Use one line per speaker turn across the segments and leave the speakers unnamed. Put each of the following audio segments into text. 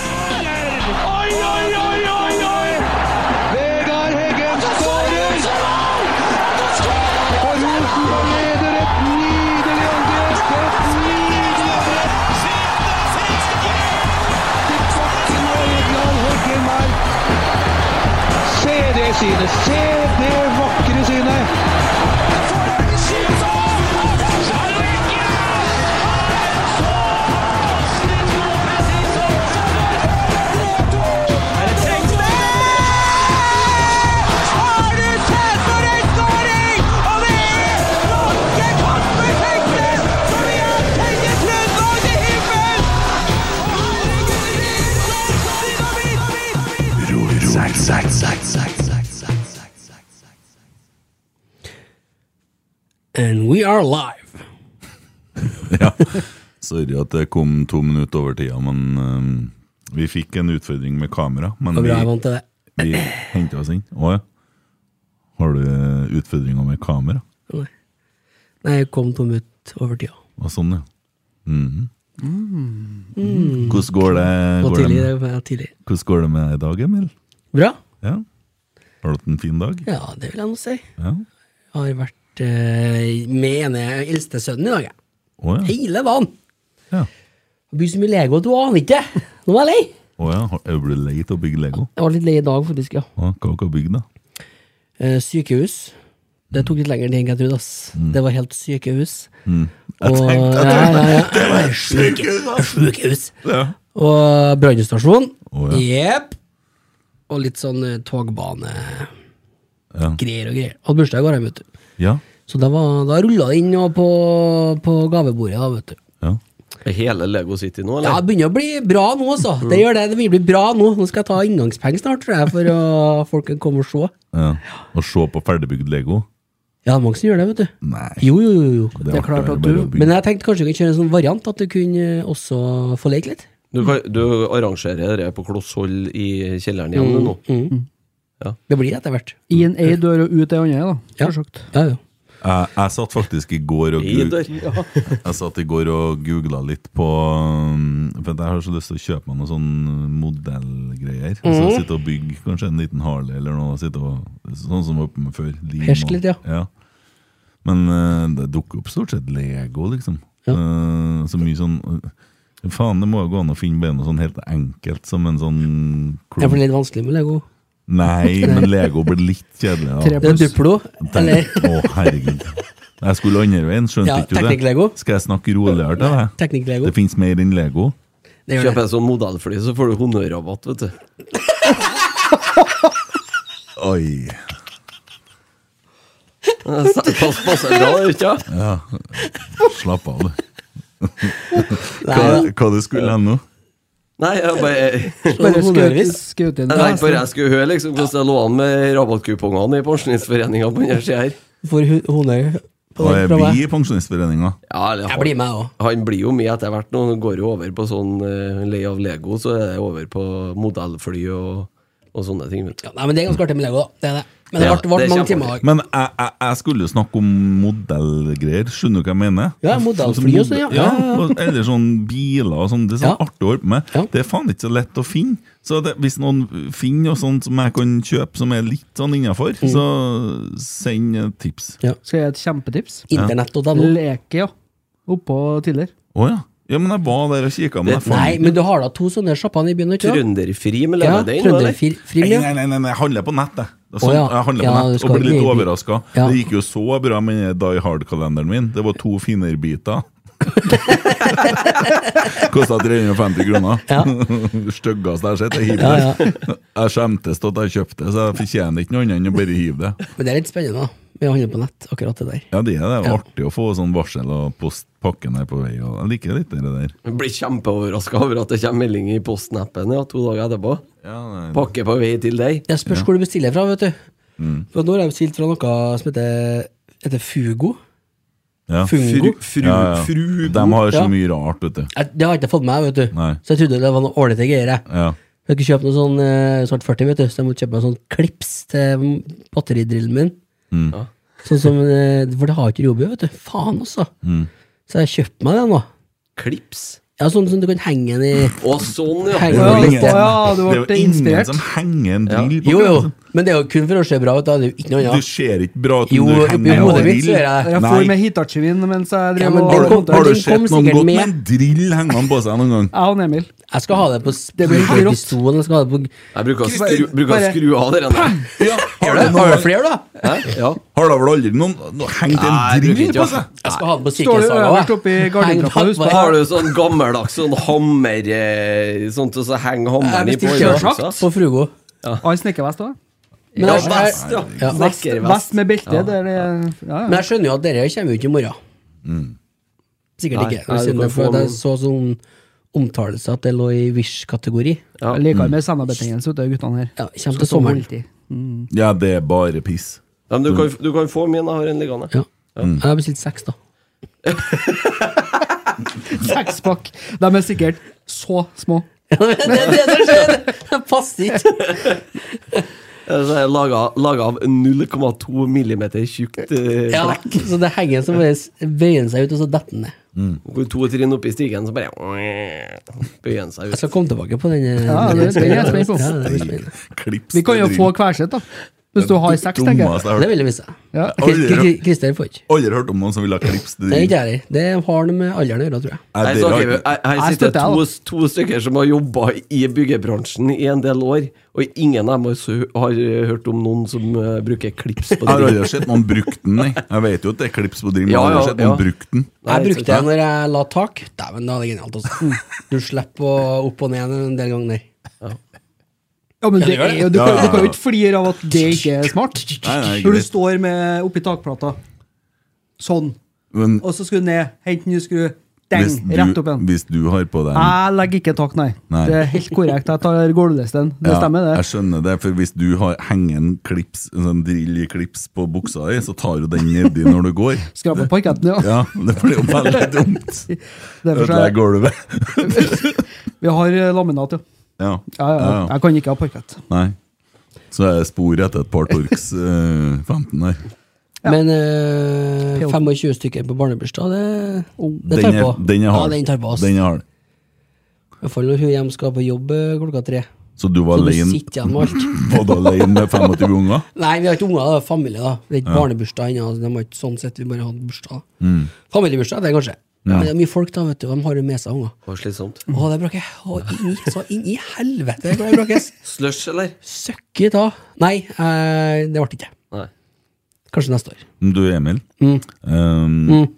Oi, oi, oi, oi, oi!
Vegard Heggen skårer! Og Rosenborg leder et nydelig angrep! Et nydelig angrep! Til bakken og Egeland Heggen her. Se det synet! Se det vakre synet!
And we are live.
Ja. Sorry at det kom to minutter over tida, men eh, vi fikk en utfordring med kamera. Men
Og
vi,
bra, jeg vant til det.
vi henta oss inn. Å ja. Har du eh, utfordringer med kamera?
Nei. Nei, jeg kom tom ut over tida.
Og sånn, ja. Mhm. Hvordan går det,
Og
går det
tidlig,
med,
det var tidlig.
hvordan går det med deg i dag, Emil?
Bra?
Ja. Har du hatt en fin dag?
Ja, det vil jeg nå si.
Ja.
Jeg har vært eh, med ene eldste sønnen i dag, jeg.
Å ja.
Hele dagen.
ja.
Det blir så mye Lego at du aner ikke. Nå er jeg lei.
Å ja. Har- Er du lei av å bygge Lego?
Jeg var litt lei i dag, faktisk, ja.
Å, Hva har dere bygd, da?
Eh, sykehus. Det tok litt lengre tid enn jeg trodde. ass. Det var helt sykehus.
Mm. Jeg
Og-
tenkte
ja,
at
ja, ja.
det var sykehus!
Sykehus.
Ja.
Og brannstasjon.
Å,
Jepp. Og litt sånn eh, togbane
Ja.
Greier og greier. Hadde bursdag i går, jeg, vet du.
ja.
Så da, var- da rulla det inn og på, på gavebordet. da, vet du.
ja.
Er Hele Lego City
Ja,
nå, eller?
Det begynner å bli bra nå, altså. Det
Mm.
gjør det. Det vil bli bra nå. Nå skal jeg ta inngangspenger snart, tror jeg, for å folk kan komme og se.
Ja. Å se på ferdigbygd Lego?
Ja, det er mange som gjør det, vet du.
Nei.
Jo, jo, jo. jo. Det
artig
er klart
å være
at
bare
du
å bygge.
Men jeg tenkte kanskje vi kunne kjøre en sånn variant, at du kunne eh, også få leke litt.
Du, kan, du arrangerer det på klosshold i kjelleren igjen
Mm.
nå?
Mm.
Det blir det etter hvert.
Inn ei dør og ut ei andre, da.
Ja.
Forsøkt.
Ja, ja.
Jeg, Eh, jeg satt faktisk i går og,
I
gu-
dør.
jeg satt i går og googla litt på um, For jeg har så lyst til å kjøpe meg noen sånne modellgreier. Så
Mhm.
jeg sitter og bygger kanskje en liten Harley eller noe. sitter Og, sånn som var oppe med før. lim og-
Fersk litt, ja.
Men eh, det dukker opp stort sett Lego, liksom. Eh, så mye sånn eh, Faen, det må jo gå an å finne bare noe sånn helt enkelt som en sånn
Det blir litt vanskelig med Lego.
Nei, men Lego blir litt kjedelig. da.
Tre
Det er Duplo. Eller
Tenk, å, herregud. Jeg skulle andre veien, skjønte
Ja,
ikke du det?
teknikk-Lego.
Skal jeg snakke roligere til deg?
Teknikk-Lego.
Det fins mer enn Lego.
Det gjør
Kjøper
det.
jeg sånn modellfly, så får du honnørrabatt, vet du.
Oi.
Eh, så- Pass, pass, bra, det, ikke sant?
Slapp av, du.
Nei,
Hva,
da.
hva du skulle hen nå?
Nei, jeg bare
Bare
Skjøt-
skauvis.
skjøt inn.
Jeg tenkte bare jeg skulle høre liksom, hvordan det lå an med rabattkupongene i Pensjonistforeninga på denne sida her.
Får hu- honnør på
Og
den
er
fra
vi
meg.
i Pensjonistforeninga?
Ja, eller
Jeg
han,
blir med, jeg òg.
han blir jo med etter hvert nå. Han går jo over på sånn uh, lei av Lego, så er det over på modellfly og, og sånne ting. Vet du.
Ja, nei, men det er ganske artig med Lego, da. Det er det. Men det
Ja,
ble, ble
det er
mange
kjempeartig.
timer i dag.
Men jeg, jeg, jeg skulle jo snakke om modellgreier. Skjønner du hva jeg mener? Altså,
Ja, modellfly og sånn, ja.
ja.
Ja, ja, ja.
og- Eller sånn biler og sånn. Det er sånn
Ja.
artig å holde på med.
Ja.
Det er faen ikke så lett å finne. Så det, hvis noen finner noe sånt som jeg kan kjøpe som er litt sånn innafor,
Mm.
så send eh, tips.
Skal jeg gi et kjempetips?
Internett og dano.
Leke, ja. Oppå tidligere.
Å ja. ja. Men jeg var der og kikka, men jeg fant
Nei, men du har da to sånne sjapper i byen, ikke sant?
Trønderfri med
Ja,
levedeig nå, eller?
Trønderfrim,
Nei,
ja.
nei, nei, nei, nei, jeg handler på nett, jeg. Det er Sånn,
Å, ja.
Jeg handler
Ja,
på
du
nett
skal
og blir litt
ikke-
overraska.
Ja.
Det gikk jo så bra med den Die Hard-kalenderen min. Det var to finnerbiter. Kosta 350 kroner.
Ja.
Styggeste jeg har sett. Jeg hiver
Ja,
det. Jeg skjemtes av at jeg kjøpte det, så jeg fortjener ikke noe annet enn å bare hive det.
Men det er litt spennende, da. Vi handler på nett, akkurat det der.
Ja, det er det.
Ja.
Artig å få sånn varsel og postpakken er på vei. Og jeg liker litt det der.
Jeg blir kjempeoverraska over at det kommer melding i posten-appen ja, to dager etterpå. Pakke på vei til deg.
Det spørs hvor du bestiller fra, vet du.
Mm.
For nå har jeg bestilt fra noe som heter, heter Fugo.
Ja.
Fungo.
fru,
Ja, ja. De har så
Ja.
mye rart, vet du.
Jeg, det har jeg ikke fått med meg, vet du.
Nei.
Så jeg trodde det var noe ålreite greier. jeg.
Ja.
Jeg skulle kjøpe noe sånn eh, snart 40, vet du, så jeg måtte kjøpe meg sånn klips til batteridrillen min.
Mm.
Ja.
Sånn som,
Mm.
eh, For det har jeg ikke i Robio, vet du. Faen, altså. Så jeg kjøpte meg den, da.
Klips.
Ja, sånn som du kan henge den i
Å, sånn, ja!
Henge
Det er
Ja, ja,
jo ingen,
den litt der.
du
det er
ble
jo ingen
inspirert.
som henger en drill på
Jo, jo,
kroppen.
altså. men det er jo kun for å se bra ut, da. Det er jo ikke noe
Du
annet.
ser ikke bra ut
Jo,
når du
oppi
henger
hodet
en
mitt så
drill.
gjør jeg det.
Jeg
Nei.
får med hitachi-vin mens jeg
Ja,
drev
men
Har
den kom-
du, har du
den kom
sett noen
sikkert
gått med
med.
en drill hengende på seg noen gang?
Jeg og Emil.
Jeg skal ha det på
Det blir helt rått.
pistolen. Jeg skal ha det på
Jeg bruker å
Bare-
skru, bruker å
bare-
skru av det der.
Ja, har
Har
det
du har du
noen-
flere, da?
Hæ? Ja.
har det vel aldri noen noen hengt
Nei,
en
jeg bruker
drill
ikke
på
å-
seg?
Jeg skal ha det på
Står du
sykkelsaga.
øverst oppe i gardentrappa, husk på
Har du sånn gammeldags sånn hammer eh, Sånt, og så henger hammeren i på
Kjørsakt på Frugo.
Har snekkervest òg?
Men
Ja,
jeg- jeg-
vest, ja.
Ja.
Vest, vest
Snekkervest.
med belte. det er det, ja,
Men
ja.
jeg skjønner jo at dette kommer jo ikke i morgen. Sikkert
Nei,
ikke.
nei,
Jeg
du
skjønner
kan
for
få
at jeg
noen-
så sånn omtalelse at det lå i Wish-kategori.
Ja.
Jeg
Mm.
liker med samarbeidsbetingelse ute av guttene her.
Ja, Kjem til sommeren.
Alltid.
altså.
Ja, det er bare piss.
Ja, men du, kan, du kan få min, jeg har en liggende.
Ja. Jeg har bestilt seks, da.
Sekspakk. De er sikkert så små.
det er det som skjer! Det passer ikke.
Altså, jeg er laga, laga av 0,2 millimeter tjukt eh,
Ja,
flekk.
så det henger som bare s- veier den seg ut, og så detter den ned.
Går to trinn opp i stigen, så bare bøyer den seg
Jeg
ut.
skal komme tilbake på den. eh,
Ja, det er jeg spent på.
Ja, det blir spennende.
Klips
Vi kan jo få hver sitt, da. Hvis du har seks, tenker jeg.
Det
jeg.
vil jeg vise.
Ja.
Kri- Kri- Kri- Christer får ikke.
Aldri hørt om noen som vil ha klips til
Det er
drill.
ikke jeg heller. Det har noe med alderen å gjøre, tror jeg.
Nei,
Her
dere har
snakker vi-
ikke-
eh, her- her
Jeg
sitter
støtter jeg,
to, to stykker som har jobba i byggebransjen i en del år, og ingen av dem har, sø- har eh, hørt om noen som eh, bruker klips på
Jeg har
det.
aldri sett noen brukt den, nei. Jeg vet jo at det er klips på drill, men jeg
Ja,
har aldri
ja,
sett noen
ja.
brukt den.
Jeg
Nei,
brukte
ikke
det når jeg la tak. Dæven, da er det genialt. Også. Du slipper å opp og ned en del ganger der.
Ja, men det
gjør
er,
det.
jo- du, kan,
Ja,
du
ja,
kan jo
ja.
ikke flire av at det ikke er smart.
Nei, nei,
Når du
greit.
står med oppi takplata, sånn,
Men
og så skru ned, hente ny skru,
hvis
deng, rett opp Ah, igjen.
du, hvis du har på deg en
Jeg legger ikke tak, nei.
Nei.
Det er helt korrekt. Jeg tar gulvlisten. Det
Ja,
stemmer, det.
Jeg skjønner det, for hvis du har henger en klips, en sånn drill i klips på buksa di, så tar du den nedi når du går.
Skraper parketten, ja.
Ja, det blir jo veldig dumt.
Derfor så er,
Ødelegger gulvet.
vi har eh, laminat, ja.
Ja.
Ja, ja, ja. Jeg kan ikke ha parkett.
Nei. Så er det spor etter et par Torx eh, 15 her.
Men eh, 25 stykker på barnebursdag, det, det tar
Den er,
på.
den er hard.
Oh. Ja, den tar på oss.
Den er hard.
I hvert fall når hun hjem skal på jobb eh, klokka tre.
Så du var
Så du
alene
sitter igjen med alt.
Var du alene med 25 unger?
Nei, vi har ikke unger, det er familie. da Det er ikke barnebursdag ennå. altså, De har ikke sånn sett, vi bare hadde bursdag.
Mm.
Familiebursdag, det er kanskje. Men det er mye folk, da, vet du. De har jo med seg unger.
Og slitsomt.
Å, det bråker. Å, inn i- Så inn i helvete kan det bråkes.
Slush, eller?
Søkket da. Nei, eh, det ble ikke det.
Nei.
Kanskje neste år.
Du, Emil.
Mm.
Um,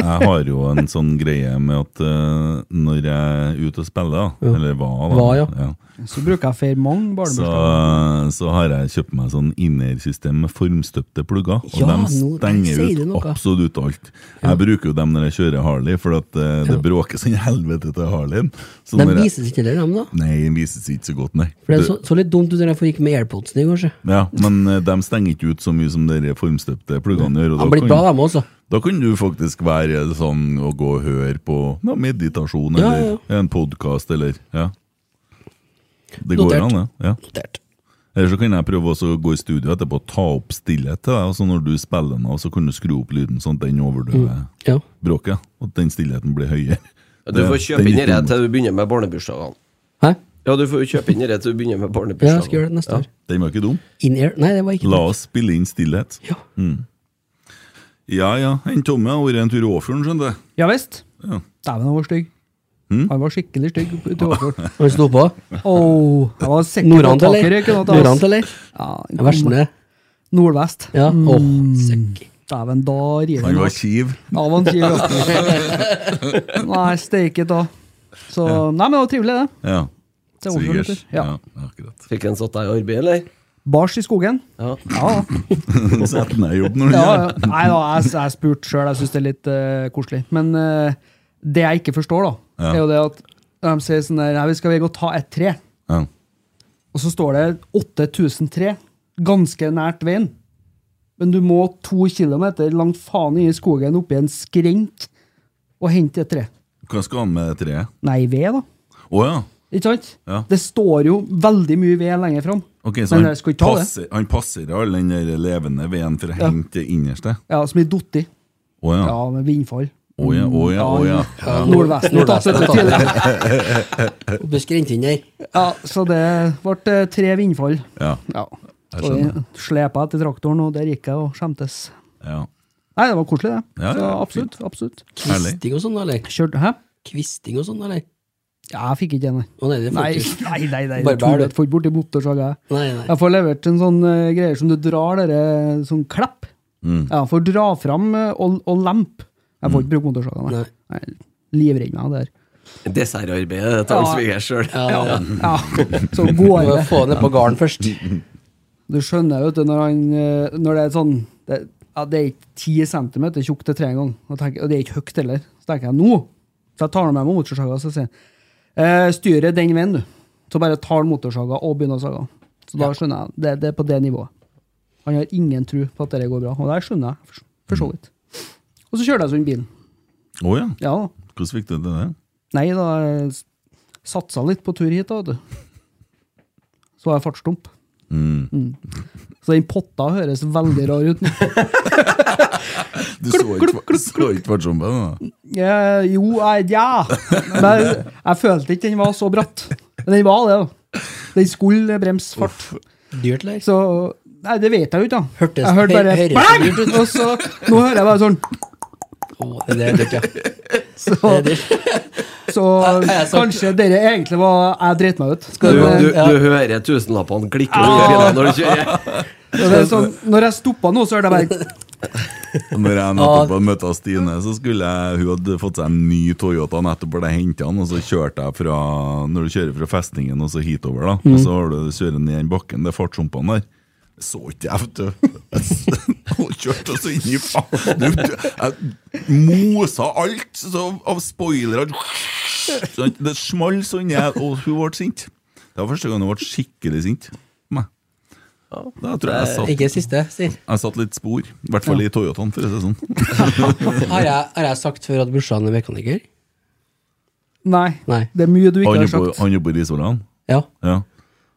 jeg har jo en sånn greie med at eh, når jeg er ute og spiller, da, eller var, da,
Var, ja.
Så bruker jeg for mange
så,
barnebursdager.
så har jeg kjøpt meg sånn innersystem med formstøpte plugger, og
Ja,
de
nå-
stenger
sier du
ut
noe.
absolutt alt. Jeg bruker jo dem når jeg kjører Harley, for at eh, det bråker sånn helvete til Harleyen. Så
De
når jeg-
vises ikke heller, dem, da.
Nei, den vises ikke så godt, nei.
For det
Du-
så, så litt dumt ut når jeg gikk med AirPodsene i går. så.
Ja, Men eh, de stenger ikke ut så mye som de formstøpte pluggene gjør. og
Han
da kan-
blir bra, dem også.
Da kan du faktisk være sånn og gå og høre på ja, meditasjon
Ja,
eller en podkast eller ja. Det
Notert.
går an, det. Ja.
Notert.
Eller så kan jeg prøve også å gå i studio etterpå og ta opp stillhet til deg. og så når du spiller den av, så kan du skru opp lyden sånn at den overdøver
Ja.
bråket. Og at den stillheten blir høyere.
Du
Det-
får kjøpe
den
inn
gikk
dette
dumt.
til du begynner med barnebursdagene.
Hæ?
Ja, du får jo kjøpe inn dette til du begynner med
Ja, jeg skal
barnebursdagene.
gjøre det neste år.
Den var ikke dum.
In-air? Nei, det var ikke
La
det.
oss spille inn stillhet. Mm.
Ja.
Ja ja, en Tommy har vært en tur i Åfjorden, skjønner du.
Ja visst.
Ja. Hm?
Dæven, han var stygg. Han var skikkelig stygg ute i Åfjord.
Han sto på.
Åh, jeg var sikker på
Norrant,
at taket
eller?
røyk. og at jeg
Norrant,
var-
eller?
Ja,
Det verste er det.
Nordvest. Mm.
Ja. Åh, søkk.
Dæven, da river
Han
den
var
hardt.
kiv.
Ja, han var kiv, ja. Nei, steike ta. Så Nei, men det var trivelig, det.
Ja.
Det er Åfjord,
Sigers.
vet du. Ja.
Ja, akkurat.
Fikk en satt deg i arbeid, eller?
Bars i skogen.
Ja.
Ja,
Sett den i jobb når du
ja.
gjør det.
ja. Nei da, jeg, jeg spurte sjøl, jeg syns det er litt eh, koselig. Men eh, det jeg ikke forstår, da,
Ja.
er jo det at de sier sånn der Nei, vi skal gå og ta et tre.
Ja.
Og så står det 8000 tre ganske nært veien. Men du må to kilometer langt faen i skogen oppi en skrenk og hente et tre.
Hva skal han med det treet?
Nei, ved, da.
Å ja.
Ikke sant?
Ja.
Det står jo veldig mye ved lenger fram.
Ok, så
Men
han
jeg skal ikke ta det.
passer, han passer all den der levende veden for å henge til innerste?
Ja, som i dotti.
Å ja.
Ja, med vindfall.
Å ja, å ja, å ja.
Nordvesten tatt
Nordvesten
det
har
tidligere.
det. Oppe i skrenten der.
Ja, så det ble eh, tre vindfall.
Ja,
Ja.
Jeg
Så jeg slepa etter traktoren, og der gikk jeg og skjemtes.
ja.
Nei, det var koselig, det.
Ja,
så
ja,
absolutt. absolutt.
Herlig.
Kvisting og sånn, eller?
Kjørte Hæ?
Kvisting og sånn, eller?
Ja, jeg fikk ikke det, nei.
Å nei, det får
Nei,
du ikke.
nei, nei, nei.
Bare bær, du.
Jeg får ikke borti motorsaga. jeg.
Nei, nei.
Jeg får levert en sånn eh, greier som du drar dere sånn klepp. Ja, får dra fram eh, og, og lempe. Jeg får ikke bruke motorsaga, nei.
Nei.
nei. jeg er Livredd meg der.
Dessertarbeidet det eh, tar
Ja.
sviger sjøl.
Ja, ja.
Ja, så går
Må
det.
jo få ned på garden først.
Du skjønner, vet du, når, han, eh, når det er sånn det, ja, det er ikke 10 cm tjukt til tre ganger, og, tenker, og det er ikke høyt heller. Så tenker jeg nå Så jeg tar med meg motorsaga så sier jeg, eh, styret den veien, du. Så bare tar han motorsaga og begynner å saga. Så da skjønner jeg. Det, det er på det nivået. Han har ingen tro på at det går bra, og det skjønner jeg for, for
Mm.
så vidt. Og så kjørte jeg sånn bilen.
Å ja.
Ja da.
Hvordan fikk du til det?
Nei da, jeg s- satsa litt på tur hit, da, vet du. Så var jeg fartsdump. Mm. Så den potta høres veldig rar ut.
Du så ikke så ikke fartsjompen? da?
Jeg, jo, jeg, ja Men jeg, jeg følte ikke den var så bratt. Men den var det, da. Den skulle bremse fart.
Dyrt, eller?
Så Nei, det vet jeg jo ikke, da.
Hørtes-
jeg hørte bare
hø- høres
bang!
dyrt ut.
Og så Nå hører jeg bare sånn
Å, det er dyrt, ja.
Så,
Det er dyrt.
så
Jeg- jeg er så-
kanskje dere egentlig var Jeg dreit meg ut.
Du,
Skal
Men,
du,
eh,
du hører tusenlappene klikke under bilene når du kjører.
det er sånn, når jeg stoppa nå, så hørte jeg bare
Når jeg nettopp hadde møtt Stine, så skulle jeg, hun hadde fått seg en ny Toyota nettopp hvor jeg hentet den, og så kjørte jeg fra Når du kjører fra festningen og så hitover, da, og så har du kjører ned den bakken, det er fartshumpene der. Så ikke jeg, vet du. Jeg kjørte oss inn i faen du, du, Jeg mosa alt så, av spoilere. Så Det smalt sånn, jeg, og hun ble sint. Det var første gang hun ble skikkelig sint. på meg. Da tror jeg jeg satt
Ikke siste, si.
jeg satt litt spor, i hvert fall i Toyotaen, for å si det sånn.
Har jeg, har jeg sagt før at brorsan er mekaniker?
Nei.
Nei.
Det er mye du ikke
Han
har
jobber,
sagt.
han jobber i Isolan.
Ja,
Ja.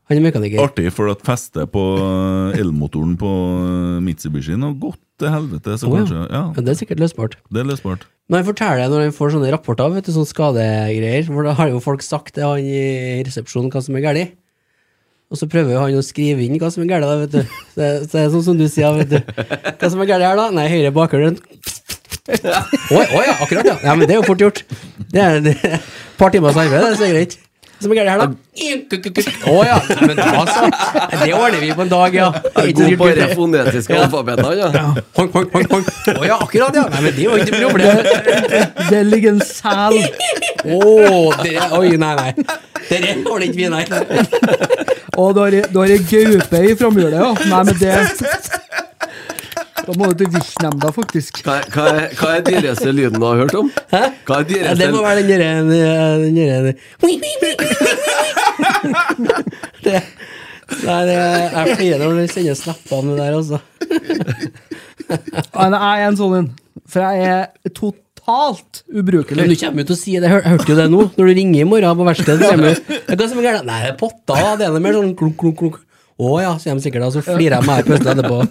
han er mekaniker.
Artig, for at festet på eh, elmotoren på eh, Mitsubishien har gått til helvete, så
Å, ja.
kanskje
Ja,
Ja,
det er sikkert løsbart.
det er løsbart.
Men han forteller når han får sånne rapporter, vet du, sånne skadegreier, for da har jo folk sagt til han i resepsjonen hva som er galt. Og så prøver jo han å skrive inn hva som er galt, da, vet du. Så det, så det er sånn som du sier, vet du. Hva som er galt her, da? Nei, høyre bakgrunn. Å å ja, akkurat, ja. ja. Men det er jo fort gjort. Det er det er et par timers arbeid, det, så er det greit. Hva som er galt her, da? Å ja, nei, men da så. Det ordner vi på en dag, ja. Det er ikke så
God
dyrt,
på
det.
det fonetiske alfabetet, han, ja.
Honk, honk, honk, honk. Å ja, akkurat, ja. Nei, men det er jo ikke noe problem.
Det ligger en sel
Åh, dere, oi, nei, nei. Dere ordner ikke vi, nei.
Og du har, du har ei gaupe i framhjulet, ja. Nei, men det Da må du til viltnemnda, faktisk.
Hva, hva, er- hva er dyreste lyden du har hørt om? Hva er
Ja, det må
dyreste
være den derre den derre- Det- Nei, det er jeg flirer når du sender snapper med det der, altså.
Nei, nei, jeg er en sånn en. For jeg er totalt
Men du
ubrukelig.
kommer jo til å si det, jeg hør- hørte jo det nå, når du ringer i morgen på verkstedet. så kommer du, «Ja, Hva som er galt? Nei, det er potta, det er noe mer sånn klunk, klunk, klunk. Å ja, sier de sikkert, og så flirer jeg meg i pøsten etterpå.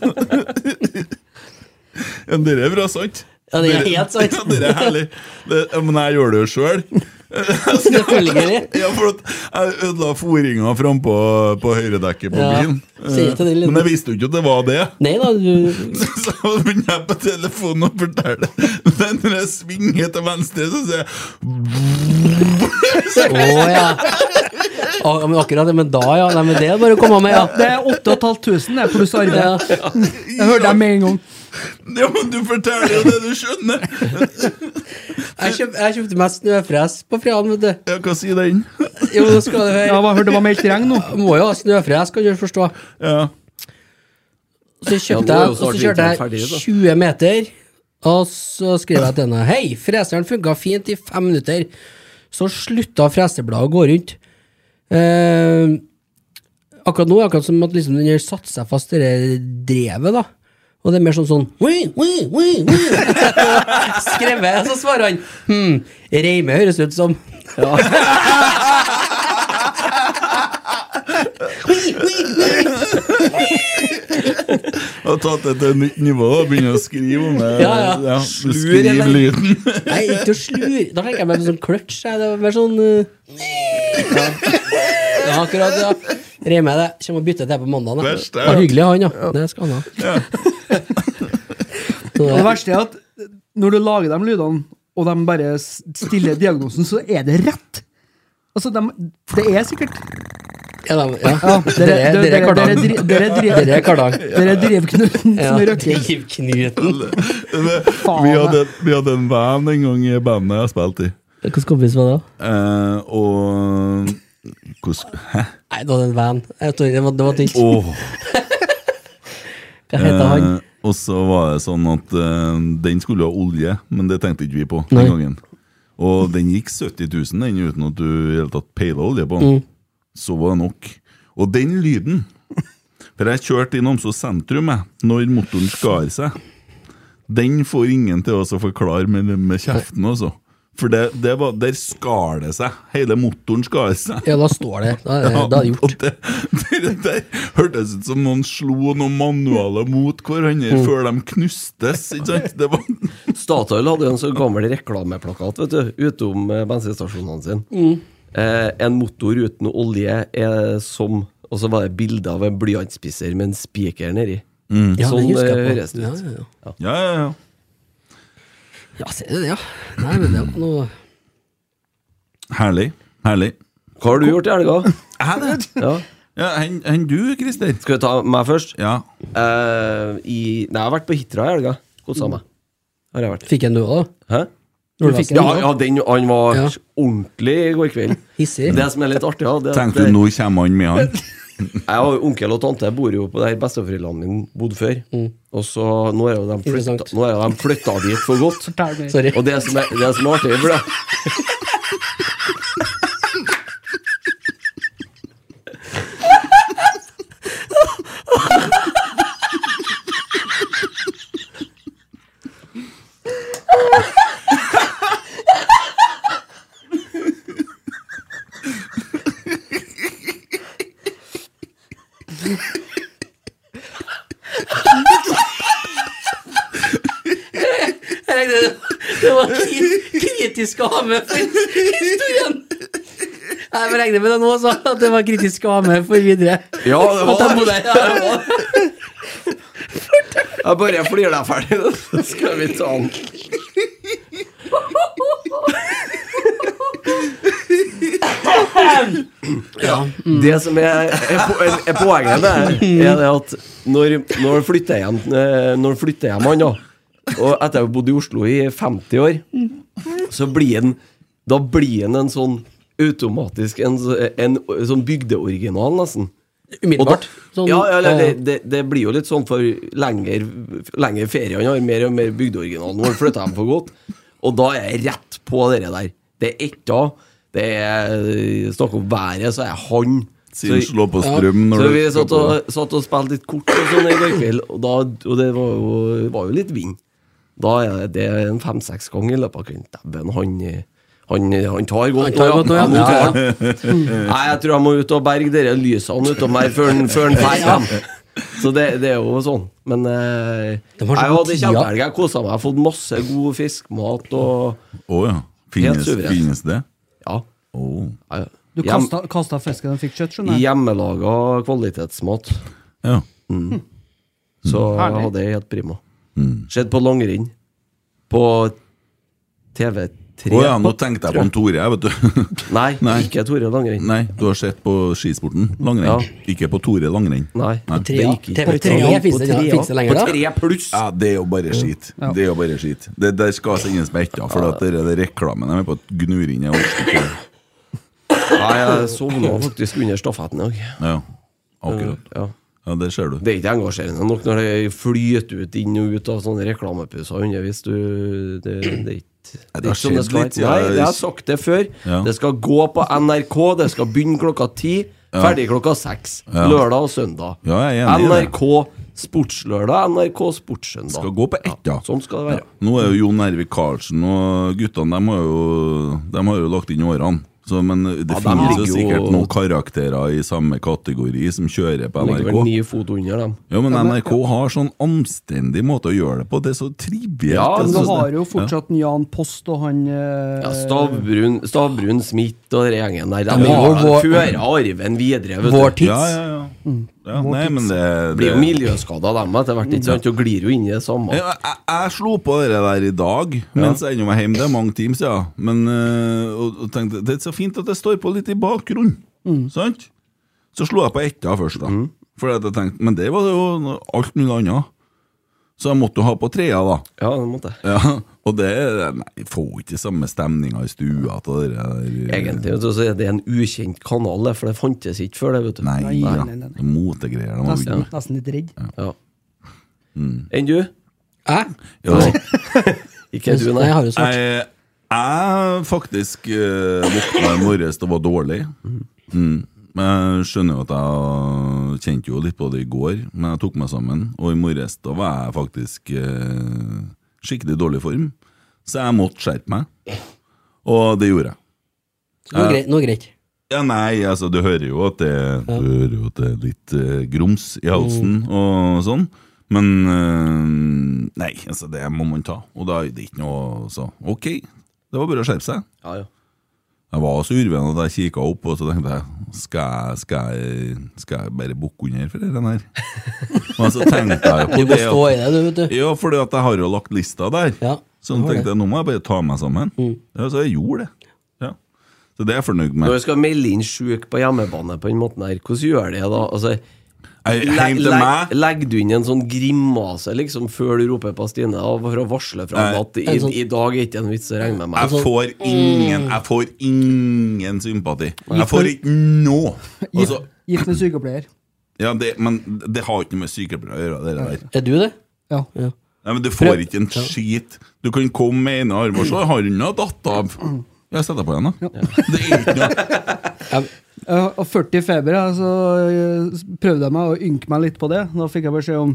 Ja, dere er bra, sant?
Ja, det er helt sant.
Ja, dere er herlig. Det, ja, men jeg gjør det jo sjøl.
Selvfølgelig.
Ja, for at jeg ødela foringa frampå på høyredekket på
Ja.
bilen.
Sier til den lille-
Men jeg visste jo ikke at det var det.
Nei da, du
Så begynner jeg på telefonen og forteller Men Når jeg svinger til venstre, så sier jeg
Å ja. Å, men akkurat det, men da, ja. Nei, men det er bare å komme med, ja.
Det er 8500 det, pluss
Ja.
arbeid. Jeg hørte deg med en gang.
Ja, men du forteller jo det du skjønner!
Jeg, kjøp, jeg kjøpte meg snøfres på fredag, vet du.
Ja, hva sier den?
Jo, nå skal
Ja,
du høre.
jeg hørte det var meldt regn nå.
Må jo ha snøfres, kan du forstå.
Ja.
Så
Ja, nå
kjøpte
er
jeg,
jo
og så
snart
kjørte
vinteren ferdig, da.
jeg 20 meter, og så skrev jeg til henne Hei, freseren funka fint i fem minutter. Så slutta fresebladet å gå rundt. Eh, akkurat nå er det akkurat som at liksom den har satt seg fast i det drevet, da. Og det er mer sånn sånn «Wii, wii, wii, wii». Skrevet, så svarer han Hm, reime høres ut som Wii, wii, wii.
har tatt det til et nytt nivå og begynner å skrive om det.
Ja, ja.
du
Slur,
skriver
eller?
lyden.
Nei, ikke å slure. Da tenker jeg meg på sånn clutch. jeg. Det var mer sånn uh... ja. ja, akkurat, ja. Reier meg det. Kommer og bytter til på mandag. da.
Verst, ja.
Det var hyggelig, han, ja. Det skal han ha. Så
Og det
det-
verste er at når du lager de lydene, og de bare s- stiller diagnosen, så er det rett. Altså, de, det er sikkert
Ja, da, ja.
ja, Dere
Dere-
dere-
dere er
dere-
Kardag.
dri- dere driv-
Dere er Kardag.
Dere er drivknuten
Ja.
som røkker.
Knuten.
Faen,
Vi hadde, vi hadde en venn en gang i bandet jeg spilte i.
Hvilken kompis var det?
Eh, og hvordan Hæ?
Nei, det var en van. Jeg tror Det var, det var tynt.
Eh, Åh,
Hva heter han?
eh, og så var det sånn at eh, den skulle ha olje, men det tenkte ikke vi på
Nei.
den gangen. Og den gikk 70 000 den, uten at du i det hele tatt peila olje på
Mm.
den. Så var det nok. Og den lyden For jeg kjørte i Namsos sentrum jeg, når motoren skar seg. Den får ingen til å forklare med, med kjeften, altså. For det, det var, der skar det seg. Hele motoren skar seg.
Ja, da står det. Da
Eh,
er det, da er det gjort.
Og det, det, det hørtes ut som noen slo noen manualer mot hverandre
Mm.
før de knustes. Ikke sant? Det var,
Statoil hadde jo en så gammel reklameplakat vet du, utom eh, bensinstasjonene sine.
Mm.
Eh, en motor uten olje er som Og så var det bilde av en blyantspisser med en spiker nedi.
Ja,
Sånn
det husker
eh,
jeg
høres
på.
det
Ja,
ut.
ja, ja.
ja, ja, ja.
ja, ser du det, ja. Nei, men det var noe
Herlig. Herlig.
Hva har du gjort i helga?
Er det?
Ja.
Ja, Enn enn du, Christer?
Skal vi ta meg først?
Ja.
Eh, i, nei, jeg har vært på Hitra i helga. Kosa meg. Har jeg vært.
Fikk en du òg, da?
Hæ?
Du fikk
Ja,
en du
ja den, han var
Ja.
ordentlig i går kveld.
Hissig.
Det som er litt artig, ja, det er at
Tenkte du nå kommer han med han?
Jeg har jo onkel og tante bor jo på der besteforeldrene mine bodde før. Og så nå er jo de flytta,
Interessant.
nå er jo de flytta dit for godt.
Fortell meg.
Sorry.
Og det som er, det som er artig for det
Jeg regner det, det var kri- kritisk å ha med for historien. Jeg regner med det nå, så at det var kritisk å ha med for videre.
Ja, det
At jeg
var
bodde
det.
her. Ja, det var det.
Jeg bare flirer deg ferdig, så skal vi ta den. Ja, det som er, er, po- er, er poenget der, er det at når, når flytter hjem, eh, når flytter hjem han, da, og etter å ha bodd i Oslo i 50 år, så blir han Da blir han en sånn automatisk En, så- en sånn bygdeoriginal, nesten.
Umiddelbart.
Og da-
Sånn,
ja, ja, eller
eh,
det, det, det blir jo litt sånn for lenger, lenger ferie han har, mer og mer bygdeoriginal. Nå flytter de for godt. Og da er jeg rett på dere der. Det er etta. Det er eh, snakk om været, så er jeg han. Så,
Siden slå på strøm når
så
du
vi satt og, satt og spilte litt kort og sånn i går kveld, og, da, og det var jo, var jo litt vind. Da er det- det er en fem-seks ganger i løpet av kvelden. Dæven, han, han, han tar godt
Han tar godt nå, ja.
nå
Ja,
tar
ja.
han. Nei, jeg tror jeg må ut og berge dere lysene utom her før den før den drar hjem. Så det, det er jo sånn. Men eh,
De
jeg
har så god
hadde
tid, ja.
kjempehelg. Jeg kosa meg. Jeg har fått masse god fiskmat og
Å ja.
Helt
Finnes,
suverent.
finnes det?
ja.
Å.
ja, ja.
Du
Hjem,
kasta, kasta fisken og fikk kjøtt,
eh.
skjønner jeg.
hjemmelaga kvalitetsmat.
Ja.
Så
Herlig.
hadde jeg helt prima.
Mm.
Skjedd på langrenn. På TV3.
Å ja, nå tenkte jeg på han Tore, jeg, vet du.
Nei,
Nei.
ikke Tore Langrenn.
Nei, du har sett på skisporten langrenn.
Ja.
Ikke på Tore langrenn.
Nei.
tre,
det
ja.
gikk ikke.
TV3
På
finnes det-
tre,
finnes det lenger, da?
På tre pluss!
Ja, det er jo bare skit. Det er jo bare skit. Det der skal sendes med etter, for at det er det reklamen de er på å gnur inn i årsstykket.
Nei, jeg sovna faktisk under stafetten i dag.
Ja, akkurat.
Ja.
Ja, det ser du.
Mm. Det er ikke engasjerende nok når det flyter ut inn og ut av sånne reklamepuser under hvis du Det, det er ikke
Nei, det har
er ikke sånn
skjedd
skal
litt,
være.
ja.
Nei, det har jeg sagt det før.
Ja.
Det skal gå på NRK, det skal begynne klokka ti, ferdig klokka seks. Lørdag og søndag.
Ja, jeg er enig i det.
NRK Sportslørdag, NRK Sportssøndag.
Skal gå på ett, ja.
Sånn skal det være.
Nå er jo Jon Ervik Karlsen og guttene, de har jo, de har jo lagt inn årene. Så, men det
Ja, de
finnes jo
ligger jo-
sikkert noen karakterer i samme kategori som kjører på
Ligger vel
NRK.
ni fot under dem.
Ja, men NRK har sånn anstendig måte å gjøre det på. Det er så trivielt.
Ja,
Jeg
Men du
synes
har
det-
jo fortsatt en Jan Post og han eh,
Ja, Stavbrun, Stavbrun, Smith og den gjengen der.
men
De
vår-
har-
vår-
fører arven videre. Vet
Vår
du.
tids.
Ja, ja, ja.
Mm.
ja nei, men det,
Blir jo
det
miljøskada, dem etter hvert. ikke sant? Og glir jo inn i det samme.
jeg, jeg, jeg slo på det der i dag mens jeg ennå var hjemme. Det er mange timer siden. Men øh, og, og tenkte, det er så fint at det står på litt i bakgrunnen.
Mm.
Sant? Så slo jeg på etta først, da. Fordi at jeg tenkte, men det var jo noe- alt mulig annet. Så jeg måtte jo ha på trea, da.
Ja, det måtte jeg.
Ja, og det nei, får jo ikke samme stemninga i stua til det der. eh,
Egentlig vet du, så er det en ukjent kanal, det, for det fantes ikke før det. vet du
Nei,
Nei,
da.
nei, nei, nei.
Det er Motegreier. de har begynt
nesten,
med.
nesten litt redd.
Ja.
Mm.
Enn du?
Hæ?
Ja.
Ikke du,
Nei, jeg
nei.
har jo svart.
Jeg, jeg faktisk eh, våkna i morges og var dårlig. Mm. Men jeg skjønner jo at jeg kjente jo litt på det i går, men jeg tok meg sammen. Og i morges da var jeg faktisk eh, skikkelig dårlig form, så jeg måtte skjerpe meg. Og det gjorde jeg.
Noe greit. Noe greit.
Ja, nei, altså, du hører jo at det, du hører jo at det er litt eh, grums i halsen og sånn. Men eh, nei, altså, det må man ta. Og da er det ikke noe så Ok, det var bare å skjerpe seg.
Ja, ja.
Jeg var så urven at jeg kikka opp, og så tenkte jeg skal jeg, skal jeg, skal jeg bare bukke under for den her? Men så tenkte jeg
Du
på
må
det.
stå
at-
i det, du, vet du.
Ja, fordi at jeg har jo lagt lista der.
Ja,
så jeg
har det. Mm.
tenkte jeg, nå må jeg bare ta meg sammen. Ja, så jeg gjorde det. Ja. Så det er jeg fornøyd med.
Når du skal melde inn sjuk på hjemmebane på den måten her, hvordan gjør det da? Altså,
Jeg,
le-
hjem til
le-
meg
Legger du inn en sånn grimase liksom før du roper på Stine og for å varsle fra
Nei.
at i,
En sånn-
i dag er ikke en vits å regne med meg?
altså-
jeg får ingen
Mm.
Jeg får ingen sympati. Jeg får ikke noe. Altså,
Gift med sykepleier.
ja, det, men det har ikke noe med sykepleiere å gjøre. Det der.
Er du det?
Ja.
Ja.
Nei, men Du får ikke en skit. Du kan komme med ene armen, så har hun nå datt av. Jeg setter på igjen, da. Det er ikke noe.
Jeg har 40 i Eh, feber, ja, så eh, prøvde jeg meg å ynke meg litt på det. Da fikk jeg beskjed om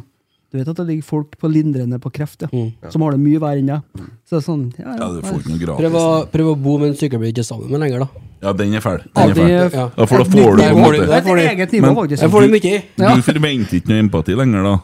Du vet at det ligger folk på lindrende på kreft, ja. Som har det mye verre enn deg. Så det er sånn, ja,
Mm. Ja,
ja,
du får ikke noe
Prøv å,
gratis.
prøv å bo med en sykepleier du ikke er sammen med lenger, da.
Ja, den er fæl.
Ja,
Den er
det
fæl.
er-
Ja.
Ja, for da får du
Der
på en
får du-
måte
der
Et
får du-
eget nivå,
Men-
faktisk.
Jeg får det mye i.
Ja.
Du forventer ikke noe empati lenger, da.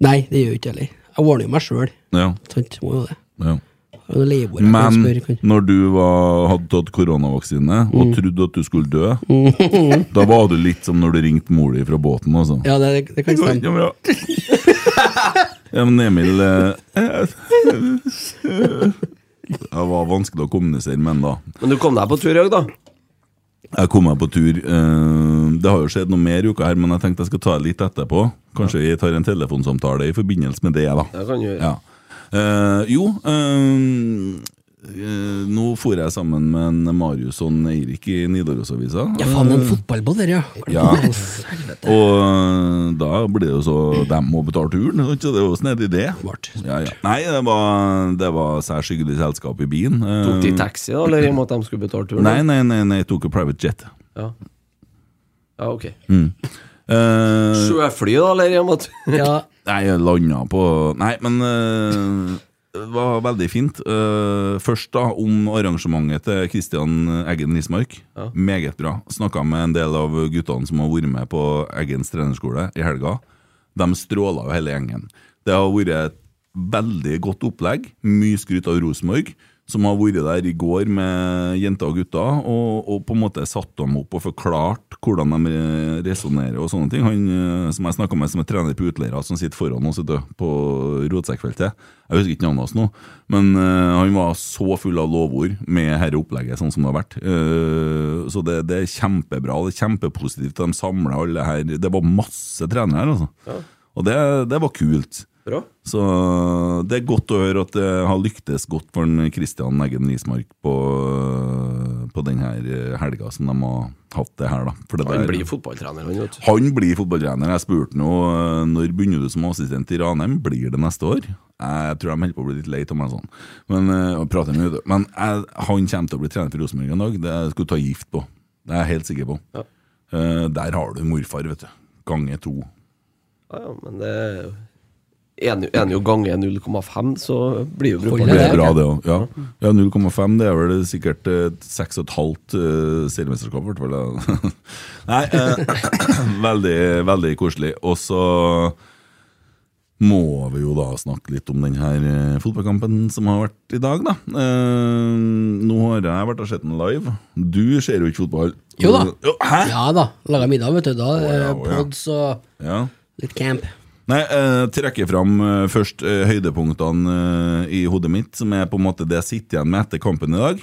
Nei, det gjør jo ikke jeg heller. Jeg ordner jo meg sjøl.
Ja,
Sant, må jo det.
ja.
Har jo noe leieboer jeg kan
Men
spørre, kan-
når du var, hadde tatt koronavaksine
Mm.
og trodde at du skulle dø, da var du litt som når du ringte mor di fra båten, altså.
Ja, det, det kan
Det går
stemme.
ikke bra. Ja, men Emil eh, Det var vanskelig å kommunisere med han da.
Men du kom deg på tur i dag, da?
Jeg kom meg på tur. eh, Det har jo skjedd noe mer i uka her, men jeg tenkte jeg skal ta det litt etterpå. Kanskje jeg tar en telefonsamtale i forbindelse med det, da.
Det kan du gjøre.
Ja. Eh, jo ehm, eh, Nå for jeg sammen med en Marius og en Eirik i Nidarosavisa. Eh,
Ja, faen, en fotballbåt der, ja.
Ja. Og eh, da blir det jo så De må betale turen, ikke? så det er jo snedig, det.
Smart.
Ja, ja. Nei, det var, det var særs hyggelig selskap i byen. Eh,
Tok de taxi, da, eller i og med at de skulle betale turen?
nei, nei, nei, nei, jeg tok jo private jet.
Ja. ja, ok.
Eh,
Sjøfly, da, eller i og med at
Ja,
Nei, jeg landa på Nei, men eh, det var veldig fint. Eh, først da om arrangementet til Kristian Eggen Rismark.
Ja.
Meget bra. Snakka med en del av guttene som har vært med på Eggens trenerskole i helga. De stråla jo hele gjengen. Det har vært et veldig godt opplegg. Mye skryt av Rosenborg, som har vært der i går med jenter og gutter, og, og på en måte satt dem opp og forklart hvordan de resonnerer og sånne ting. Han eh, som jeg snakka med, som er trener på utleiere, som sitter foran oss vet du, på rotsekkfeltet Jeg husker ikke navnet hans nå, men eh, han var så full av lovord med dette opplegget, sånn som det har vært. Eh, så det, det er kjempebra, det er kjempepositivt. De samler alle her. Det var masse trenere her, altså. Og det, det var kult.
Bra.
Så det er godt å høre at det har lyktes godt for en Kristian Eggen Rismark på, på denne helga som de har hatt det her, da. For det
Han
der-
blir fotballtrener, han, vet du.
han blir fotballtrener. Jeg spurte nå eh, når begynner du som assistent i Ranheim. Blir det neste år? Jeg tror de holder på å bli litt lei av meg sånn. Men, eh, og prater mye, men jeg, han kommer til å bli trener for Rosenborg en dag. Det skulle ta gift på. Det er jeg helt sikker på.
Ja.
Eh, der har du morfar, vet du. Gange to.
Ja, ja, men det er jo Er den jo- er den jo ganger 0,5, så blir jo
Holder
Det er
brukbar.
bra, det òg. Ja, ja 0,5 det er vel sikkert eh, 6,5 eh, seriemesterskap, i hvert fall. ja. Nei, eh, veldig, veldig koselig. Og så må vi jo da snakke litt om den her eh, fotballkampen som har vært i dag, da. Eh, nå har jeg vært og sett den live. Du ser jo ikke fotball.
Jo da.
hæ?
Ja da. Laga middag, vet du. Da
Å, ja,
er det
å, ja.
pods og
Ja.
litt camp.
Nei, eh, trekker fram eh, først eh, høydepunktene eh, i hodet mitt, som er på en måte det jeg sitter igjen med etter kampen i dag.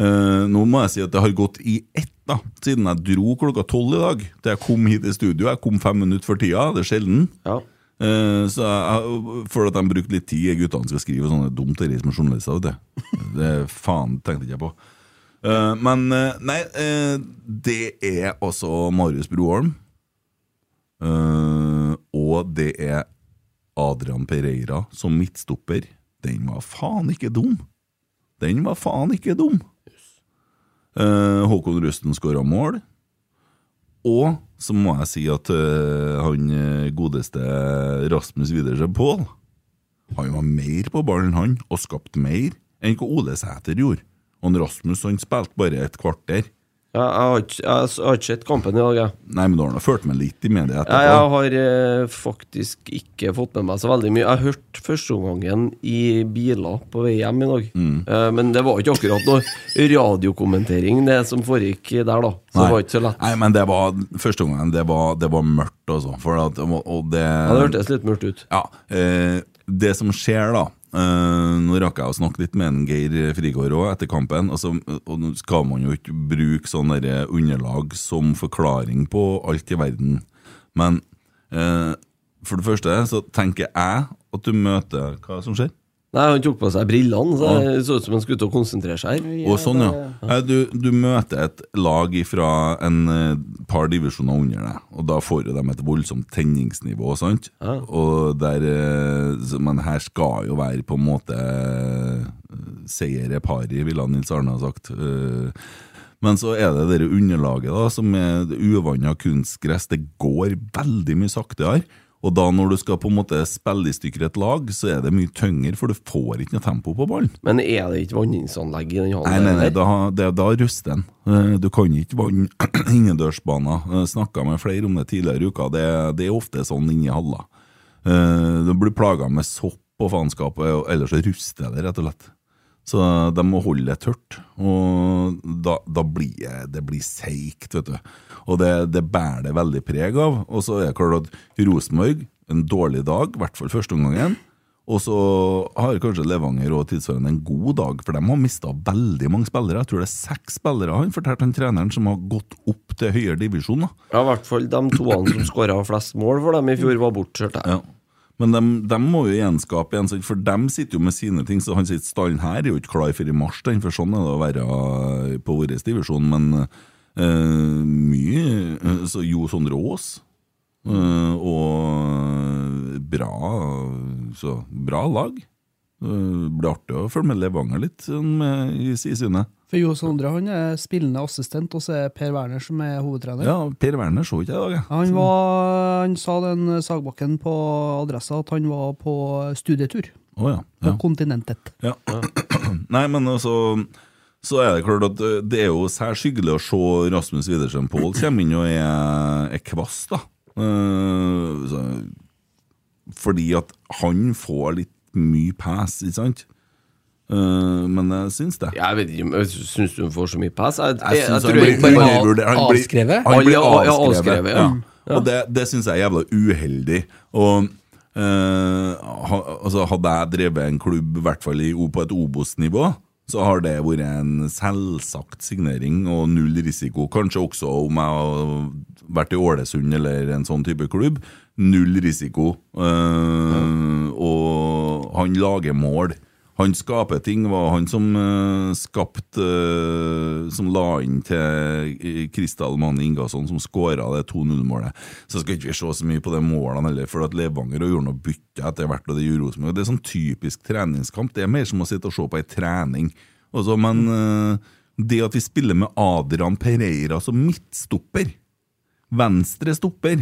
Eh, nå må jeg si at det har gått i ett, da, siden jeg dro klokka tolv i dag. Til jeg kom hit i studio. Jeg kom fem minutter før tida, det er sjelden.
Ja.
Eh, så jeg, jeg føler at de brukte litt tid, guttene skal skrive og sånne dumt det er som journalister. vet du. Det faen tenkte ikke jeg på. Eh, men eh, nei, eh, det er altså Marius Broholm. Eh, og det er Adrian Pereira som midtstopper. Den var faen ikke dum! Den var faen ikke dum! Eh, Håkon Rusten skåra mål. Og så må jeg si at eh, han eh, godeste Rasmus Widersen Pål Han var mer på ballen, han, og skapte mer enn hva Ole Sæter gjorde. Og han Rasmus han spilte bare et kvarter.
Jeg, jeg, har ikke, jeg, har ikke sett kampen i dag, jeg.
Nei, men da har han ført meg litt i media etterpå.
Jeg, jeg har eh, faktisk ikke fått med meg så veldig mye. Jeg hørte førsteomgangen i biler på vei hjem i dag.
Mm.
Eh, men det var ikke akkurat noe radiokommentering, det som foregikk der, da. Så det var ikke så lett.
Nei, men det var første gangen det var, det var mørkt, altså. For at, og det,
Ja, det hørtes litt mørkt ut.
Ja, eh, det som skjer da eh, Nå rakk jeg å snakke litt med en Geir Frigård også etter kampen altså, Og nå skal man jo ikke bruke sånne der eh, underlag som forklaring på alt i verden Men eh, for det første så tenker jeg at du møter Hva er det som skjer?
Nei, han tok på seg brillene, så det så ut som han skulle ut og konsentrere seg her.
Og sånn, ja. Nei, Du, du møter et lag fra en eh, par divisjoner under deg, og da får jo de et voldsomt tenningsnivå. sant? Og der, eh, så- Men her skal jo være på en måte eh, seier er pari, ville Nils Arne ha sagt. Eh, Men så er det det underlaget da, som er uvanna kunstgress. Det går veldig mye saktere. Og da når du skal på en måte spille i stykker et lag, så er det mye tyngre, for du får ikke noe tempo på ballen.
Men er det ikke vanningsanlegg i den
Nei,
hallen?
nei, nei,
der?
da, det, da ruster den. Eh, Du kan ikke vanne innendørsbaner. Snakka eh, med flere om det tidligere i uka. Det, det er ofte sånn inni halla. Eh, Du blir plaga med sopp og faenskap, og ellers så ruster det, rett og slett. Så de må holde det tørt, og da, da blir det- det blir seigt, vet du. Og det, det bærer det veldig preg av. Og så er det klart at Rosenborg, en dårlig dag, i hvert fall første omgangen. Og så har kanskje Levanger og tilsvarende en god dag, for de har mista veldig mange spillere. Jeg tror det er seks spillere, han fortalte han treneren, som har gått opp til høyere divisjon. da.
Ja, i hvert fall de toene som skåra flest mål for dem i fjor, var bortskjørt. jeg.
Ja. Men de, må jo gjenskape igjen, sant, for de sitter jo med sine ting. Så han sier stallen her er jo ikke klar for i mars, den, for sånn er det å være eh, på vår divisjon. Men eh, mye eh, Så Jo Sondre Aas eh, og bra, så, bra lag. Eh, blir artig å følge med Levanger litt sånn, med- i sidesynet.
For Jo Sondre han er spillende assistent, og så er Per Werner som er hovedtrener.
Ja, Per Werner så ikke jeg i dag, jeg.
Han, var, han sa den Sagbakken på adressa at han var på studietur
Å ja.
på
ja.
kontinentet.
Ja. Nei, men altså så er det klart at ø, det er jo særs hyggelig å se Rasmus Widersen Pål komme inn og er, er kvass, da. Eh, så- fordi at han får litt mye pes, ikke sant? Eh, men jeg syns det.
Jeg vet ikke, men syns du hun får så mye pass? Jeg, jeg,
Jeg
jeg,
synes han
tror
blir
jeg,
bare-
bare-
undervurdert. Han blir-
avskrevet?
Han blir
Ja, ja,
avskrevet.
avskrevet, ja.
ja. Og det, det syns jeg er jævla uheldig. Og eh, ha, altså, Hadde jeg drevet en klubb, i hvert fall i, O- på et Obos-nivå, så har det vært en selvsagt signering og null risiko. Kanskje også om jeg har vært i Ålesund eller en sånn type klubb. Null risiko. Eh, og han lager mål. Han skaper ting. var han som eh, skapte eh, Som la inn til Kristal Manne Ingasson, som skåra det 2-0-målet. Så skal ikke vi se så mye på de målene heller, for at Levanger og gjorde noe bytte etter hvert. og Det gjorde Rosenborg. Det er sånn typisk treningskamp. Det er mer som å sitte og se på ei trening. Altså, men eh, det at vi spiller
Mm.
med Adrian Pereira som midtstopper, venstre stopper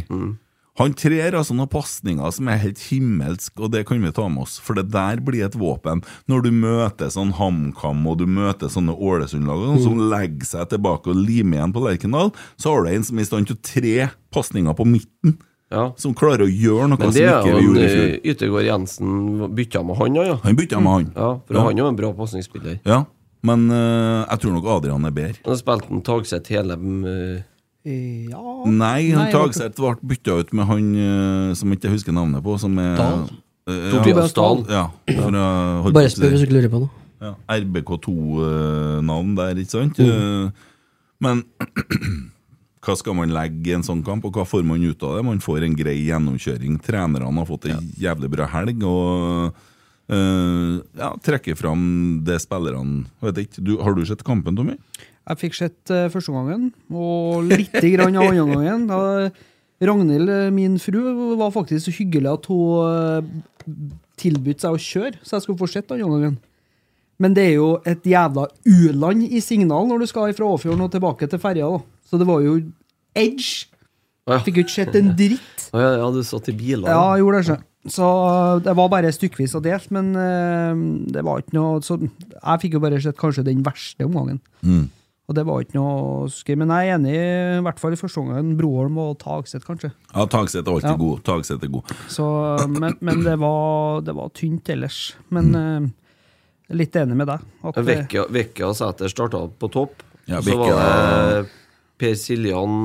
Han trer altså noen pasninger som er helt himmelsk, og det kan vi ta med oss, for det der blir et våpen. Når du møter sånn HamKam og du møter sånne Ålesund-lag
Mm.
og sånn som legger seg tilbake og limer igjen på Lerkendal, så har du en som er i stand til å tre pasninger på midten,
Ja.
som klarer å gjøre noe
Men
som
det er
ikke vi
jo
gjorde i
eh,
fjor.
Yttergård Jensen bytta med han, ja. ja.
Han bytta med han.
ja for han er jo en bra pasningsspiller.
Ja, men eh, jeg tror nok Adrian er bedre.
Han har spilt en Tagseth hele eh,
Ja
Nei, han
Nei,
Tagseth ble bytta ut med han eh, som ikke jeg husker navnet på, som er
Dahl?
Eh,
Tobias Dahl.
Ja, for jeg holdt
Bare
på å
spør
si-
hvis du ikke lurer på noe.
ja, RBK2-navn der, ikke sant? Eh, Men hva skal man legge i en sånn kamp, og hva får man ut av det? Man får en grei gjennomkjøring. Trenerne har fått ei jævlig bra helg. og... eh, ja, Trekke fram det spillerne Vet ikke, du, Har du sett kampen, Tommy?
Jeg fikk sett eh, første gangen, og lite grann av andre gangen. Da Ragnhild, eh, min fru, var faktisk så hyggelig at hun eh, tilbød seg å kjøre, så jeg skulle få sett andre gangen. Men det er jo et jævla u-land i signal når du skal fra Åfjorden og tilbake til ferja, da. Så det var jo edge.
Ja.
Fikk jo ikke sett en dritt.
Å ja, ja, du satt i biler?
Ja, jeg gjorde det ikke. Så eh, det var bare stykkevis og delt, men eh, det var ikke noe så Jeg fikk jo bare sett kanskje den verste omgangen.
Mm.
Og det var ikke noe skøy. Men jeg er enig, i hvert fall i første omgang, Broholm og Tagseth, kanskje.
Ja, Tagseth er alltid
Ja.
god. Tagseth er god.
Så, eh, men men det, var, det var tynt ellers. Men
Mm.
eh, litt enig med deg. At,
Ja, Vekka, Vekka og Sæter starta på topp.
Ja,
så var
Vekka-
det Per Siljan,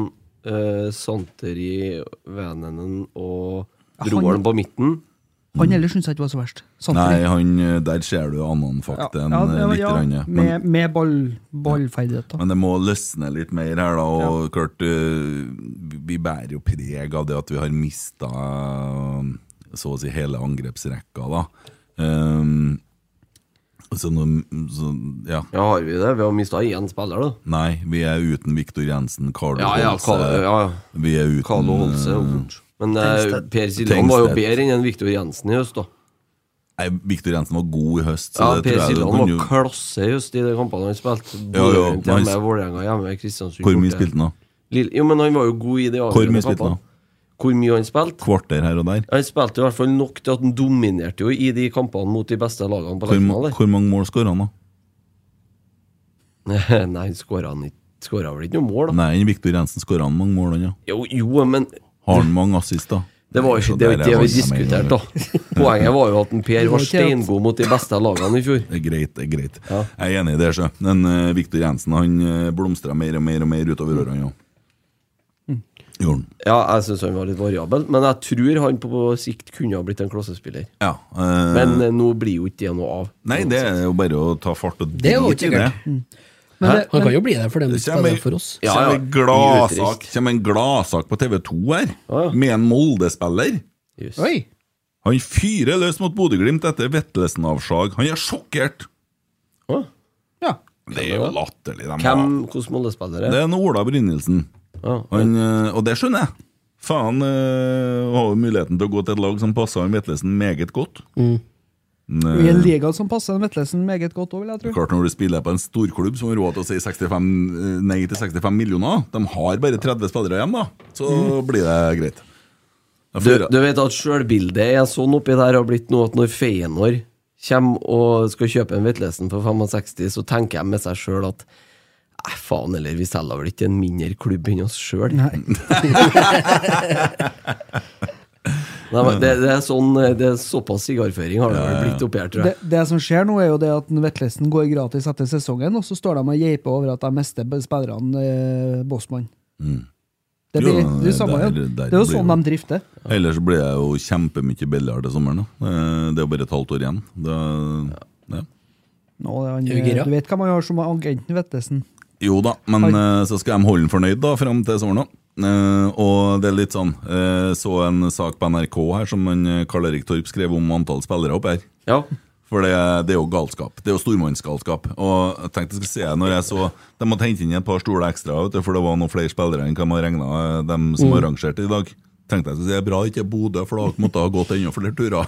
eh, Santeri, Vänänen og
han-
Broholm på midten.
eh, han ellers syns jeg ikke var så verst.
Nei,
Samtidig.
han, eh, der ser du annenfakten ja,
det var-
litt. eh, grann, men-
med med ball, ballferdigheter.
Men det må løsne litt mer her, da. Og klart, eh, vi- vi bærer jo preg av det at vi har mista så å si hele angrepsrekka, da. Ehm, så nå så, Ja.
Ja, har vi det? Vi har mista én spiller, da.
Nei, vi er uten Viktor Jensen, Carlo
Ja, ja,
Holse.
Carlo, ja.
Vi er uten
Carlo Holse er jo
eh,
borte. Men eh, Per Siljan
Tengstedt.
var jo bedre enn Viktor Jensen i høst, da.
Nei, Viktor Jensen var god i høst, så
Ja,
det
Per
tror jeg du
Siljan
kan jo
var klasse i høst i de kampene han spilte.
Ja, ja,
Bodø-Glimt
men han-
hjemme, Vålerenga hjemme, Kristiansund
Hvor mye
borte.
spilte han, da?
Lille- Jo, men han var jo god i de
Hvor mye
avgjørende
spilte han?
kampene. Hvor mye han spilte?
Kvarter her og der?
Han spilte i hvert fall nok til at han dominerte jo i de kampene mot de beste lagene på
Hvor, ma-
Lerkendal.
hvor mange mål skåra han, da?
der. Nei, han skåra vel ikke noe mål, da?
Nei, Viktor Jensen skåra han mange mål, han, ja.
Jo, jo, men
Har han mange assist, da?
det var jo ikke
Så
det,
der
var ikke det
er
vi
vanskelig med en gang.
diskuterte, da. Poenget var jo at en Per var
Det var ikke at-
steingod mot de beste lagene i fjor.
Det er greit. det er greit
Ja.
Jeg er enig i det. Sjø. Men eh, Viktor Jensen han uh, blomstra mer og mer og mer utover årene. Ja.
Mm.
Gjorde han.
Ja, jeg syns han var litt variabel, men jeg tror han på sikt kunne ha blitt en klassespiller.
Ja, eh,
Men eh, nå blir jo ikke det noe av.
Nei, det er jo bare å ta fart og
Det er jo
drite i
ikke gærent.
Men det,
Han
men,
kan jo bli der for dem
Det
som spiller for oss.
Ja,
kommer
ja.
en gladsak
Utrist.
kommer en gladsak på TV2 her,
Ja, ja.
med en Molde-spiller.
Yes.
oi!
Han fyrer løs mot Bodø-Glimt etter Vettelsen-avslag. Han er sjokkert!
Å,
Ja.
Det er jo latterlig. de
Hvem,
har-
hvordan målespillere?
Det er en Ola Brynildsen.
Ja.
Han, eh, og det skjønner jeg. Faen eh, har jo muligheten til å gå til et lag som passer han Vetlesen meget godt.
Mm.
Men, eh,
I en liga som passer en Vetlesen meget godt òg, vil jeg tro.
klart Når du spiller på en storklubb som har råd til å si 65, eh, nei til 65 millioner, de har bare 30 spillere igjen, da. Så blir det greit. Jeg
Mm. Du,
får-
du vet at sjølbildet er sånn oppi der har blitt nå at når Feyenoord kommer og skal kjøpe en Vetlesen for 65, så tenker jeg med seg sjøl at Nei, faen heller, vi selger vel ikke en mindre klubb enn oss sjøl? det, det er sånn eh, Det er såpass sigarføring har det vel blitt oppi her, tror
Det,
jeg.
det som skjer nå, er jo det at en Vetlesen går gratis etter sesongen, og så står de og geiper over at de mister spillerne eh, Bossmann. Det, blir,
Mm. Jo,
det, er jo samme,
der-
ja.
der
det er jo
blir
sånn
jo-
de drifter.
Ellers så blir jeg jo kjempemye billigere til sommeren. Da. Eh, Det er jo bare et halvt år igjen. Det, ja.
Nå, er han,
Er du gira?
du vet hva man gjør som agenten Vetlesen.
Jo da, men eh, så skal de holde den fornøyd da, fram til sommeren. da. Eh, og det er litt sånn eh, Så en sak på NRK her som en, eh, Karl Erik Torp skrev om antall spillere opp her.
Ja.
For det, det er jo galskap. Det er jo stormannsgalskap. Og jeg tenkte jeg skulle se det når jeg så De måtte hente inn et par stoler ekstra, vet du, for det var noen flere spillere enn hva man regna eh, dem som arrangerte i dag. Tenkte jeg skulle si det er bra ikke er Bodø, for da måtte jeg ha gått enda flere turer.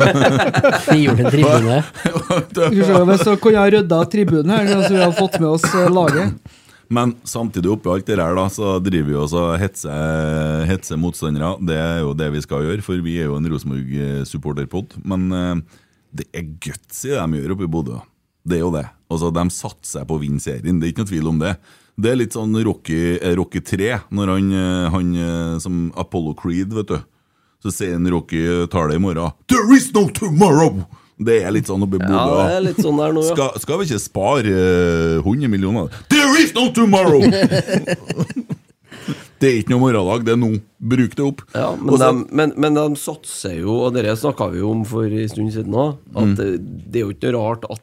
Frigjort en tribune. altså,
Skal vi se, Hvis så kunne jeg rydda tribunen her, så vi hadde fått med oss eh, laget.
Men samtidig oppi alt det her da, så driver vi også og hetser hetser motstandere. Det er jo det vi skal gjøre, for vi er jo en Rosenborg-supporterpod. Men eh, det er guts i det de gjør oppe i Bodø. Det er jo det. Altså, De satser på å vinne serien, det er ikke noe tvil om det. Det er litt sånn Rocky, eh, Rocky 3, når han, eh, han eh, som Apollo Creed, vet du. Så sier en Rocky tar det i morgen. There is no tomorrow! Det er litt sånn oppe i Bodø.
Ja, det er litt sånn der nå, ja.
Skal, skal vi ikke spare eh, 100 millioner? There is no tomorrow! det er ikke noe morgendag, det er nå. Bruk det opp.
Ja, men,
Og så-
de, men, men de satser jo, og det snakka vi jo om for en stund siden òg, at det,
Mm.
det er jo ikke noe rart at,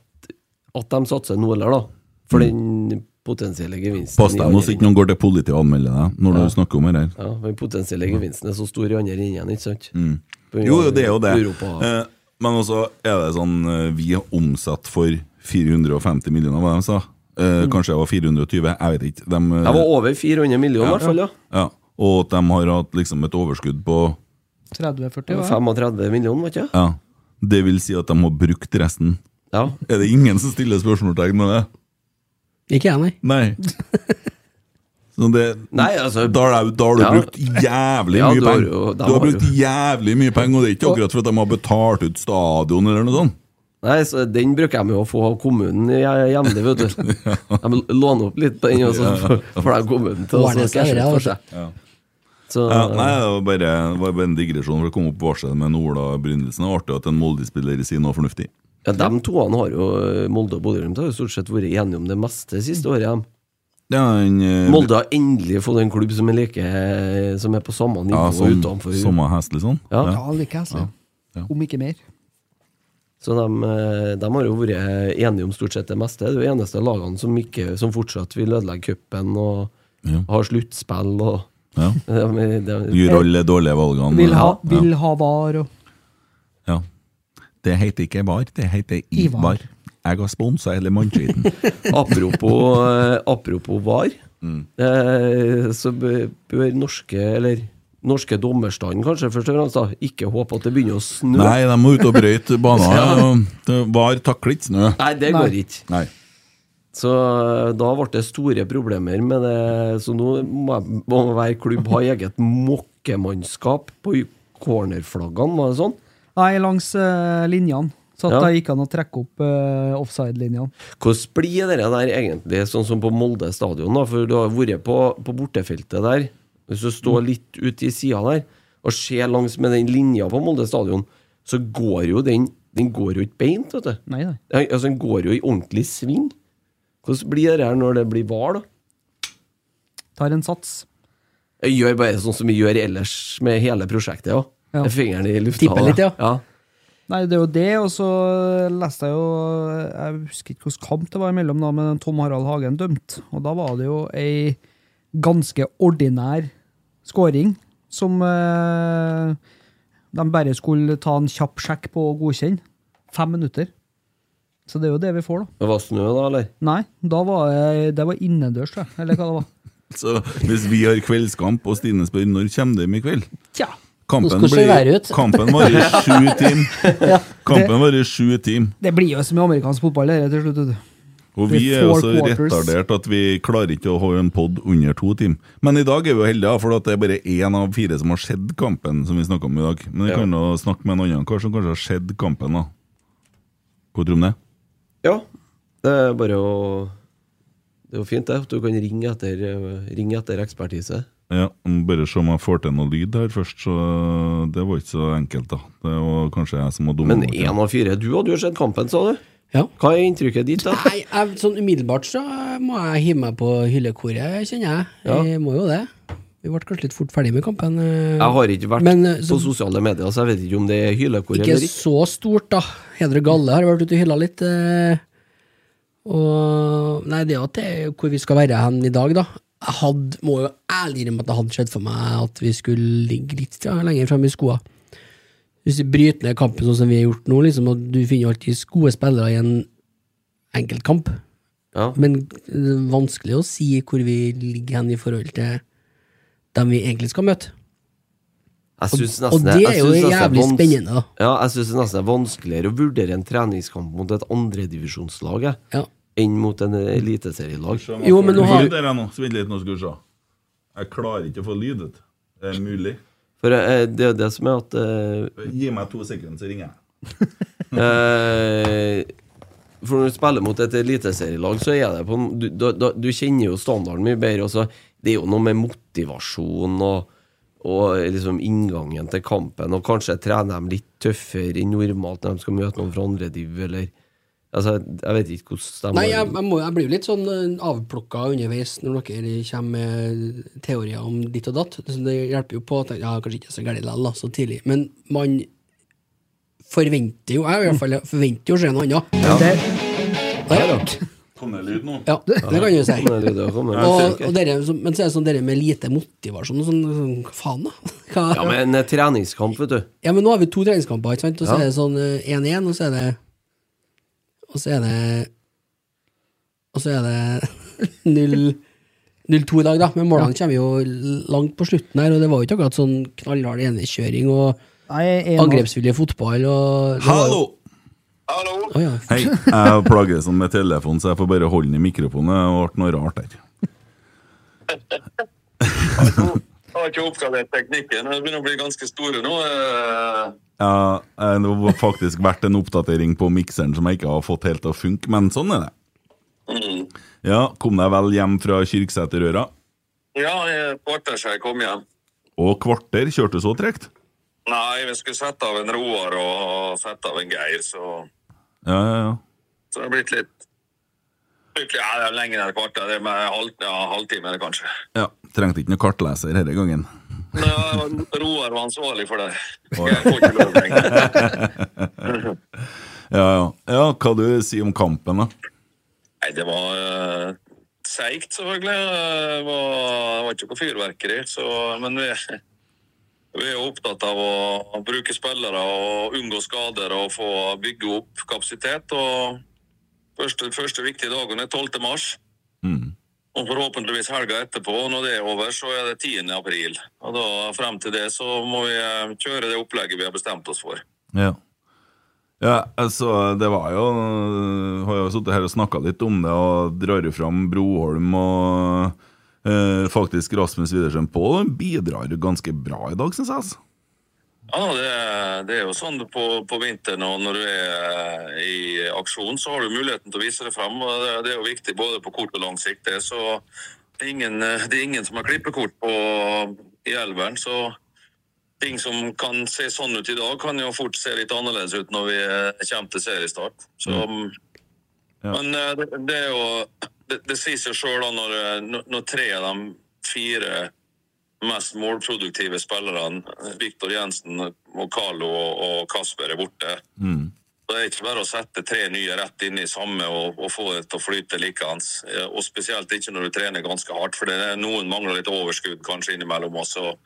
at de satser nå heller, da. For
Mm.
den potensielle gevinsten
Pass deg nå så ikke noen går til politiet og anmelder deg når du snakker om det her.
Ja, for Den potensielle gevinsten er så stor i andre enden, ikke sant? På grunn
Mm. Jo,
av
jo, det er jo det.
Europa.
Eh, Men også er det sånn eh, Vi er omsatt for 450 millioner, hva de sa. Eh, Kanskje det var 420, jeg vet ikke. De, eh,
Mm. Jeg var over 400 millioner, i hvert fall. ja
ja. Og at de har hatt liksom et overskudd på
30-40, hva?
35 millioner, var det ikke?
ja. Det vil si at de har brukt resten.
Ja.
Er det ingen som stiller spørsmålstegn med det?
Ikke jeg, nei.
Nei. Så det,
Nei, altså
da har du, da har du
Ja.
brukt jævlig
Ja,
mye
du har
penger.
jo- de
Du har
har jo-
brukt jævlig mye penger, og det er ikke akkurat for at de har betalt ut stadion eller noe sånt.
Nei, så Den bruker de jo å få av kommunen i- jevnlig, vet du. De låner opp litt på den, og så får- får de kommunen til å
Ordne seg,
cashe
det,
ut for
altså.
seg. Så,
Ja, nei, det var bare, det var bare en digresjon for å komme opp på varsel med en Ola Brynildsen. Det er artig at en Molde-spiller sier noe fornuftig.
Ja, De toene har jo eh, Molde og Bodø-Glimt har jo stort sett vært enige om det meste siste året. dem.
Ja, en, eh,
Molde har endelig fått en klubb som er like Som er på samme nivå
ja, som,
utenfor.
Samme hest, liksom?
Ja.
Ja, like heslig.
Ja.
altså. Om ikke mer.
Så de, de har jo vært enige om stort sett det meste. Det er jo eneste lagene som, ikke, som fortsatt vil ødelegge cupen og
Ja.
har sluttspill og
ja.
de, de,
Gjør alle dårlige valgene.
Vil ha, vil ha var og
Ja. Det heter ikke VAR, det heter
Ivar.
IVAR. Jeg har sponsa hele mannskiten.
Apropos, eh, apropos VAR, eh, så b- bør norske, eller norske dommerstanden kanskje først og fremst, da, ikke håpe at det begynner å snø.
Nei, de må ut og brøyte baner. og det- VAR takler ikke snø.
Nei, det
Nei.
går ikke.
Nei.
Så eh, da ble det store problemer med det. Så nå må, jeg- må hver klubb ha eget mokkemannskap på cornerflaggene, var det sånn?
Nei, langs eh, linjene. Så at
Ja.
da gikk han å trekke opp eh, offside-linjene.
Hvordan blir det der egentlig, sånn som på Molde stadion? da, For du har vært på, på bortefeltet der. Hvis du
Mm.
står litt ute i sida der og ser langs med den linja på Molde stadion, så går jo den Den går jo ikke beint, vet du.
Nei, nei.
Den, altså, den går jo i ordentlig sving. Hvordan blir det her når det blir VAR, da?
Tar en sats.
Jeg gjør bare sånn som vi gjør ellers med hele prosjektet. Ja.
Ja.
Med Fingeren i lufta.
Tipper
da.
litt, ja.
Nei, det er jo det, og så leste jeg jo Jeg husker ikke hvilken kamp det var imellom, da, men Tom Harald Hagen dømt. Og da var det jo ei ganske ordinær scoring som eh, de bare skulle ta en kjapp sjekk på og godkjenne. Fem minutter. Så det er jo det vi får, da.
Det var snø, da, eller?
Nei, da var jeg, det var innendørs, tror jeg. Eller hva det var.
Så hvis vi har kveldskamp, og Stine spør når kommer de i kveld
Tja.
Kampen,
Nå skal det se verre ut.
kampen varer i sju timer. Kampen varer i sju timer.
Det blir jo som i amerikansk fotball, det her til slutt. vet du.
Og
Det
vi
er
er jo
four
så
quarters.
retardert at vi klarer ikke å holde en pod under to timer. Men i dag er vi jo heldige, for at det er bare én av fire som har sett kampen som vi snakka om i dag. Men vi
Ja.
kan jo snakke med en annen kar som kanskje har sett kampen, da. Hva tror du om det?
Ja. Det er bare å Det er jo fint, det. At du kan ringe etter, ringe etter ekspertise.
Ja, må bare se om jeg får til noe lyd her først, så det var ikke så enkelt, da. Det var kanskje jeg som var dum.
Men én av fire. Du hadde jo sett kampen, sa du.
Ja.
Hva er inntrykket ditt, da?
Nei, jeg, sånn umiddelbart så må jeg hive meg på hyllekoret, kjenner jeg.
Ja.
Jeg må jo det. Vi ble kanskje litt fort ferdig med kampen. eh,
Jeg har ikke vært
Men, eh,
på
så-
sosiale medier, så jeg vet ikke om det er hylekor
Ikke
eller ikke.
så stort, da. Hedre Galle har vært ute og hylla litt. eh, Og Nei, det er jo at det er hvor vi skal være hen i dag, da. Jeg hadde, må jo ærlig innrømme at det hadde skjedd for meg at vi skulle ligge litt ja, lenger framme i skoa. Hvis vi bryter ned kampen sånn som vi har gjort nå, liksom, og du finner jo alltid gode spillere i en enkeltkamp,
Ja.
men det er vanskelig å si hvor vi ligger hen i forhold til dem vi egentlig skal møte.
Jeg synes
Og
nesten
det er
jeg
jo
synes nesten
jævlig
vans-
spennende, da.
Ja, jeg syns nesten det er vanskeligere å vurdere en treningskamp mot et andredivisjonslag. jeg.
Ja.
enn mot en eliteserielag.
Se om
Jo,
jeg
men
får
nå har-
lyd her nå. Så Vent litt, nå skal vi se. Jeg klarer ikke å få lyd ut. Det er mulig.
For eh, det er jo det som er at eh,
Gi meg to sekunder, så ringer jeg.
Eh, For når du spiller mot et eliteserielag, så er det på en du, da, da, du kjenner jo standarden mye bedre. og så det er jo noe med motivasjon og, og liksom inngangen til kampen. Og kanskje trene dem litt tøffere enn normalt når de skal møte noen fra andre div, eller altså, Jeg vet ikke hvordan de
Nei,
har-
jeg, jeg, må, jeg blir jo litt sånn eh, avplukka underveis når dere kommer med teorier om ditt og datt. Så det hjelper jo på at ja, kanskje ikke så gærent likevel, da, så tidlig. Men man forventer jo, jeg i hvert fall forventer jo å se noe annet.
Der.
Ja,
Kom det lyd nå?
ja det, det kan du si.
Kommer det lyder, kommer det lyder,
Og,
ok.
og dere, som- men så er det sånn dere med lite motivasjon og sånn, sånn hva faen, da? Hva?
Ja, men en treningskamp, vet du.
Ja, men nå har vi to treningskamper, ikke sant? Og så
Ja.
er det sånn eh, 1-1, og så er det Og så er det Og så er det 0 0-2 i dag, da. Men målene kommer jo langt på slutten her, og det var jo ikke akkurat sånn knallhard enekjøring og
Nei, jeg er nå-
angrepsvillig fotball og det var-
Hallo!
Hallo?
Å, ja.
Hei, jeg plager sånn med telefonen, så jeg får bare holde den i mikrofonen. Det ble noe rart der.
Jeg har ikke oppgradert teknikken. Jeg begynner å bli ganske store nå. eh.
Ja, eh, det har faktisk vært en oppdatering på mikseren som jeg ikke har fått helt til å funke, men sånn er det. Ja, kom deg vel hjem fra Kyrksæterøra.
Ja, jeg kvarter siden jeg kom hjem.
Og kvarter kjørte så tregt.
Nei, vi skulle sette av en Roar og sette av en Geir, så,
Ja, ja, ja.
så det har blitt litt blitt- ja, det er lenger enn et kvarter. Det er med halv, ja, halvtime, eller kanskje.
ja. Trengte ikke noe kartleser denne gangen.
Ja, Roar eh, var ansvarlig for det.
Å, ja.
Jeg får ikke lov lenger.
Ja, ja. ja hva du sier om kampen, da?
Nei, det var eh, seigt, selvfølgelig. Det var, det var ikke noe fyrverkeri. Så, men vi, vi er opptatt av å, å bruke spillere og unngå skader og få bygge opp kapasitet. Og første, første viktige dagen er 12. mars.
Mm.
Og forhåpentligvis helga etterpå, og når det er over, så er det 10. april. Og da, frem til det så må vi eh, kjøre det opplegget vi har bestemt oss for.
Ja. ja, altså, det var jo Har jo sittet her og snakka litt om det, og drar jo fram Broholm og eh, faktisk Rasmus Widersen Pål. Bidrar jo ganske bra i dag, syns jeg. altså.
Ja, det, det er jo sånn på, på vinteren og når du er eh, i aksjon, så har du muligheten til å vise det fram. og Det, det er jo viktig både på kort og lang sikt. Det, så det er ingen, eh, det er ingen som har klippekort på, i elveren, så ting som kan se sånn ut i dag, kan jo fort se litt annerledes ut når vi eh, kommer til seriestart. Så, mm,
Ja.
Men eh, det, det er jo Det, det sier seg sjøl når, eh, når- når tre av de fire mest målproduktive spillerne, Viktor Jensen og Carlo og og Kasper, er borte. Det er ikke bare å sette tre nye rett inn i samme og, og få det til å flyte likeens. Eh, Og spesielt ikke når du trener ganske hardt, for det er noen mangler litt overskudd kanskje innimellom oss. og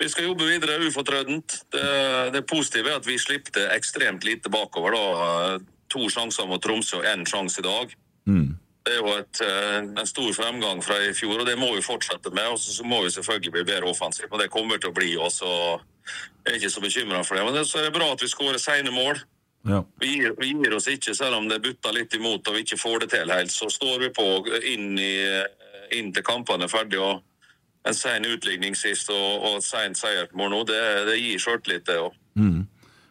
vi skal jobbe videre ufortrødent. Det, det positive er at vi slipte ekstremt lite bakover. da. Eh, To sjanser mot Tromsø og én sjanse i dag. Det er jo et, eh, en stor fremgang fra i fjor, og det må vi fortsette med. Og så så må vi selvfølgelig bli bedre offensivt, og det kommer til å bli oss. og Jeg er ikke så bekymra for det. Men det, så er det bra at vi skårer sene mål.
Ja.
Vi gir, vi gir oss ikke, selv om det butter litt imot og vi ikke får det til helt. Så står vi på inn, i, eh, inn til kampene er ferdig. og En sen utligning sist og, og et sent seiersmål nå, det, det gir sjøltillit, det òg.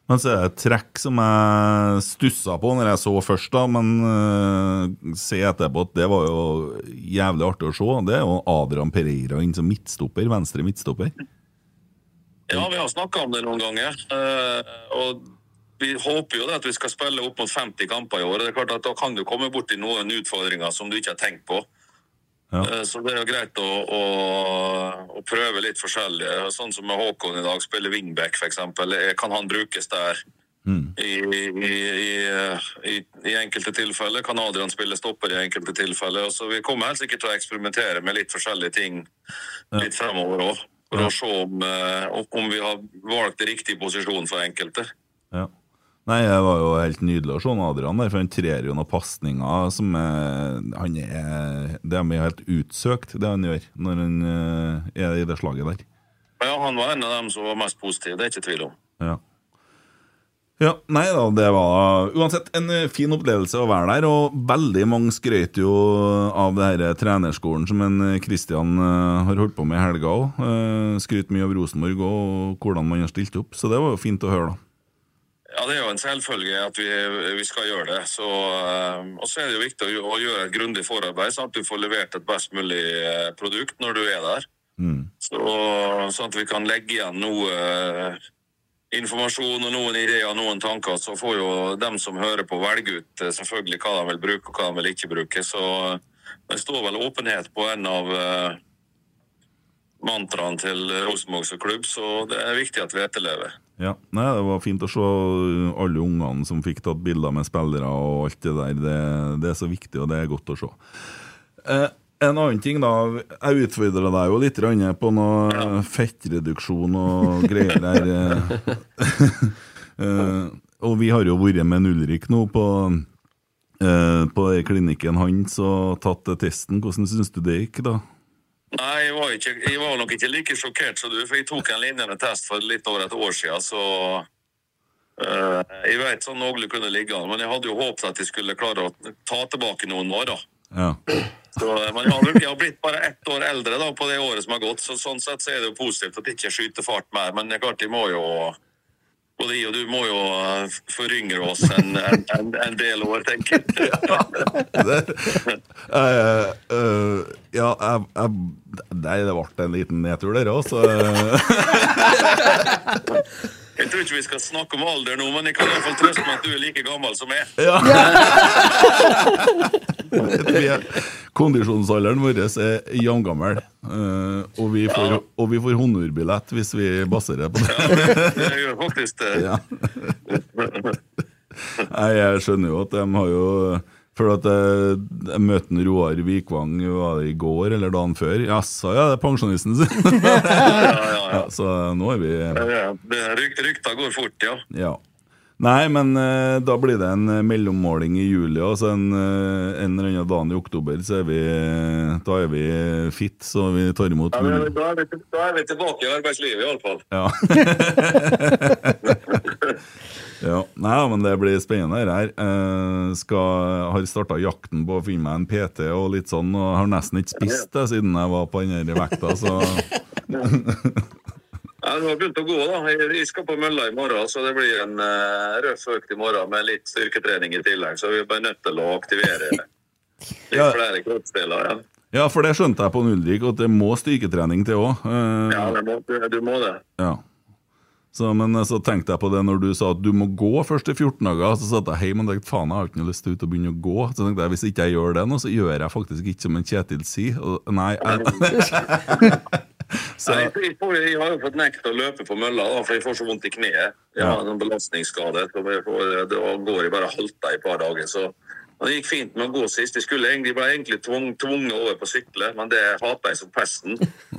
Men så er det et trekk som jeg stussa på når jeg så først, da, men uh, se etterpå at det var jo jævlig artig å se. Det er jo Adrian Pereira inn som midtstopper, venstre midtstopper.
Ja, vi har snakka om det noen ganger. eh, og vi håper jo det at vi skal spille opp mot 50 kamper i år. og Det er klart at Da kan du komme borti noen utfordringer som du ikke har tenkt på.
Ja.
Eh, Så det er jo greit å, å, å prøve litt forskjellig. Sånn som med Håkon i dag, spiller wingback f.eks. Kan han brukes der? I, i, i, i, I enkelte tilfeller kan Adrian spille stopper i enkelte tilfeller. Så vi kommer helt sikkert til å eksperimentere med litt forskjellige ting litt fremover òg. For å se om, eh, om- om vi har valgt riktig posisjon for enkelte.
Ja. Nei, det var jo helt nydelig å se han Adrian der, for han trer jo noen pasninger som er, han er Det er helt utsøkt, det han gjør, når han eh, er i det slaget der.
Men ja, han var en av dem som var mest positiv, det er ikke tvil om.
Ja. Ja, nei da, det var uansett en eh, fin opplevelse å være der, og veldig mange skrøt jo av det her trenerskolen som en eh, Christian eh, har holdt på med i helga òg. Skryter mye av Rosenborg og og hvordan man har stilt opp, så det var jo fint å høre, da.
Ja, Det er jo en selvfølge at vi, vi skal gjøre det. Så, eh, og så er det jo viktig å, gj- å gjøre et grundig forarbeid, sånn at du får levert et best mulig eh, produkt når du er der. Så, sånn at vi kan legge igjen noe eh, informasjon og noen ideer og noen tanker. Så får jo dem som hører på, velge ut eh, selvfølgelig hva de vil bruke og hva de vil ikke bruke. Så eh, det står vel åpenhet på en av eh, mantraene til Rosenborg som klubb, så det er viktig at vi etterlever.
Ja, nei, Det var fint å se uh, alle ungene som fikk tatt bilder med spillere og alt det der. Det, det er så viktig, og det er godt å se. Eh, en annen ting, da. Jeg utfordra deg jo litt grann på noe eh, fettreduksjon og greier der. eh. Eh, og vi har jo vært med en Ulrik nå på, eh, på klinikken hans og tatt eh, testen. Hvordan syns du det gikk, da?
Nei, jeg var, ikke, jeg var nok ikke like sjokkert som du, for jeg tok en lignende test for litt over et år siden, så eh, Jeg vet sånn noenlunde kunne ligge an, men jeg hadde jo håpet at jeg skulle klare å ta tilbake noen år, da.
Ja.
Så, eh, men jeg har, nok- jeg har blitt bare ett år eldre da, på det året som har gått, så sånn sett så er det jo positivt at jeg ikke skyter fart mer. Men det er klart, jeg må jo Både jeg og du må jo eh, foryngre oss en, en, en, en del år, tenker jeg.
det, eh, eh, ja, jeg, jeg, nei, det ble en liten nedtur der også. så, eh,
Jeg tror ikke vi skal snakke om alder nå, men jeg kan i hvert fall trøste med at du er like gammel som jeg.
eh, ja. Vi er- Kondisjonsalderen vår er jamgammel, eh, og, vi får, og vi får honorbillett hvis vi baserer på det.
Jeg gjør faktisk det.
Ja. Nei, jeg skjønner jo at de har jo For at jeg, jeg møtte en Roar Vikvang var det i går eller dagen før. Jaså, ja, det er pensjonisten sin! ja, så nå er vi
Ja, det- ryk- Rykta går fort, ja.
Ja. Nei, men eh, da blir det en eh, mellommåling i juli, og så en, eh, en eller annen dag i oktober, så er vi, eh, da er vi fit, så vi tar imot
Da
null.
er vi, tilbake i arbeidslivet, iallfall.
Ja. ja. Nei, ja, men det blir spennende det her. Eh, skal, har starta jakten på å finne meg en PT og litt sånn, og har nesten ikke spist det siden jeg var på den her vekta, så
Ja, det har begynt å gå, da. Jeg- Jeg skal på mølla i morgen, så det blir en uh, røff økt i morgen med litt styrketrening i tillegg. Så vi er bare nødt til å aktivere litt
Ja.
flere kroppsdeler. Ja.
Ja, for det skjønte jeg på Ulrik, at det må styrketrening til Eh, òg.
Ja, det må, du- du må det.
Ja. Så, men eh, så tenkte jeg på det når du sa at du må gå først i 14 dager. Så satt jeg hjemme og tenkte faen, jeg har ikke noe lyst til ut å begynne å gå. Så tenkte jeg hvis ikke jeg gjør det nå, så gjør jeg faktisk ikke som en Kjetil sier. Og- Nei, jeg, så,
Nei, jeg, får, jeg har jo fått nekt å løpe på mølla, da, for jeg får så vondt i kneet. Jeg har en sånn belastningsskade. så jeg får- Da går jeg bare halta i et par dager. Så men det gikk fint med å gå sist. Jeg skulle egentlig, jeg ble egentlig tvung, tvunget over på sykle, men det hater jeg som pesten.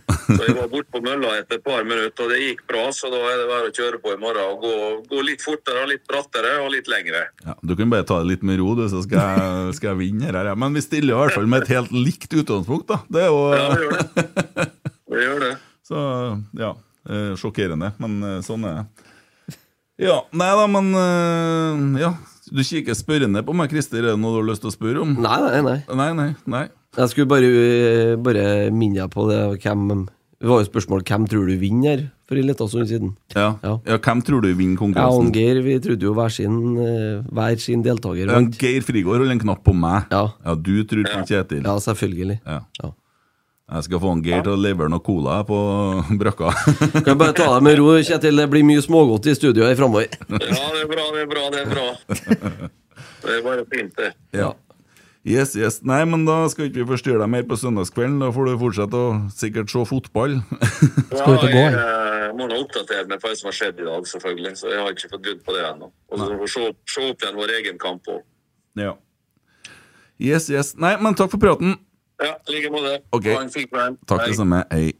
Så jeg var borte på mølla etter et par minutter, og det gikk bra. Så da er det bare å kjøre på i morgen og gå, gå litt fortere og litt brattere og litt lengre.
ja, du kan bare ta det litt med ro, du, så skal jeg, skal jeg vinne her. ja. Men vi stiller i hvert fall med et helt likt utgangspunkt, da. Det er jo
Ja,
eh,
vi gjør det. Vi gjør det.
Så ja, eh, sjokkerende, men eh, sånn er det. Ja, nei da, men eh, Ja, du kikker spørrende på meg, Christer. Er det noe du har lyst til å spørre om?
Nei, nei, nei.
Nei, nei, nei.
Jeg skulle bare, bare minne deg på det. Hvem, det var jo spørsmål hvem tror du vinner her for en liten stund siden.
Ja.
Ja.
Ja. hvem tror du vinner
Jeg og
konkurransen?
Geir vi trodde jo hver sin, eh, hver sin deltaker
Ja,
vant.
Geir Frigård holder en knapp på meg.
Ja.
du tror på Kjetil.
Ja, selvfølgelig.
Ja.
Ja.
Jeg skal få han Geir til å levere noe cola på brakka.
Kan jeg bare ta deg med ro, Kjetil. Det blir mye smågodt i studio her framover.
Ja, det er bra, det er bra, det er bra. Det er bare fint, det.
Ja.
Yes, yes. Nei, men da skal ikke vi forstyrre deg mer på søndagskvelden. Da får du fortsette å sikkert se fotball.
Skal ut og gå,
Ja, jeg eh, må nå oppdatere meg på det som har skjedd i dag, selvfølgelig. Så jeg har ikke fått begynt på det ennå. Og så får vi se, se opp igjen vår egen kamp òg.
ja. Yes, yes. Nei, men takk for praten.
Ja, i like måte.
Ok.
Ha en fin kveld.
Takk det
Hei.
samme. Hei.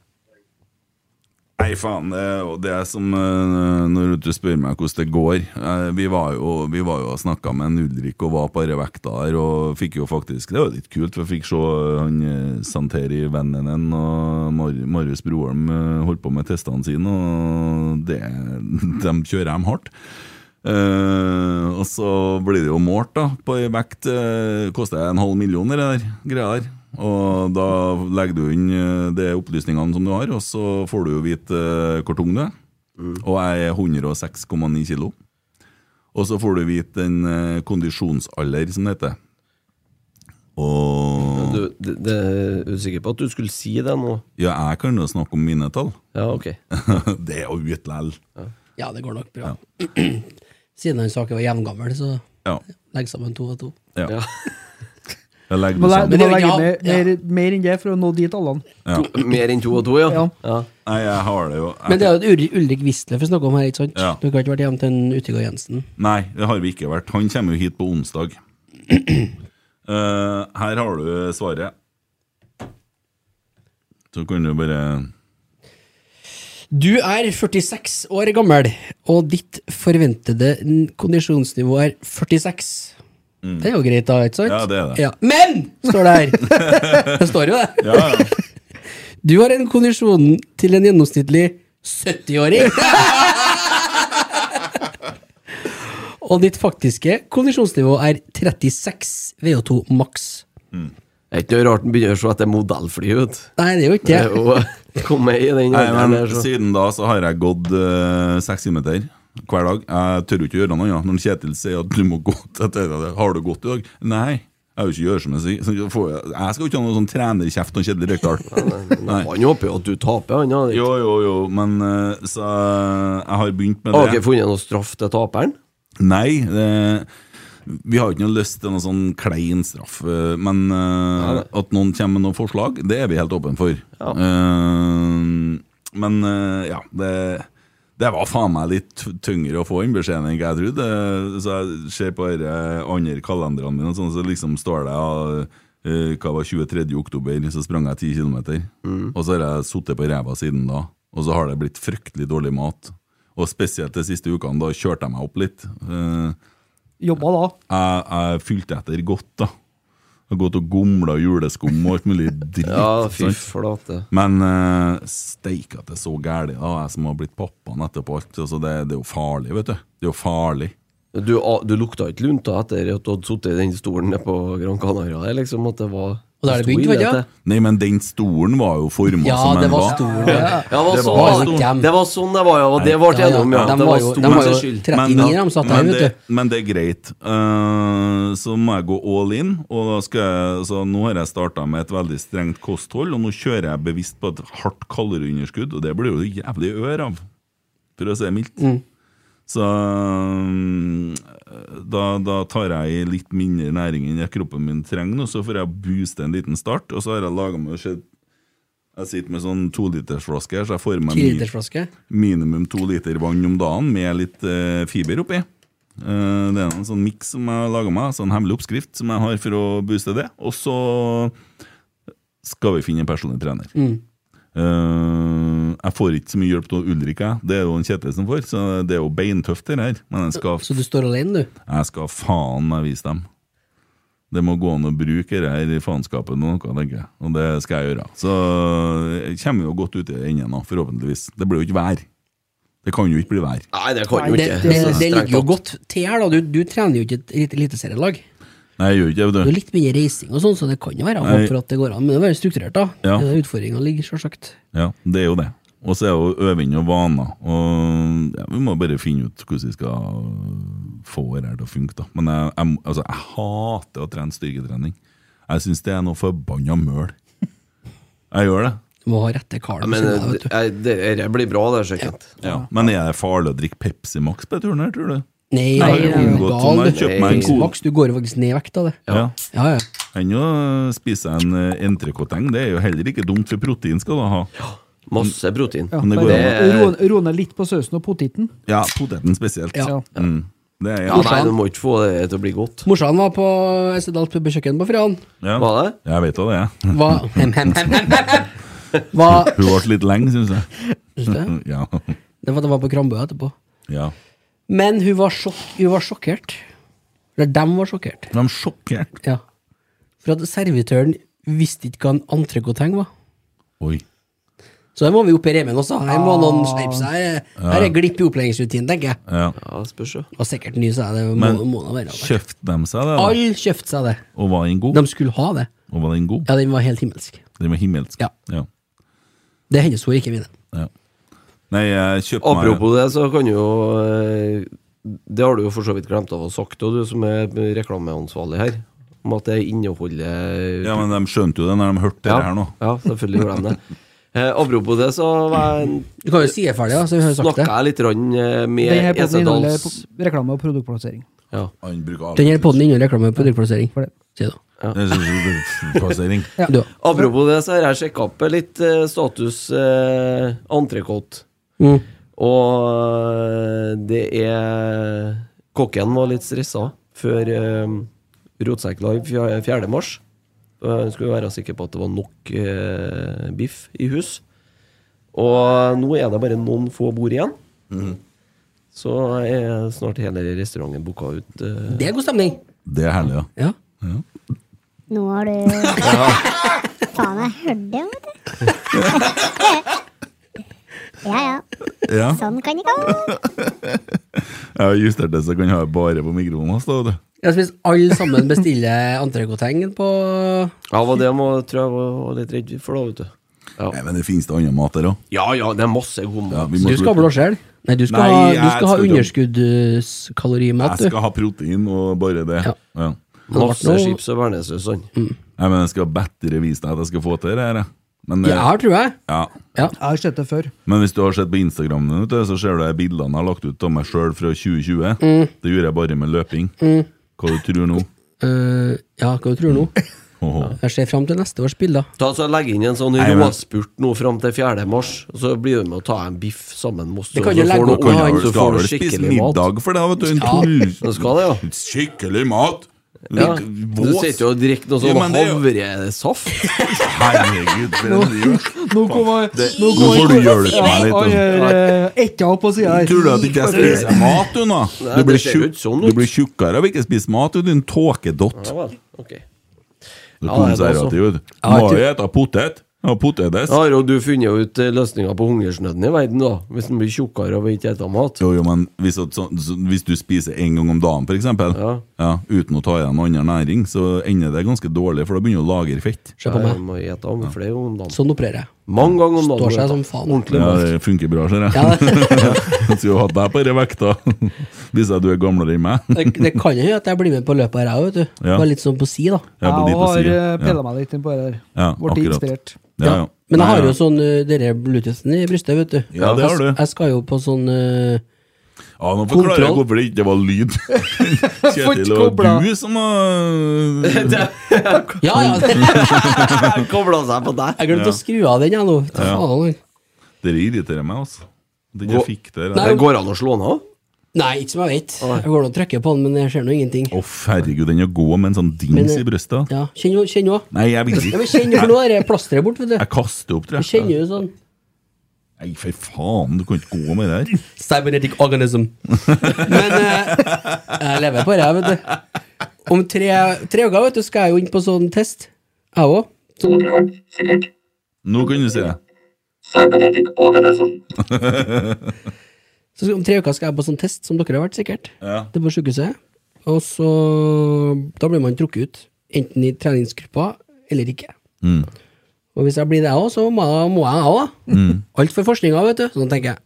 Nei, faen. Det, er jo- det er som eh, når du spør meg hvordan det går. Eh, Vi var jo, vi var jo og snakka med en Ulrik og var på denne vekta her, og fikk jo faktisk Det var litt kult, for jeg fikk se han eh, Santeri Vennenen og Mar Marius Broholm eh, holdt på med testene sine, og det, de kjører dem hardt. Eh, og så blir det jo målt da på ei vekt. eh, koster en halv million, det der greia der. Og da legger du inn eh, de opplysningene som du har, og så får du jo vite eh, hvor tung du er.
Mm.
Og jeg er 106,9 kilo. Og så får du vite den eh, kondisjonsalder, som det heter. Og
Du, det, det, er du sikker på at du skulle si det nå?
Ja, jeg kan jo snakke om mine tall.
Ja, ok.
det er jo ut lell.
Ja, det går nok bra. Siden han Saker var jevngammel, så
Ja.
legg sammen to og to.
ja.
Ja.
Jeg legger
Du må le-
det
du
sammen.
Men det
må
er jo
legge
ikke
mer,
han-
mer, mer enn det for å nå dit alle.
Ja.
To, mer enn to og to, ja?
Ja.
Nei, jeg har det jo. Jeg-
Men det er jo et Ul- Ulrik Wisløff vi snakker om her, ikke sant?
Ja.
Du har ikke vært hjemme til en Utegård Jensen?
Nei, det har vi ikke vært. Han kommer jo hit på onsdag. Eh, her har du svaret. Så kan du bare
Du er 46 år gammel, og ditt forventede n- kondisjonsnivå er 46. Det er jo greit, da, ikke sant?
Mm. Ja, det er det.
Ja. Men! står det her. det står jo det.
Ja, ja.
Du har en kondisjon til en gjennomsnittlig 70-åring. og ditt faktiske kondisjonsnivå er 36 VO2 maks.
Det er ikke noe rart den begynner å se etter modellfly ut.
Nei, det er jo ikke
Det er
det.
jo Kom med i den
Nei,
alderen
men
der, så.
Siden da så har jeg gått eh, seks timer hver dag. Jeg tør jo ikke gjøre noe annet. Når Kjetil sier at du må gå til dette, har du gått i dag? Nei. Jeg vil ikke gjøre som jeg sier. Så får Jeg jeg skal jo ikke ha noen sånn trenerkjeft om Kjetil Rekdal. Nei.
Han håper jo at du taper, han. Har
Jo, jo, jo, men eh, så jeg har begynt med det.
dere funnet noe straff til taperen?
Nei, det, vi har ikke noe lyst til noen sånn klein straff. eh, Men eh, at noen kommer med noen forslag, det er vi helt åpne for.
Ja.
Eh, men eh, ja, det, det var faen meg litt tyngre å få inn beskjeden enn hva jeg trodde. Eh, Så jeg ser på de andre kalenderne mine, og sånn, så liksom står det ja, eh, hva var 23. oktober, så sprang jeg 10 km. Og så har jeg sittet på ræva siden da, og så har det blitt fryktelig dårlig mat. Og spesielt de siste ukene, da kjørte jeg meg opp litt. Eh,
Jobba da.
jeg, jeg fylte etter godt, da. Jeg har gått og gomla juleskum og alt mulig dritt.
Ja, fy
sant?
flate.
Men uh, steike at det er så gærent, da. Jeg som har blitt pappaen etterpå alt. Altså, det, det er jo farlig, vet du. Det er jo farlig.
Du, a- du lukta ikke lunta etter at du hadde sittet i den stolen nede på Gran Canaria? det er Liksom, at det var,
Og da er det
sto
bygd,
i
vet du, ja.
til.
Nei, men den stolen var jo forma
Ja,
som
det
den
var
var.
stor.
Ja, det var
Det
sånn-
var
jo dem.
det var sånn det var, ja. og Det ble
Ja, ja,
gjennom, ja.
dem
Det
var
var
jo-
stor
dem var
sin
jo-
skyld.
39 de satt der,
men,
vet
det,
du.
men det er greit. Eh, så må jeg gå all in. Og da skal jeg, så nå har jeg starta med et veldig strengt kosthold, og nå kjører jeg bevisst på et hardt kaloriunderskudd, og det blir jo jævlig ør av, for å si det mildt. Så mm, da, da tar jeg i litt mindre næring enn jeg kroppen min trenger, og så får jeg booste en liten start, og så har jeg laga meg sett jeg sitter med sånn tolitersflaske her, så jeg får meg
Ti
min-
liters flaske.
minimum to liter vann om dagen med litt eh, fiber oppi. Eh, det er en sånn miks som jeg har laga meg, sånn hemmelig oppskrift som jeg har for å booste det. Og så skal vi finne en personlig trener. Eh, jeg får ikke så mye hjelp av Ulrik, jeg. Det er jo en Kjetil som får, så det er jo beintøft, det her. Men jeg skal,
Så du står alene, du?
jeg skal faen meg vise dem. Det må gå an å bruke det her i faenskapet nå, noe, tenker jeg. Og det skal jeg gjøre. Så jeg kommer jo godt ut i enden nå, forhåpentligvis. Det blir jo ikke vær. Det kan jo ikke bli vær.
Nei, det kan jo
Det,
ikke.
det,
Så
det
strengt
ligger jo
tatt.
godt til her, da. Du, du trener jo ikke et elit- eliteserielag.
Nei, jeg gjør ikke det,
Det er
vet du.
litt mindre reising og sånn, så det kan jo være
Nei.
håp for at det går an. Men det må være strukturert, da.
Ja.
Det er der Utfordringa ligger, selvsagt.
Ja, det er jo det. Og så er det jo øving og vaner. Og ja, vi må bare finne ut hvordan vi skal få det her til å funke, da. Men jeg, jeg, må- altså, jeg hater å trene styrketrening. Jeg syns det er noe forbanna møl. Jeg gjør det.
Du må ha rette karen.
Ja, Men
som er, vet du.
eh, det, det blir bra, det, sikkert.
Ja. Men er det farlig å drikke Pepsi Max på turen her, tror du?
Nei,
Nei,
det er jo
unngått sånn
gal,
jeg
du.
kjøper meg en
Pepsi
kode.
Max, du går jo faktisk ned i vekt av det.
Ja.
Ja, ja.
Ennå spiser jeg en eh, entrecôteng. Det er jo heller ikke dumt, for protein skal du ha.
Masse protein.
Ja,
Men det går
bare
an.
ro- ro- Roe ned litt på sausen og poteten.
Ja, poteten spesielt.
Ja.
Mm. Det er
Ja,
jeg.
nei, du må ikke få det til å bli godt.
Morsan var på Essedal pub og kjøkken på fredag.
Ja.
Var det?
Jeg vet hva det er.
Hva hem, hem, hem, hem, hem, hem. Hva-
Hun ble litt lenge, syns jeg.
Synes du det?
Ja.
Det var, det var på Krambø etterpå.
ja.
Men hun var, sjokk, hun var sjokkert. Eller dem var sjokkert.
De er sjokkert.
Ja. For at servitøren visste ikke hva en entrecôteng var.
Oi.
Så her må vi opp i remen også. Her må noen skjerpe seg. Her, er- her er glipp i opplæringsrutinen, tenker jeg.
Ja.
Ja, spørs jo.
Og sikkert ny, sa jeg. Det må,
Men
må da være det.
kjøpte de seg det? da?
Alle kjøpte seg det.
Og var den god?
De skulle ha det.
Og var den god?
Ja, den var helt himmelsk.
Den var himmelsk.
Ja.
Ja.
Det er hennes ord, ikke mine.
Ja. Nei, jeg kjøpte meg
Apropos det, så kan du jo eh, Det har du jo for så vidt glemt av å ha sagt, og du som er reklameansvarlig her, om at det inneholder
Ja, men de skjønte jo det når de hørte det her nå.
ja, selvfølgelig glem det. Eh, apropos det, så var jeg,
Du kan jo si det ferdig, da, så vi har jo sagt
snakka
det.
jeg litt rann,
Den her
eh, med
podden inneholder
Esedals
po- reklame og produktplassering.
ja.
Han bruker av-
Den her podden inneholder reklame på produktplassering.
For det.
Sier du.
Det er sånn plassering.
Ja.
Du, da.
Apropos det, så har jeg sjekka opp litt eh, status eh, entrecôte.
Mm.
Og det er Kokken var litt stressa før eh, Rotsekk Live fjer- 4. mars. Og Han skulle være sikker på at det var nok eh, biff i hus. Og nå er det bare noen få bord igjen. Mhm. Så er snart hele restauranten booka ut. eh.
Det er god stemning.
Det er herlig, ja.
Ja.
Nå har du Faen, jeg hørte det, vet du. ja ja,
ja.
sånn kan det gå.
Jeg har justert det så jeg kan ha det bare på mikrofonen hans. da, vet du.
Jeg har spist alle sammen bestille entrecôte-heng på
Ja, var det jeg må- tror jeg var var litt redd for, da, vet du.
Nei,
Ja.
men det finnes det annen mat der òg.
ja ja, det er masse god mat.
Du skal ha blåskjell. Nei, du skal
Nei,
ha, du
jeg
skal ha
skal ikke.
underskuddskalorimat,
Jeg
du.
skal ha protein og bare det.
Ja.
Ja.
Masse
Nå-
chips og bearnéssaus. sånn.
Nei, men jeg skal bedre vise deg at jeg skal få til det her. jeg. Men,
Ja, jeg
eh,
har, tror jeg.
ja.
Jeg har sett det før.
men hvis du har sett på Instagram, vet du, så ser du de bildene jeg har lagt ut av meg sjøl fra 2020.
Mm.
Det gjorde jeg bare med løping. Hva du tror nå?
Eh, ja, hva du tror nå?
Åhå.
Jeg ser fram til neste års bilder.
Ta så Legg inn en sånn
Nei, men-
råspurt nå fram til 4. mars, og så blir du med å ta en biff sammen med oss.
Det
så-
kan
så
jo legge
får du-
opp
Kan jeg,
så
vel-
får
skal
du
vel spise
skikkelig mat.
middag for det, vet du. En
Du
pol-
skal det, ja.
Skikkelig mat!
ja.
Litt
Du
vås.
sitter jo og drikker noe
Ja,
sånn
men det er jo-
havresaft.
Herregud, for en liv.
Nå kommer
Det- Nå får du hjelpe meg litt. da.
Etter eh, opp på sida
Tror du at ikke jeg spiser mat, du, nå? Du blir,
det ser jo
tjukk-
ikke sånn ut.
du blir tjukkere av ikke å spise mat, du, din tåkedott.
Ja vel, ok.
Du
Ja, det er det
konservativ. vet du.
Ja, jeg
Må
tror-
jo ete potet. Ja, potetes.
Da har jo du funnet ut eh, løsninga på hungersnøden i verden, da. Hvis den blir tjukkere og ikke spiser mat.
Jo, jo, men hvis, at sånn- så, hvis du spiser en gang om dagen, for eksempel,
Ja.
uten å ta igjen noe annen næring, så ender det ganske dårlig, for da begynner du å lagre fett.
Se på
Jeg
meg.
må ete om flere om dagen.
Sånn opererer jeg.
Mange ganger om dagen.
Står seg
vet du.
som faen.
Ordentlig
Ja,
mat.
det funker bra, ser jeg.
Ja, det,
Skulle hatt deg på denne vekta. Viser at du er gamlere enn meg.
det, det kan jo hende at jeg blir med på løpet her, jeg òg, vet du.
Ja.
Bare litt sånn på si, da.
Jeg er på
Jeg
dit og
har eh,
sier,
pilla meg litt inn på det der.
Ja,
Ble
akkurat.
inspirert.
Ja. Ja, ja.
Men jeg
Nei,
har
ja.
jo sånn uh, dere Bluetoothen i brystet, vet du.
Ja, det har du.
Jeg, jeg skal jo på sånn eh,
Ja, nå forklarer jeg
Kontroll.
hvorfor det ikke var lyd. Kjetil, det var
kobla.
du som har
Ja, ja! Jeg
Kobla seg på deg.
glemte å skru av den, jeg nå. Ta faen.
Dere irriterer meg, altså. At ikke jeg fikk det.
Nei.
Å,
Det går an å slå den av?
Nei, ikke som jeg vet. Jeg går nå og trykker på den, men jeg ser nå ingenting.
herregud, den er god med en sånn dings
Men, eh,
i brystet.
Ja, Kjenn jo- kjenn jo.
Nei, jeg vil
Ja, men
ikke.
kjenn jo, for nå er det plasteret bort, vet du.
Jeg kaster opp, tror
Du
jeg.
kjenner jo sånn
Nei, for faen, du kan ikke gå med det her.
Cybernetic organism. Men eh, jeg lever på det, jeg, vet du. Om tre, tre uker vet du, skal jeg jo inn på sånn test, jeg òg. Sånn,
Nå kan du si det.
så skal- om tre uker skal jeg på sånn test, som dere har vært, sikkert.
Ja.
Det er på sykehuset. Og så Da blir man trukket ut, enten i treningsgruppa eller ikke.
Mm.
Og hvis jeg blir det òg, så må, jeg- må jeg òg, da.
Mm.
Alt for forskninga, vet du. Sånn tenker jeg.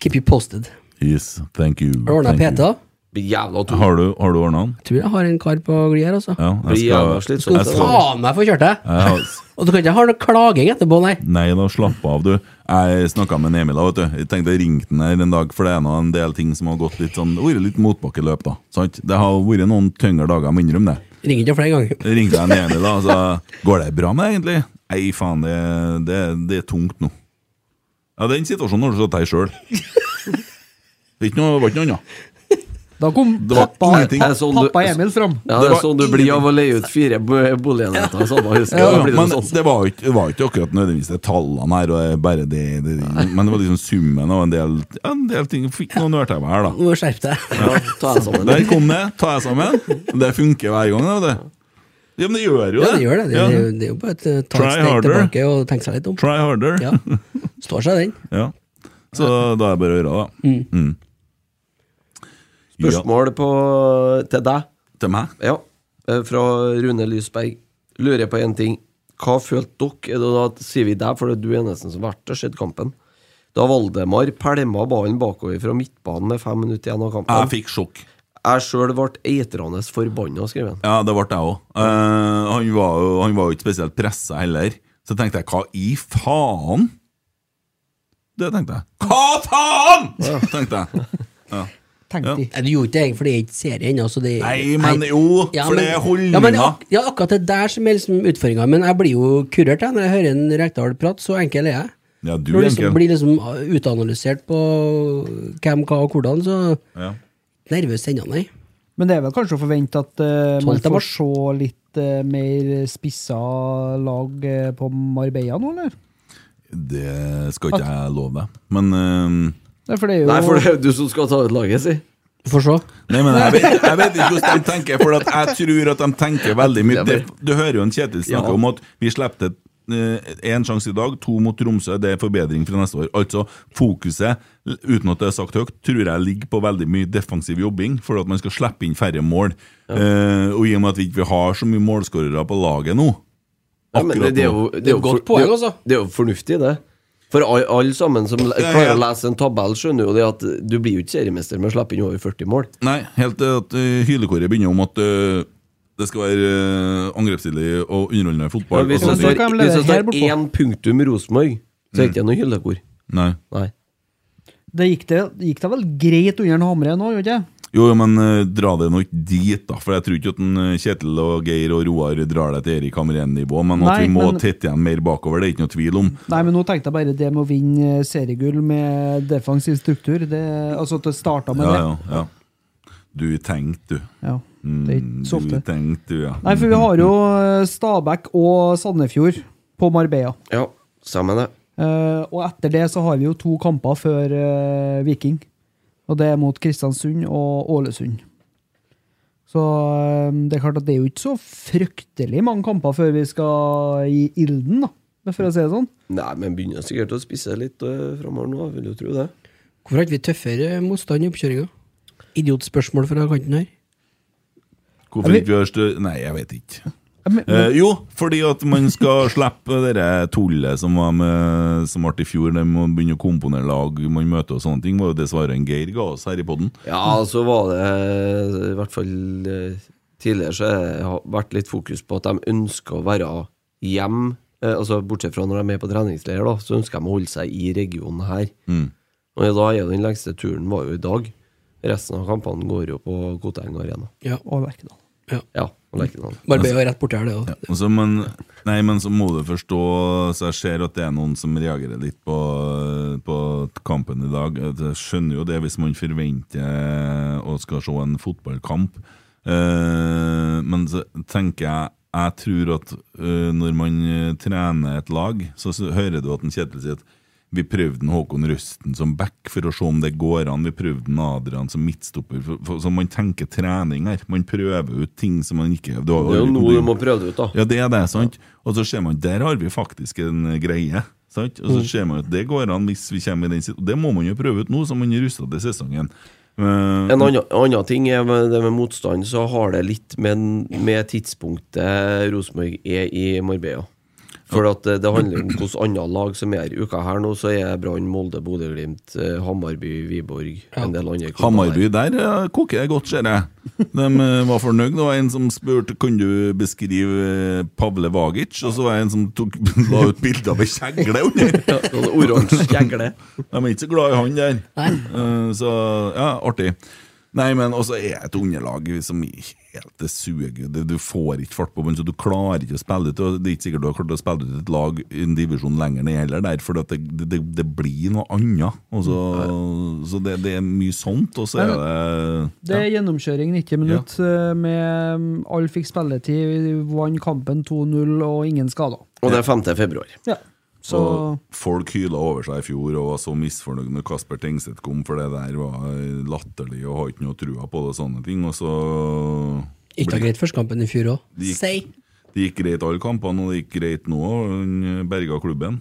Keep you posted.
Yes, thank you.
Har du ordna
thank you.
PT? da?
Blir jævla tung.
Har du, har du ordna den?
Tror jeg har en kar på gli her, altså.
Ja,
Blir jævla
jeg
slitsomt.
Skal
det
du
der.
faen meg få kjørt deg?
jeg har-
Og du kan ikke ha noe klaging etterpå, nei.
Nei da, slapp av, du. Jeg snakka med en Emil, da, vet du. Jeg tenkte jeg ringte han her en dag, for det er nå en del ting som har gått litt sånn Det har vært litt motbakkeløp, da. Sant? Det har vært noen tyngre dager, jeg må innrømme det.
Ringer ikke flere ganger.
Jeg ringte han Emil, da, og sa Går det bra med deg, egentlig? Nei, faen, det, det, det er tungt nå. Ja, den situasjonen har du satt deg i sjøl. Det er ikke noe- det var ikke noe annet.
Da kom
Det var
pappa,
ingenting.
Jeg så sånn du-
pappa Emil fram.
Ja,
Det
det er
var
sånn du blir av å leie ut fire bo- boligenheter i samme hus.
Ja,
da blir det
men
sånn.
det var, jo ikke, det var jo ikke akkurat nødvendigvis det tallene her, og det er bare det, det, men det var liksom summen av en del, ja, en del ting. Fikk noen ørtauer her, da.
Nå må du skjerpe deg.
Ja, ta deg sammen.
Der kom det, tar jeg sammen. Det funker hver gang. det, Vet du. Ja, men det gjør jo det.
Ja, det gjør det. Det,
Ja.
det, er jo- det er jo bare et eh, ta
Try
et steg
harder.
tilbake og tenke seg litt om.
Try harder.
Ja. Står seg den.
Ja. Så da er det bare å gjøre det, da. Mm. Ja.
Spørsmål på, til deg.
Til meg?
Ja, eh, fra Rune Lysberg. Lurer jeg på én ting. Hva følte dere? Er det da sier vi deg, for det er du eneste som har vært og sett kampen. Da Valdemar pælma ballen bakover fra midtbanen med fem minutter igjen av
Jeg
kampen.
fikk sjokk.
Jeg sjøl ble eitrende forbanna, skrev han.
Ja, det ble jeg òg. han, var jo- han var jo ikke spesielt pressa heller. Så tenkte jeg hva i faen? Det tenkte jeg. Hva faen?! tenkte jeg.
Tenk de.
Nei, Du gjorde ikke det egentlig, for det er ikke serie ennå. så det-
Nei, men jo, for det er holdninger.
Ja, men ak ja, akkurat det der som er liksom utfordringa. Men jeg blir jo kurert jeg, når jeg hører en Rekdal prate. Så enkel er jeg.
Ja, du,
Når det liksom
Enkel.
blir liksom uh, utanalysert på hvem, hva og hvordan, så
Ja.
nervøs ennå, nei.
Men det er vel kanskje å forvente at eh, man
Tolv til
får
mars.
se litt eh, mer spissa lag eh, på Marbella nå, eller?
Det skal ikke jeg love deg. Men eh,
Nei, for det er jo
Nei, for det er jo du som skal ta ut laget, si.
Vi får se.
Nei, men jeg vet, jeg vet ikke hvordan de tenker, for at jeg tror at de tenker veldig mye. Det, du hører jo en Kjetil snakke
Ja.
om at vi slapp én sjanse i dag, to mot Tromsø, det er forbedring fra neste år. Altså, fokuset, l- uten at det er sagt høyt, tror jeg ligger på veldig mye defensiv jobbing, for at man skal slippe inn færre mål. Eh, og i og med at vi ikke har så mye målskårere på laget nå
Ja, men det, det er
nå.
jo,
Det er et godt poeng,
det er-
altså.
Det er jo fornuftig, det. For alle alle sammen som le-
Ja, ja.
klarer å lese en tabell, skjønner jo det at du blir jo ikke seriemester med å slippe inn over 40 mål.
Nei, helt til at eh, hylekoret begynner om at eh, det skal være uh, angrepsstilig og underholdende fotball.
hvis
og sånne
det står,
ting.
kan vi
hvis
levere
det
her
står
bortpå.
én punktum Rosenborg, så er det ikke noe hyllekor.
Nei.
Nei.
det gikk, det, gikk det vel greit under en Hamre nå, gjorde det ikke?
Jo, jo, men eh, dra det nå ikke dit, da. For jeg tror ikke at en, eh, Kjetil og Geir og Roar drar det til Erik Hamrén-nivå. Men at
Nei,
vi må
men-
tette igjen mer bakover, det er ikke noe tvil om.
Nei, men nå tenkte jeg bare det med å vinne eh, seriegull med defensiv struktur. Det, altså at det starta med
Ja,
det.
ja, ja. Du tenkte, du.
Ja, det er ikke så
Mm,
ofte.
Du tenkte, du, ja.
Nei, for vi har jo eh, Stabæk og Sandefjord på Marbella.
Ja, sammen det.
Eh, og etter det så har vi jo to kamper før eh, Viking. Og det er mot Kristiansund og Ålesund. Så eh, det er klart at det er jo ikke så fryktelig mange kamper før vi skal i ilden, da. For å si det sånn.
Nei, men begynner sikkert å spisse litt øh, framover nå, vil jo tro det.
Hvorfor har ikke vi tøffere motstand i oppkjøringa? Idiotspørsmål fra kanten her.
Hvorfor ikke vi har stø... Nei, jeg vet ikke.
Ja, men-
Eh, jo, fordi at man skal slippe det der tullet som var med, som ble i fjor. De må begynne å komponere lag man møter og sånne ting. var jo det svaret en Geir ga oss her i poden.
Ja, så var det øh, i hvert fall øh, tidligere så har det vært litt fokus på at de ønsker å være hjem, øh, altså bortsett fra når de er med på treningsleir, da, så ønsker de å holde seg i regionen her. Og da er jo den lengste turen var jo i dag. Resten av kampene går jo på Koteng Arena.
Ja.
Og Lerkendal.
Ja, og Lerkendal.
Marbella er rett borti her, det òg.
Og så- men, nei, men så må du forstå Så jeg ser at det er noen som reagerer litt på, på kampen i dag. Jeg skjønner jo det hvis man forventer og skal se en fotballkamp. Eh, men så tenker jeg jeg tror at eh, når man eh, trener et lag, så, så hører du at en Kjetil sier at vi prøvde en Håkon Røsten som back for å se om det går an. Vi prøvde en Adrian som midtstopper. For, for, så man tenker trening her. Man prøver ut ting som man ikke du har
Det er jo
aldri
noe
kommet-
du må prøve det ut, da.
ja, det er det, sant? Og så ser man der har vi faktisk en eh, greie. Sant? Og så ser man at det går an hvis vi kommer i den situasjonen. Det må man jo prøve ut nå, så man er rusta til sesongen. Eh,
En annen, annen ting er med det med motstand, så har det litt med, med tidspunktet Rosenborg er i Marbella. For at eh, det handler om hvilke andre lag som er her. Uka her nå så er Brann, Molde, Bodø-Glimt, eh, Hamarby, Viborg, en del andre klubber
Hamarby, der eh, koker det godt, ser jeg. De eh, var fornøyd. Det var en som spurte kan du beskrive eh, Pavle Vagic, og så var det en som tok, la ut bilde av ei kjegle under.
der. Ja, sånn Oransje kjegle.
De er ikke så glad i han der. Eh, Så ja, artig. Nei, men også er et underlag som helt det suger. Du, du får ikke fart på bunnen, så du klarer ikke å spille ut. og Det er ikke sikkert du har klart å spille ut et lag i en divisjon lenger ned heller, der, for det, det, det, det blir noe annet. Og så- så det, det er mye sånt, og så er det
Det er gjennomkjøring 90 minutter eh, med mm, Alle fikk spilletid, vi vant kampen 2-0 og ingen skader.
Og det er 5. februar.
Ja. Så
og Folk hyla over seg i fjor og var så misfornøyd når Kasper Tengstedt kom, for det der var latterlig og har ikke noe trua på det og sånne ting. Og så
Ikke
blir-
greit førstekampen i fjor òg.
Det gikk-
Si!
Det gikk greit alle kampene, og det gikk greit nå. og Han berga klubben,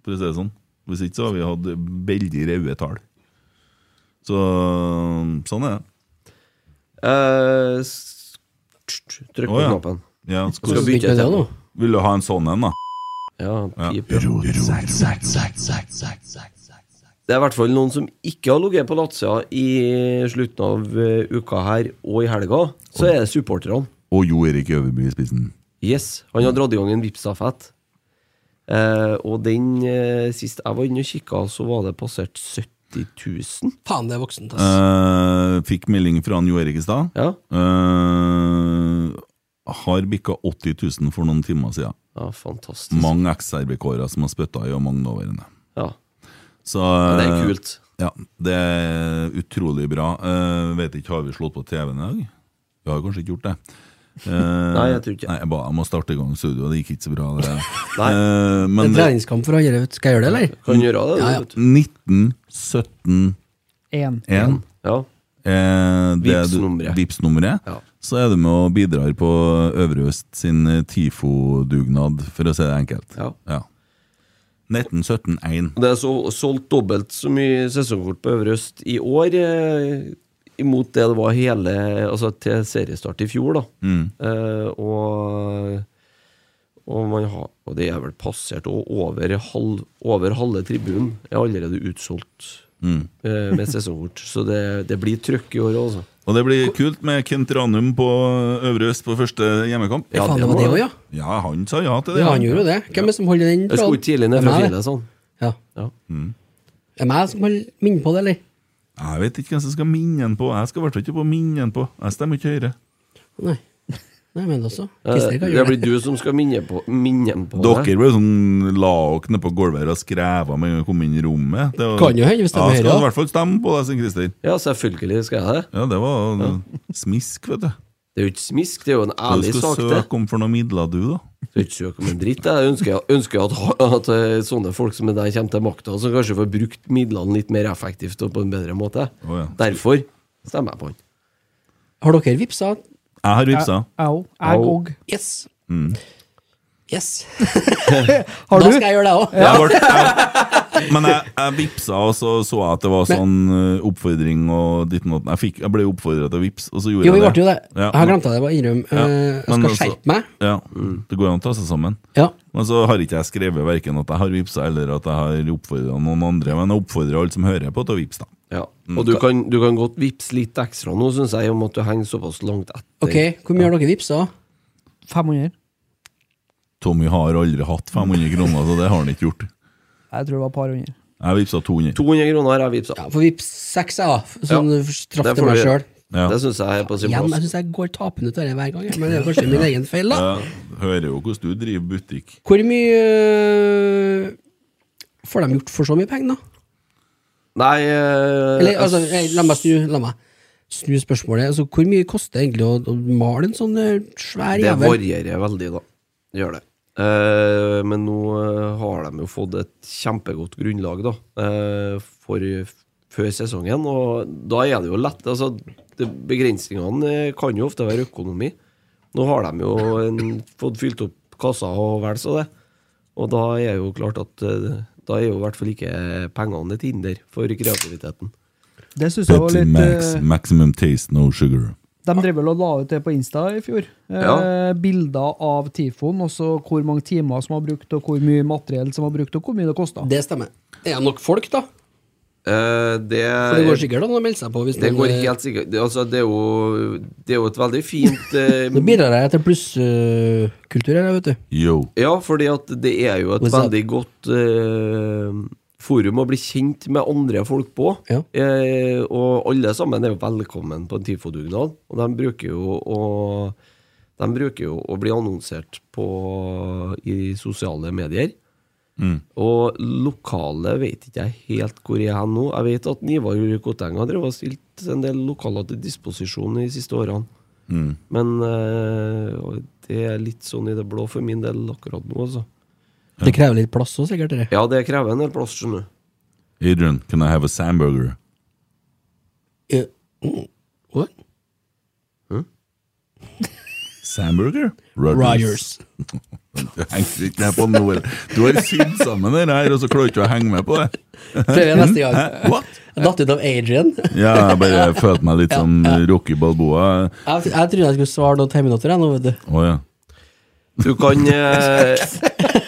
for å si det sånn. Hvis ikke så har vi hatt veldig raue tall. Så sånn er det.
Eh, s- Trykk på
Å, ja.
knappen.
Ja,
Skal
skal vi...
vi- bytte
Begynte det
tema.
nå?
Vil du ha en sånn en, da?
Ja,
Ja.
pip, ja. Det er i hvert fall noen som ikke har ligget på latsida i slutten av eh, uka her og i helga. Så er det supporterne.
Og Jo Erik Øverby i spissen.
Yes, han har dratt i gang en Vipps-stafett. Eh, og den eh, sist jeg var inne og kikka, så var det passert 70 000.
Faen, det er voksent, altså.
Eh,
ass.
fikk melding fra han Jo Erik i stad.
Ja,
Eh, har bikka 80 000 for noen timer siden.
ja fantastisk.
Mange eks-RBK-ere som har spytta i, og mange nåværende.
Ja,
Så
ja, Det er kult.
Ja, det er utrolig bra. Eh, vet ikke, har vi slått på TV-en i dag? Vi har kanskje ikke gjort det. Eh,
Nei, jeg tror ikke.
Nei, jeg, ba, jeg må starte i gang studio, det gikk ikke så bra. Det.
Nei.
Eh,
Det er
men
treningskamp for andre, vet du. Skal jeg gjøre det, eller?
Kan gjøre det.
Ja, ja.
vet du.
1917-1
Én.
ja.
Eh, det er du-
Vipps-nummeret.
Vipps-nummeret.
Ja.
Så er du med og bidrar på Øvre Øst sin eh, TIFO-dugnad, for å si det enkelt.
Ja.
1917-1.
Det er så, solgt dobbelt så mye sesongkort på Øvre Øst i år eh, imot det det var hele Altså til seriestart i fjor, da.
Mm.
Eh, og og, man har, og det er vel passert og over, halv, over halve tribunen er allerede utsolgt
Mm.
eh, med sesongkort. Så det, det blir trøkk i år, altså.
Og det blir kult med Kent Ranum på Øvre Øst på første hjemmekamp.
Ja,
Faen,
det
det var
må
det
det.
òg, ja.
Ja, han sa ja til det.
Ja, han gjorde jo det. Hvem er det som holder den
Jeg skulle tidlig ned
Det er
fra
meg, det.
fjellet, sånn.
Ja.
Ja.
Er det meg som holder minne på det, eller?
Jeg vet ikke hvem som skal minne han på. Jeg skal i hvert fall ikke på minne han på. Jeg stemmer ikke Høyre.
Nei. Nei, men også.
Eh,
Christer kan
Det
gjøre
blir
det.
du som skal minne på, minne ham på det.
Dere ble jo sånn la dere ned på gulvet her og skreva med en gang vi kom inn i rommet. Det var-
Kan jo hende vi
Ja,
stemmer Høyre,
Skal
da.
i hvert fall stemme på deg, Svein Christer.
Ja, selvfølgelig skal jeg det.
Ja, det var smisk, vet du.
Det er jo ikke smisk, det er jo en
Hva du
ærlig
skal
sak, det.
søke om for noen midler, du, da?
Skal ikke søke om en dritt. Jeg ønsker, jeg ønsker at, at eh, sånne folk som deg kommer til makta, som kanskje får brukt midlene litt mer effektivt og på en bedre måte.
Å, ja.
Derfor stemmer jeg på han.
Har dere vippsa?
Jeg har vipsa.
Au. Jeg
Au.
òg.
Yes.
Mm.
Yes.
Har
Da
du?
skal jeg gjøre det òg.
Jeg ble, jeg, men jeg, jeg vipsa, og så så jeg at det var sånn eh, oppfordring og ditt og datt. Jeg, fikk- jeg ble oppfordra til å vipse, og så gjorde
Jo, vi
jeg det.
ble jo det.
Ja,
Jeg har glemt det, jeg bare innrøm.
Ja,
Eh, Jeg
men
skal
altså-
skjerpe meg.
Ja, Det går jo an å ta seg sammen.
Ja.
Men så har ikke jeg skrevet verken at jeg har vipsa eller at jeg har oppfordra noen andre, men jeg oppfordrer alle som hører på til å vipse, da.
Ja. Og du kan, du kan godt vippse litt ekstra nå, syns jeg, om at du henger såpass langt etter.
Ok, hvor mye har dere vippsa?
500?
Tommy har aldri hatt 500 kroner, så det har han ikke gjort.
Jeg tror det var et par hundre.
Jeg vipsa 200.
200 kroner har jeg vippsa.
Ja, får vips seks, jeg, da. Sånn
Ja,
straff
det
til
får
meg
du gjøre.
sjøl.
Ja.
Det syns jeg er på sin
Igjen, jeg
plass.
syns jeg går tapende ut av det hver gang, jeg, men det er kanskje min egen feil, da.
Jeg hører jo hvordan du driver butikk.
Hvor mye øh, får de gjort for så mye penger, da?
Eh, Nei eh,
Eller, altså, jeg- la meg snu, la meg snu spørsmålet. Altså, hvor mye koster det egentlig å, å male en sånn eh, svær
Det
jævel?
varierer veldig, da. Det Gjør det. Eh, men nå eh, har de jo fått et kjempegodt grunnlag da, eh, for før sesongen, og da er det jo lett. altså det, Begrensningene eh, kan jo ofte være økonomi. Nå har de jo en, fått fylt opp kassa og vel så det, og da er jo klart at eh, da er jo i hvert fall ikke pengene et hinder for kreativiteten.
Det syns jeg var litt
Max,
eh,
maximum taste, no sugar.
De drev vel og la ut det på Insta i fjor. Eh,
Ja.
Bilder av Tifoen, og så hvor mange timer som var brukt, og hvor mye materiell som var brukt, og hvor mye det kosta.
Det stemmer. Er det nok folk, da?
Eh, det,
For det går sikkert an å melde seg på. Hvis
Det
noen,
går
eh,
helt sikkert det, altså, det, er jo, det er jo et veldig fint eh,
Nå bidrar jeg til plusskultur her, vet du.
Yo.
Ja, fordi at det er jo et
What's up?
veldig godt eh, forum å bli kjent med andre folk på.
Ja.
Eh, og alle sammen er jo velkommen på en TIFO-dugnad. Og de bruker jo å de bruker jo å bli annonsert på, i sosiale medier. Og lokale vet ikke jeg helt hvor jeg er hen nå. Jeg vet at Nivar Koteng har drevet og stilt en del lokaler til disposisjon de siste årene. Men eh, og det er litt sånn i det blå for min del akkurat nå, altså.
Det krever litt plass òg, sikkert. Dere.
Ja, det krever en del plass, skjønner du.
Adrian, can I have a sandburger?
Eh, mm, what?
Sandburger?
Rogers.
Du henger ikke med på noe. Du har sydd sammen det her, og så klarer du ikke å henge med på det.
Prøver jeg neste gang.
Hæ? What?
Jeg datt ut av Adrian.
Ja, jeg bare følte meg litt som Rocky Balboa.
Jeg, jeg trodde jeg skulle svare noen tegneminotter, jeg nå, vet du.
Å ja.
Du kan eh,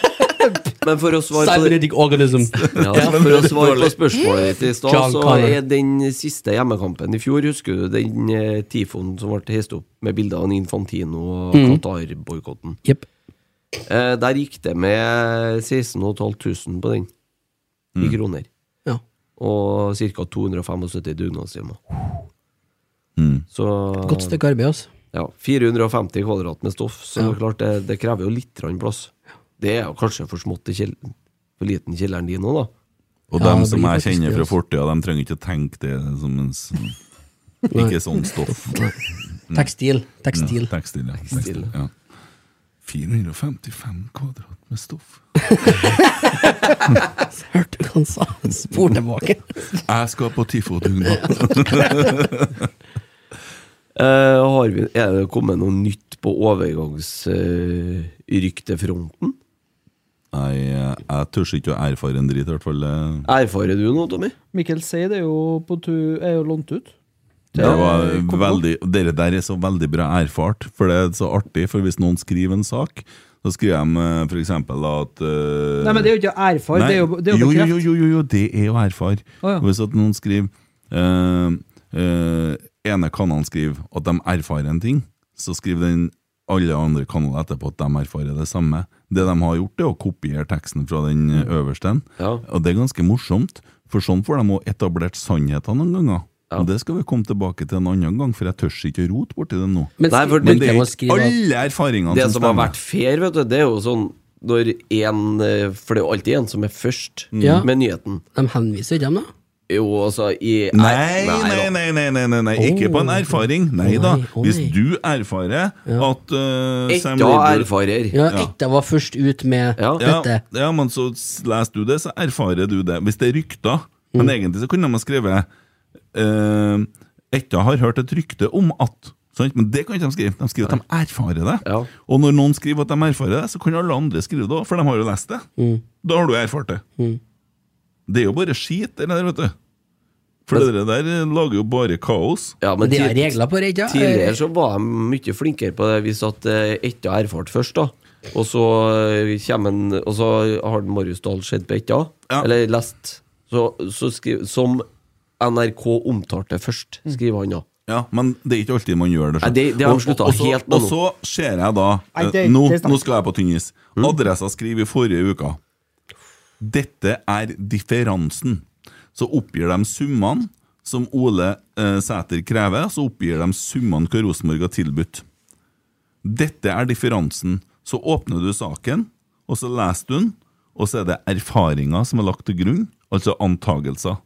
Men for å svare på det
Cybernetic organism.
ja, For å svare på spørsmålet ditt i stad,
John
så
Connor.
er den siste hjemmekampen i fjor Husker du den eh, tifoen som ble hist opp med bilder av Infantino og Qatar-boikotten?
Jepp.
Eh, der gikk det med 16.500 på den, i
Mm.
kroner.
Ja.
Og ca. 275 dugnadstimer.
Mm.
Så
Godt stykke arbeid, altså.
ja, 450 kvadrat med stoff, så det er klart det, det krever jo litt grann plass. Det er jo kanskje for smått i kjell- for liten i kjelleren din nå, da.
Og
Ja,
dem
det
som
blir
jeg
faktisk
kjenner
det,
fra
altså.
fortida, de trenger ikke å tenke det som en s- Ikke sånn stoff.
Tekstil. Tekstil.
Ja, tekstil, ja. Tekstil, ja. 455 kvadrat med stoff.
Hørte du hva han sa? Han Spor
Mm.
tilbake.
Jeg skal på TIFO-dugnad.
Eh, har vi, er det kommet noe nytt på overgangsryktefronten?
Nei, eh, jeg tør ikke å erfare en drit, i hvert fall. eh.
Erfarer du noe, Tommy?
Mikkel sier det er jo på tur Er jo lånt ut.
Det var veldig, dere der er så veldig bra erfart, for det er så artig. For hvis noen skriver en sak, så skriver de f.eks. at eh,
Nei, men det er jo ikke erfar,
Nei,
det er jo, det er jo
jo, jo,
bekreft.
jo, jo, jo, jo, det er jo erfar.
Å, ja.
Og Hvis at noen skriver eh, eh, ene kanalen skriver at de erfarer en ting, så skriver den alle andre kanaler etterpå at de erfarer det samme. Det de har gjort, er å kopiere teksten fra den eh, øverste.
Mm. Ja.
Og det er ganske morsomt, for sånn får de også etablert sannheten noen ganger.
Ja.
Og Det skal vi komme tilbake til en annen gang, for jeg tør ikke å rote borti det nå.
Men,
Nei, for
Men
begynte
det er
de å
ikke
skrive at-
alle erfaringene
Det
som
som har
stemmer.
vært fair, vet du, det er jo sånn når én For det er jo alltid en som er først
Mm.
Ja.
med nyheten.
De henviser ikke dem, da?
Jo, altså i
Nei, nei,
da.
nei, nei, nei, nei, nei. ikke på en erfaring. Nei
Å
da.
nei, å
Hvis
nei.
du erfarer at eh,
Ett
Sam
da
Roberts
erfarer.
Ja,
Ja.
Etta var først ut med
Ja.
ja,
dette.
ja, men så s- leser du det, så erfarer du det. Hvis det er rykter. Men egentlig så kunne man skrevet uh, Etta har hørt et rykte om at sant? Men det kan ikke de skrive. De skriver at de erfarer det.
Ja.
Og når noen skriver at de erfarer det, så kan alle andre skrive det òg, for de har jo lest det. Da har du erfart det. Det er jo bare skit, det der, vet du. For det der lager jo bare kaos.
Ja,
Men
men
de har
tid-
regler på det, ikke?
tidligere så var de mye flinkere på det hvis at eh, Etta erfarte først, da. Og så eh, kommer en Og så har Marius Dahl sett på Etta,
Ja.
eller lest, så, så skriv, som NRK omtalte først,
Mm.
skriver han da.
Ja, men det er ikke alltid man gjør det. sånn.
Nei, det- det har de
Og-
sluttet
og- og så-
helt med
Og
nå. Mm.
så ser jeg da eh,
Nei, det-
nå,
det er snakk.
nå skal jeg på tynn is. Adressa skriver i forrige uke Dette er differansen. Så oppgir de summene som Ole eh, Sæter krever, så oppgir de summene hva Rosenborg har tilbudt. Dette er differansen. Så åpner du saken, og så leser du den, og så er det erfaringer som er lagt til grunn, altså antagelser.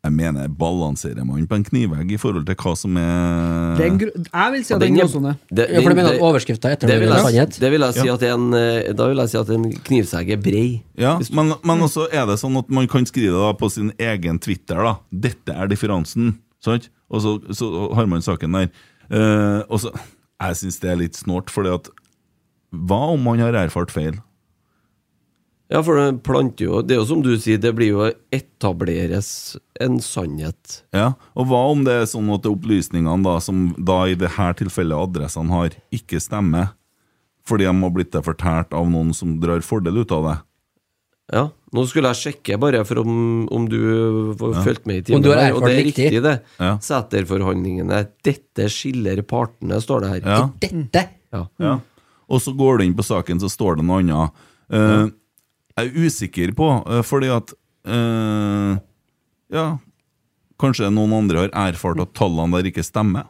Jeg mener, balanserer man på en knivegg i forhold til hva som er
Det er en gru- Jeg vil si
Og
at det er en
er-
gråsone.
det-
sånn Ja, for du
den-
mener at
det-
overskrifta etter
det
det er
vil, jeg,
sannhet?
det vil jeg si at en, eh, da vil jeg si at en knivsegg er brei.
Ja,
Hvis du-
men, men også er det sånn at man kan skrive det da på sin egen Twitter, da. 'Dette er differansen', sant? Og så, så har man saken der. Eh, og så Jeg syns det er litt snålt, fordi at Hva om man har erfart feil?
Ja, for det planter jo Det er jo som du sier, det blir jo etableres en sannhet.
Ja, Og hva om det er sånn at opplysningene da, som da i det her tilfellet adressene har, ikke stemmer? Fordi de har blitt det fortalt av noen som drar fordel ut av det?
Ja, Nå skulle jeg sjekke bare for om, om du var- fulgte med i timen.
Om du har
her, og det er
erfart riktig.
riktig, det.
Ja.
Sæterforhandlingene. Dette skiller partene, står det her.
Ja.
Dette!
Ja.
Ja. Og så går du inn på saken, så står det noe annet. Eh, Jeg er usikker på, eh, fordi at eh, Ja, kanskje noen andre har erfart at tallene der ikke stemmer.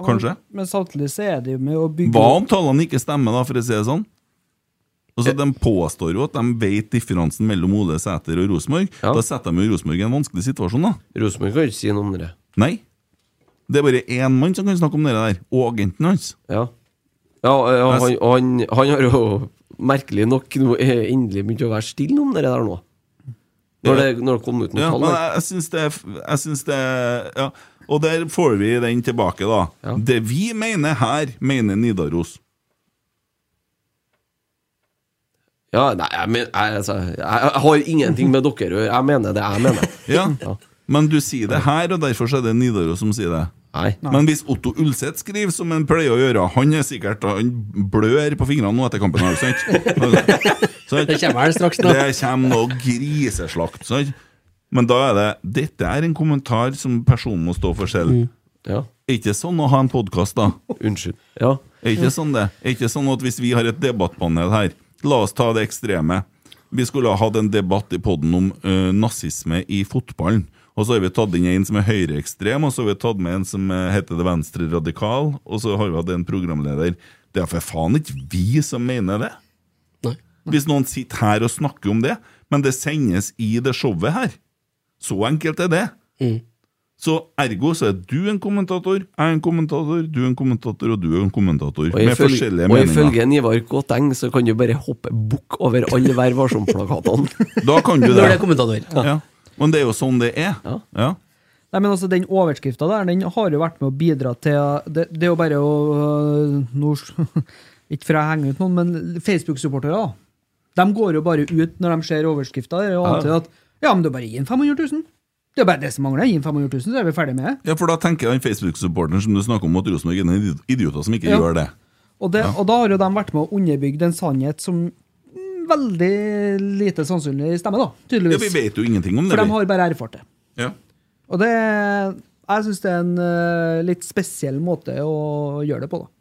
Kanskje.
Men samtidig så er det jo med å bygge
Hva om tallene ikke stemmer, da, for å si det sånn? Altså, De påstår jo at de vet differansen mellom Ole Sæter og Rosenborg.
Ja.
Da setter de jo Rosenborg i en vanskelig situasjon, da.
Rosenborg kan ikke si noe om det.
Nei. Det er bare én mann som kan snakke om det der, og agenten hans.
Ja. Ja, ja han, han, han har jo merkelig nok nå eh, endelig begynt å være stille om det der nå. Når det, når det kom ut noen
Ja,
tall.
men
der.
jeg, jeg syns det er- Jeg syns det er- ja. Og der får vi den tilbake, da.
Ja.
Det vi mener her, mener Nidaros.
Ja, nei, jeg, men, jeg, altså, jeg jeg har ingenting med dere å gjøre. Jeg mener det jeg mener.
Ja.
Ja.
Men du sier det her, og derfor så er det Nidaros som sier det.
Nei.
Men hvis Otto Ulseth skriver som han pleier å gjøre Han er sikkert Han blør på fingrene nå etter kampen. Her, sant? Sant?
Det kommer vel straks nå.
Det kommer noe griseslakt. Sant? Men da er det Dette er en kommentar som personen må stå for
Mm.
selv.
Ja.
Er ikke sånn å ha en podkast, da?
Unnskyld. Ja.
Er ikke sånn det? Er ikke sånn at hvis vi har et debattpanel her La oss ta det ekstreme. Vi skulle ha hatt en debatt i podden om eh, nazisme i fotballen. Og så har vi tatt inn en som er høyreekstrem, og så har vi tatt med en som eh, heter det venstre radikal, og så har vi hatt en programleder. Det er for faen ikke vi som mener det!
Nei.
Hvis noen sitter her og snakker om det, men det sendes i det showet her. Så enkelt er det. Så ergo så er du en kommentator, jeg er en kommentator, du er en kommentator, og du er en kommentator.
Og
med
ifølge-
forskjellige
og
meninger.
ifølge Ivar Kåteng så kan du bare hoppe bukk over alle Vær varsom-plakatene.
Da kan du
Når det er
det.
kommentator.
Ja. Men det er jo sånn det er.
Ja.
Ja.
Nei, men altså, Den overskrifta der den har jo vært med å bidra til Det, det er jo bare å øh, nå, Ikke for å henge ut noen, men Facebook-supportere da. De går jo bare ut når de ser overskrifta og antyder at ja, men det er bare å gi en 500 000. Det er bare det som mangler. Gi en 500 000, så er vi ferdig med det.
ja, for da tenker jeg den Facebook-supporteren som du snakker om, at Rosenborg er noen idioter som ikke
Ja.
gjør det.
Og, det, og da har jo de vært med å underbygge en sannhet som mm, veldig lite sannsynlig stemmer, da,
Ja, Vi
tydeligvis.
vet jo ingenting om det.
For de
vi.
har bare erfart det.
Ja.
Og det Jeg syns det er en øh, litt spesiell måte å gjøre det på, da.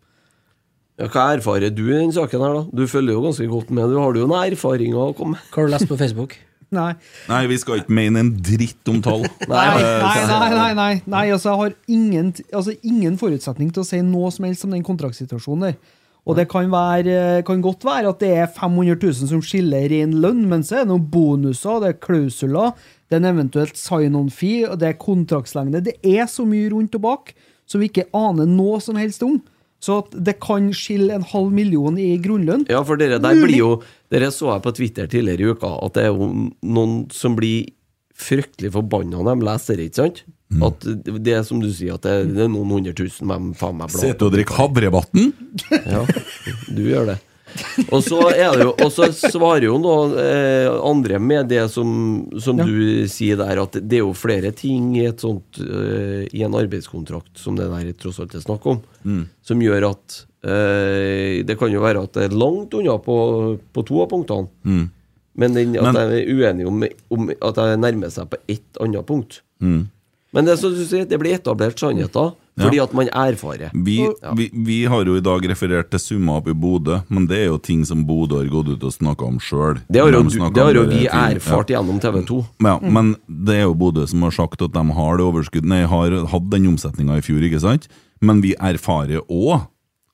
Ja, hva erfarer du i den saken her, da? Du følger jo ganske godt med. Du har jo noen erfaringer å komme med.
Hva har du lest på Facebook?
Nei.
Nei, vi skal ikke mene en dritt om tall.
Nei, nei, nei, nei, nei, nei altså, jeg har ingen, altså, ingen forutsetning til å si noe som helst om den kontraktsituasjonen der. Og det kan, være, eh, kan godt være at det er 500 000 som skiller ren lønn, men så er det noen bonuser, det er klausuler, det er en eventuelt sign-on-fee, og det er kontraktslengde. Det er så mye rundt og bak som vi ikke aner noe som helst om. Så at det kan skille en halv million i grunnlønn.
Ja, for dere
Mm.
der blir jo Dere så jeg på Twitter tidligere i uka, at det er jo noen som blir fryktelig forbanna når de leser det, ikke sant?
Mm.
At det er som du sier, at det, det er noen hundre tusen de faen meg blar
Sitte og drikke Havrevatn?
Ja, du gjør det. Og så er det jo Og så svarer jo noen eh, andre med det som, som du sier der, at det er jo flere ting i, et sånt, eh, i en arbeidskontrakt som det der tross alt er snakk om, som gjør at eh, Det kan jo være at det er langt unna på, på to av punktene. Men den, at
Men-
jeg er uenig om, om at jeg nærmer seg på ett annet punkt. Men det, er som du sier, det blir etablert sannheter fordi at man erfarer.
Vi,
Ja.
vi, vi har jo i dag referert til summer opp i Bodø, men det er jo ting som Bodø har gått ut og snakka om sjøl.
Det har jo, du- det har jo vi erfart gjennom TV 2.
Ja, Men det er jo Bodø som har sagt at de har det overskuddet Nei, har hatt den omsetninga i fjor, ikke sant? Men vi erfarer òg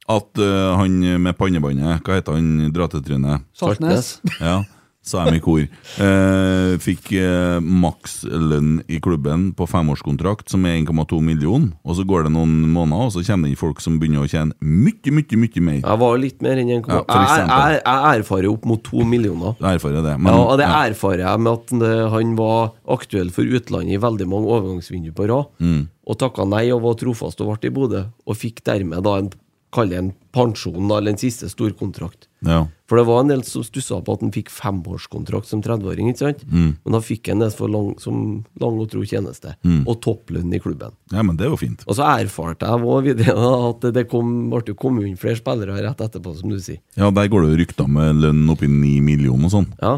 at eh, han med pannebåndet, hva heter han drattetrynet?
Saltnes.
Ja, sa jeg med i kor. Eh, fikk eh, makslønn i klubben på femårskontrakt, som er 1,2 million, og så går det noen måneder, og så kommer det inn folk som begynner å tjene mye, mye, mye mer.
Jeg var litt mer enn 1,2.
Ja, for
jeg,
eksempel.
jeg, jeg erfarer opp mot to millioner.
Jeg erfarer det.
Ja, og det
ja.
erfarer jeg med at eh, han var aktuell for utlandet i veldig mange overgangsvinduer på rad,
Mm.
og takka nei og var trofast og ble i Bodø, og fikk dermed da en, kall det en pensjon, da, eller en siste storkontrakt.
Ja.
For det var en del som stussa på at han fikk femårskontrakt som 30-åring, ikke sant?
Mm.
Men da fikk han det for lang, som lang og tro tjeneste,
Mm.
og topplønn i klubben.
ja, men det er jo fint.
Og så erfarte jeg også videre da, at det kom, ble jo kommet inn flere spillere rett etterpå, som du sier.
Ja, der går det jo rykter med lønn oppi 9 millioner og sånn.
Ja.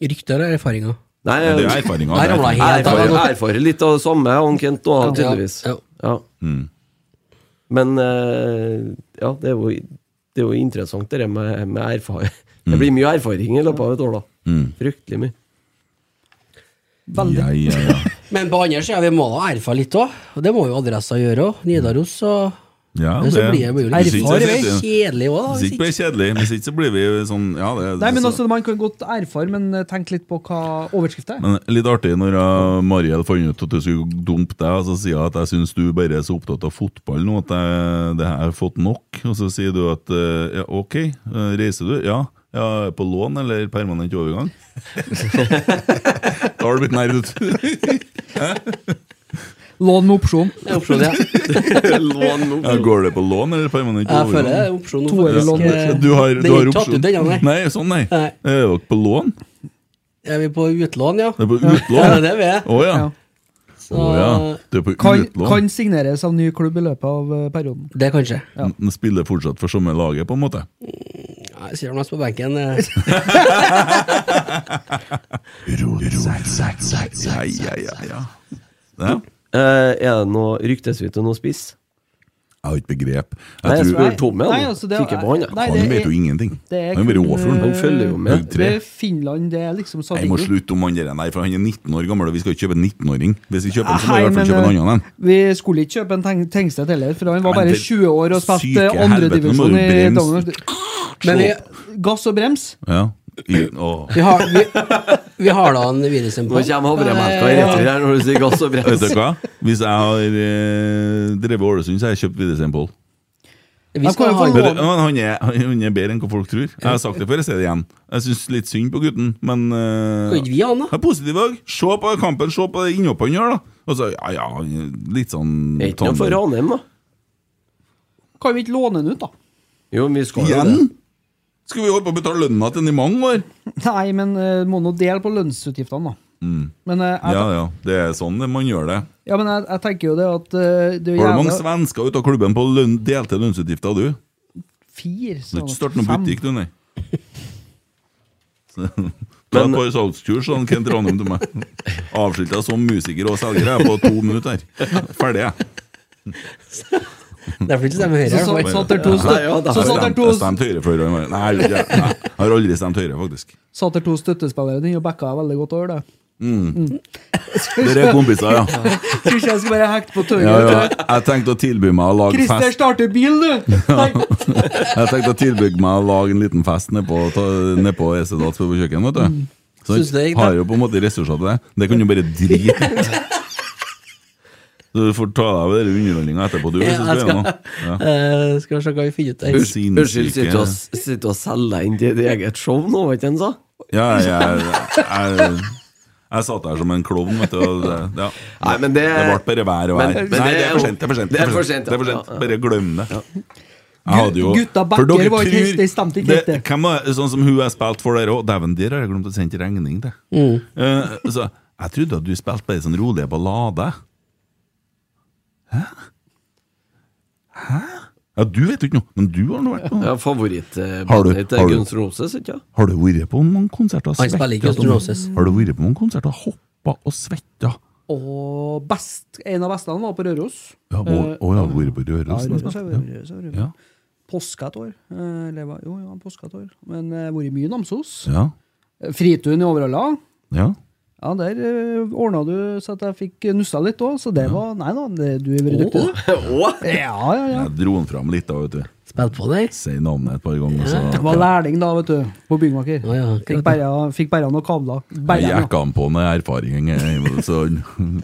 Rykter og erfaringer.
Eh, Nei,
Men Det er
jeg,
erfaringa.
Der ramla jeg helt
erfarer,
av.
erfarer litt av det samme, han Kent nå,
Ja.
tydeligvis.
Ja.
Ja.
Mm.
Men eh, ja, det er jo, det er jo interessant det der med, med erfaring.
Mm.
Det blir mye erfaring i løpet av et år, da. Fryktelig mye.
Veldig.
Ja, ja, ja.
Men på andre sida, vi må da erfare litt òg. Og det må jo adressa gjøre òg. Nidaros og
ja
Men så blir det jo
Hvis ikke så
erfare.
sitter-
Kjedelig òg, da.
Hvis
Hvis
ikke blir
ikke.
det kjedelig, hvis ikke så blir vi sånn Ja, det
Nei, men
så-
altså, Man kan godt erfare, men eh, tenk litt på hva overskrifta er.
Men litt artig når jeg- Mariel fant ut at du skulle dumpe deg, og så sier jeg at jeg syns du bare er så opptatt av fotball nå at jeg, det her har jeg fått nok. Og så sier du at eh, ja, ok, eh, reiser du? Ja. ja. På lån eller permanent overgang? da har du blitt nerd. ut.
Lån med opsjon.
Det er opsjon, ja.
Lån nå.
Ja, går det på lån eller permanent?
Jeg føler det er opsjon. nå,
Toårig
faktisk.
lån.
Eh,
Du har,
Den
du
er
har
ikke tatt
opsjon?
ut ennå, nei.
sånn, nei.
Nei.
Er dere på lån?
Er vi på utlån, ja?
Det er på
Ja, det er
utlån?
det vi er.
Å ja.
Ja.
Så
Å ja. Du er på
Kan,
utlån.
kan signeres av ny klubb i løpet av eh, perioden.
det kan skje.
ja.
Den Spiller fortsatt for samme laget, på en måte.
Ja, Jeg sier mest på benken. eh.
Ja, ja, ja. ja. ja.
Eh, er det noe ryktesvitt om noe spiss?
Jeg har ikke begrep.
Nei,
Jeg
jeg
tror
spør Tommy,
Nei,
han.
altså, det-
Kikker på han, ja.
nei,
Han
det
vet
er-
jo ingenting.
Det er
Han har vært
kun,
overfor
eh,
Han følger jo med.
Dag tre.
Det er Finland, det er liksom
Jeg må
Sadio.
slutte om han der, nei, for han er 19 år gammel, og vi skal ikke kjøpe en 19-åring. Hvis vi kjøper en, så må
Nei,
vi i hvert fall
men, eh,
kjøpe en annen en.
Vi skulle ikke kjøpe en Teng- Tengstedt heller, for han var
Men
bare
det
20 år og spilte
syke helvete, nå
andredivisjon
må
i
du bremse.
Danmark.
Men vi,
Gass og brems.
Ja. I, å.
vi har, vi, vi har da en videosend
Nå
på. Eh,
kommer havremelka i retur her når du sier gass og brems.
Vet dere hva? Hvis jeg har eh, drevet Ålesund, så har jeg kjøpt Videsheim Pål.
Vi skal
kan jo
ha
få
en
lov.
Men han er, han er bedre enn hva folk tror. Jeg har sagt det før, jeg sier det igjen. Jeg syns litt synd på gutten, men eh,
Kan ikke vi ha den,
jeg
da?
er positiv òg. Se på kampen, se på det innhoppet han gjør, da. Og så, ja, ja, han er litt sånn
Det er Ikke noe for
Tandem.
Ranheim, da.
Kan vi ikke låne den ut, da?
Jo, men vi skal jo
Igjen?
det.
Skal vi holde på å betale lønna til den i mange år?
Nei, men eh, må nå dele på lønnsutgiftene, da. Men, eh, jeg,
Mm. Ja, ja. Det er sånn det- man gjør det.
ja, men jeg, jeg tenker jo det at eh, det er jo
Har du mange
jævla
svensker ute av klubben på lønn, delte lønnsutgifter, du?
Fire,
Du
sa
har
han.
ikke startet noen
Fem.
butikk, du, nei. Så- Ta et par salgskurs, sånn Kent Ranum til meg. Avslutta som musiker og selger jeg på to minutter. Ferdig, jeg.
Derfor ikke stemmer
Så
Høyre. i hvert
satt-
fall.
satt der to,
Nei, ja,
stø-
det har
så satt
Jeg
der
stemte
to,
jeg stemte Høyre før. og- Nei, jeg gjorde ikke det. Nei, jeg har aldri stemt Høyre, faktisk.
satt der to støttespillere dine og backa jeg veldig godt over det.
Dere er kompiser, ja.
Tror ikke jeg skal bare hekte på tauet.
ja, ja. Jeg tenkte å tilby meg å lage
Christer
fest
starter bil, du! Nei.
Jeg tenkte å tilby meg å lage en liten fest nedpå ta- nedpå Esedals på kjøkkenet, vet du.
Synes du det
Så
gikk, da?
har jo på en måte ressurser til det. Det kan du bare drite i. Så du får ta deg av den underholdninga etterpå, du. Hvis du
Ja, jeg
skal gjøre noe. Ja.
Eh, Skal vi se hva vi finner ut der.
Sinnssyke.
Unnskyld, sitter du og- sitter du og selger deg inn til ditt eget show nå, vet du hva han sa?
Ja, jeg, jeg, jeg, jeg satt der som en klovn, vet du. Og det, ja.
Nei, men det-
det ble bare vær og vær. Nei,
Men- men det
det
er
er for
jo-
sent. Det er for sent.
det er for sent,
Det er for
ja.
sent. Bare glem det. Jeg hadde jo
Gutta
For
backer
dere
var ikke
tror-
helt- det stemte ikke helt, det.
Hvem var sånn som hun jeg spilte for der òg? Dæven, der har jeg glemt å sende regning til.
Mm.
Eh, så jeg trodde at du spilte bare sånn rolige ballader. Hæ? Hæ? Ja, du vet jo ikke noe, men du har nå vært på
Ja,
Har du-
Favorittbandet
har
eh, til
du-
Guns Roses, ikke sant?
Har du vært på mange konserter og
Han spiller ikke
svetta?
Guns N' Roses.
Har du vært på mange konserter og hoppa og svetta?
Og best, en av bestene var på Røros.
Ja, og, og jeg har vært på Røros.
Eh, Ja, Røros,
nesten.
ja, Røros, ja, Røros.
Ja.
Påska et år. eh, Eller, hva- jo, ja, påska et år. Men jeg har vært mye i Namsos.
Ja.
Fritun i Overhalla.
ja.
Ja, der ordna du så at jeg fikk nussa litt òg, så det var Nei da, det, du har vært dyktig, du. Ja, ja, ja.
Jeg dro den fram litt, da, vet du.
Spill på der.
Si navnet et par ganger, så
Jeg var lærling da, vet du. På byggmaker.
Ja, ja, akkurat
Fikk
det.
bæra fikk bæra noen kabler.
jeg
Bæra,
jekka han på med erfaring. jeg, Så,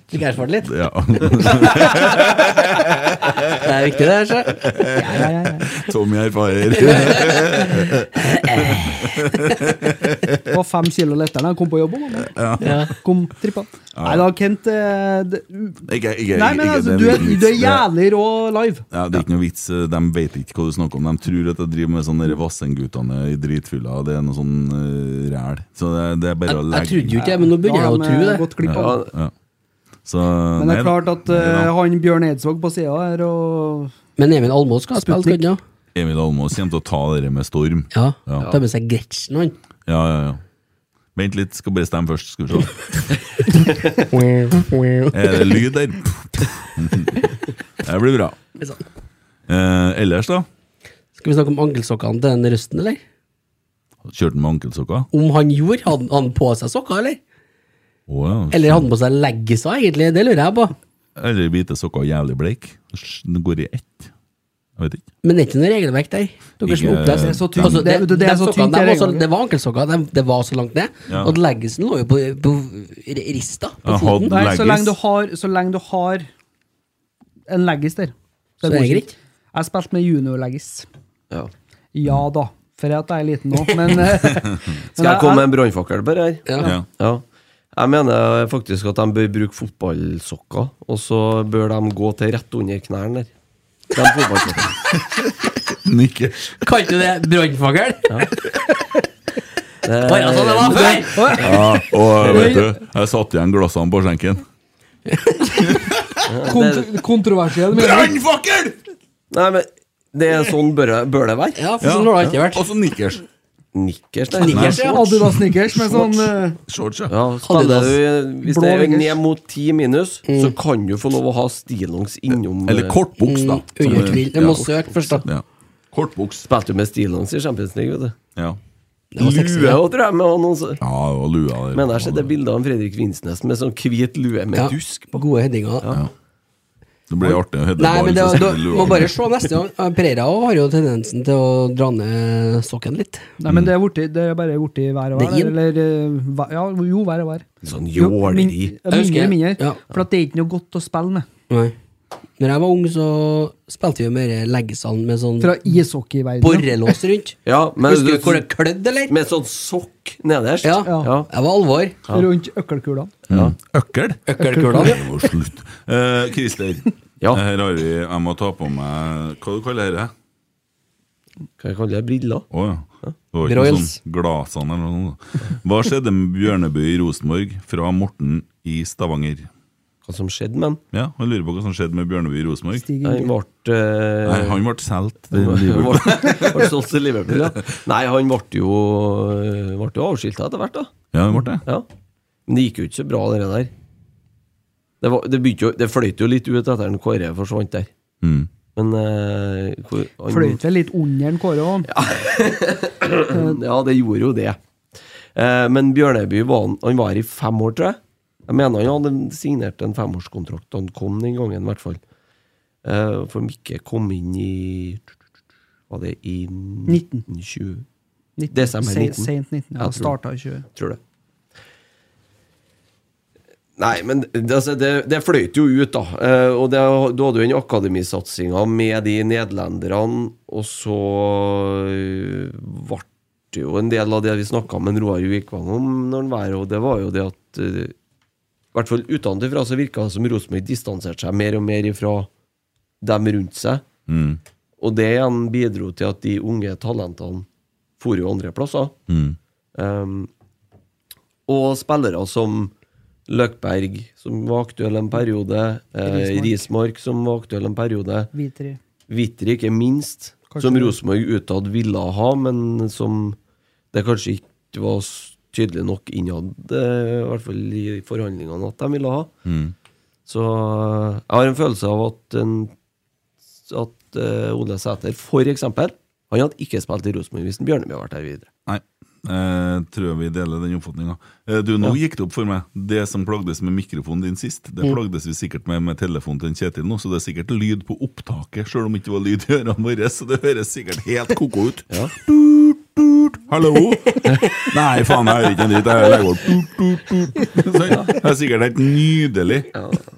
Fikk jeg svart litt?
ja.
Det er viktig, det her, sjø.
ja, ja, ja, ja.
Tommy erfarer.
Det var fem kilo lettere da jeg kom på jobb. også, da.
Ja.
Kom trippa. Nei da, Kent eh, det,
Ikke, ikke,
Nei, men
ikke-
altså,
det
du er,
en liten
du er
vits.
jævlig rå live.
ja, Det er ikke noe vits. eh, De vet ikke hva du snakker om. De tror at jeg driver med sånne Vassendguttene i dritfylla. Det er noe sånn eh, ræl. Så det, det er bare
Jeg,
å
jeg
legge
trodde jo ikke det, men nå begynner jeg å
Da har
tro
de, eh,
det.
gått glipp av.
Ja,
Ja. Så,
Men det er
nei da.
klart at
Nei
eh,
da.
han Bjørn Eidsvåg på sida her og
Men Emil Almås skal spille, kan han?
Emil Almås kommer til å ta det med storm.
Ja. ja.
Ja.
Ta med seg Gretchen, han.
Ja, ja, ja. Vent litt, skal bare stemme først. Skal vi se. Er det lyd der? Det blir bra.
Sånn.
Eh, ellers, da?
Skal vi snakke om ankelsokkene til den røsten, eller?
Kjørte han med ankelsokker?
Om han gjorde? Hadde han på seg sokker, eller?
Å ja.
Eller hadde han på seg leggisa, egentlig? Det lurer jeg på.
Eller hvite sokker og jævlig bleik? Den går i ett. Jeg vet ikke.
Men det er ikke noe regelverk der. Dere som
Ikke-
er opptatt.
det er så
tynt.
Altså, det,
Det- det er
de
så tynt,
sokkene,
det
de var så-
regelverket.
det var ankelsokker, de, det var så langt ned.
Ja.
Og leggesen lå jo på, på r- rista. På
Ja,
foten.
hadde-
Nei,
Leggis.
så lenge du har, så lenge du har en leggis der.
Så er det
godkjent.
greit.
Jeg spilte med junior-leggis.
Ja.
Ja da, for at jeg er liten nå, men eh, men
Skal jeg komme med en brannfakkel på det her?
Ja.
Ja.
Ja. Jeg mener faktisk at de bør bruke fotballsokker, og så bør de gå til rett under knærne der. De fotballsokkene.
Nikkers.
Kalte du det brannfagel?
Det-
Bare sånn det var før!
Ja, og vet du, jeg satte igjen glassene på skjenken.
Kont kontroversiell mening.
Brannfakkel!
Nei, men det er sånn bør, bør det være.
Ja, for sånn har det alltid vært.
Og så nikkers.
Nikkers, nei.
Snickers, ja.
Adidas Snickers med sånn eh,
Shorts, ja.
Ja, spiller
Adidas.
du, hvis
Blå
det er
vingers.
ned mot 10 minus, så kan du få lov å ha stillongs innom
Eller
eh,
kortbuks, da. som
Under
det-
Mm, tvil. Jeg må søke først, da.
Ja. Kortbuks.
Spilte du med stillongs i Champions League, vet du?
Ja.
var
Lue
sexy, det.
òg, tror jeg. Med han også.
ja, og lua der.
Men jeg har sett bilde av Fredrik Vinsnes med sånn hvit lue med
Ja.
dusk.
Gode headinger. da.
Det blir artig å høre
Nei, men det var, da, må
lua.
bare se neste gang. Eh, Pereira også har jo tendensen til å dra ned sokken litt.
Nei, men det er, borti, det er bare borti hver og
Det er
hver.
inn.
Eller, eh, hver- ja, jo, hver og hver.
Sånn
Jo, min-
jåleri.
Mindre,
husker-
mindre.
ja.
For at det er ikke noe godt å spille med.
Nei. Når jeg var ung, så spilte vi jo mer leggesand med sånn
Fra ishockeyverdenen.
borrelås rundt.
Ja, men
Husker du hvor det
du,
klødde, eller?
med sånn sokk nederst.
Ja.
Ja.
Jeg var alvor.
Rundt økkelkulene.
Økkel?
Økkelkula.
Det var slutt. Eh, Christer, eh,
Ja.
her har vi Jeg må ta på meg Hva du kaller du dette?
Hva jeg kaller det? Briller?
Å ja. Det var ikke noe
Broils.
sånn glasene eller noe sånt. Hva skjedde med Bjørnebø i Rosenborg fra Morten i Stavanger?
Hva som skjedde med han?
Ja, jeg lurer på hva som skjedde med Bjørnebø i Rosenborg.
Stig
Han
Inge.
ble eh,
Nei, han ble solgt. til Liverpool.
ble- ble solgt til Liverpool, ja. Nei, han ble jo, eh, ble jo avskiltet etter hvert, da.
Ja, han ble det.
Ja. Men det gikk jo ikke så bra, det der. Det, var, det, begynte jo, det fløyt jo litt ut etter at Kåre forsvant der.
Mm.
Men eh, hvor, han,
Fløyt vel litt under en Kåre òg.
Eh, Ja, det gjorde jo det. Eh, men Bjørneby var, han- han var her i fem år, tror jeg. Jeg mener han hadde signert en femårskontrakt da han kom den gangen, i hvert fall. Eh, for Mikke kom inn i Var det i
19.
1920? Desember 19.
Seint 19. Ja,
Jeg tror det.
starta i 20.
Tror det. Nei, men det, altså, det, det fløyt jo ut, da. Eh, og det, du hadde jo den akademisatsinga med de nederlenderne, og så eh, ble det jo en del av det vi snakka med Roar Vikvang om når han var her, og det var jo det at eh, I hvert fall utenfra så virka det som Rosenborg distanserte seg mer og mer ifra dem rundt seg.
Mm.
Og det igjen bidro til at de unge talentene for jo andre plasser.
Mm.
Um, og spillere som Løkberg, som var aktuell en periode. Eh,
Rismark.
Rismark, som var aktuell en periode.
Vi tre.
Vitri, ikke minst.
Kanskje
som
det-
Rosenborg utad ville ha, men som det kanskje ikke var s- tydelig nok innad, eh, i hvert fall i forhandlingene, at de ville ha.
Mm.
Så eh, jeg har en følelse av at, en, at eh, Ole Sæter, for eksempel, han hadde ikke spilt i Rosenborg hvis Bjørneby hadde vært her videre.
Nei. Eh, tror jeg vi deler den oppfatninga. Eh, du, nå gikk det opp for meg. Det som plagdes med mikrofonen din sist,
Mm.
det plagdes vi sikkert med med telefonen til en Kjetil nå, så det er sikkert lyd på opptaket, sjøl om det ikke var lyd i ørene våre. Så det høres sikkert helt koko ut. Tut, tut. Hallo? Nei, faen, jeg hører ikke en dritt. Jeg legger bort Tut, tut, tut. Sånn. Det er sikkert helt nydelig.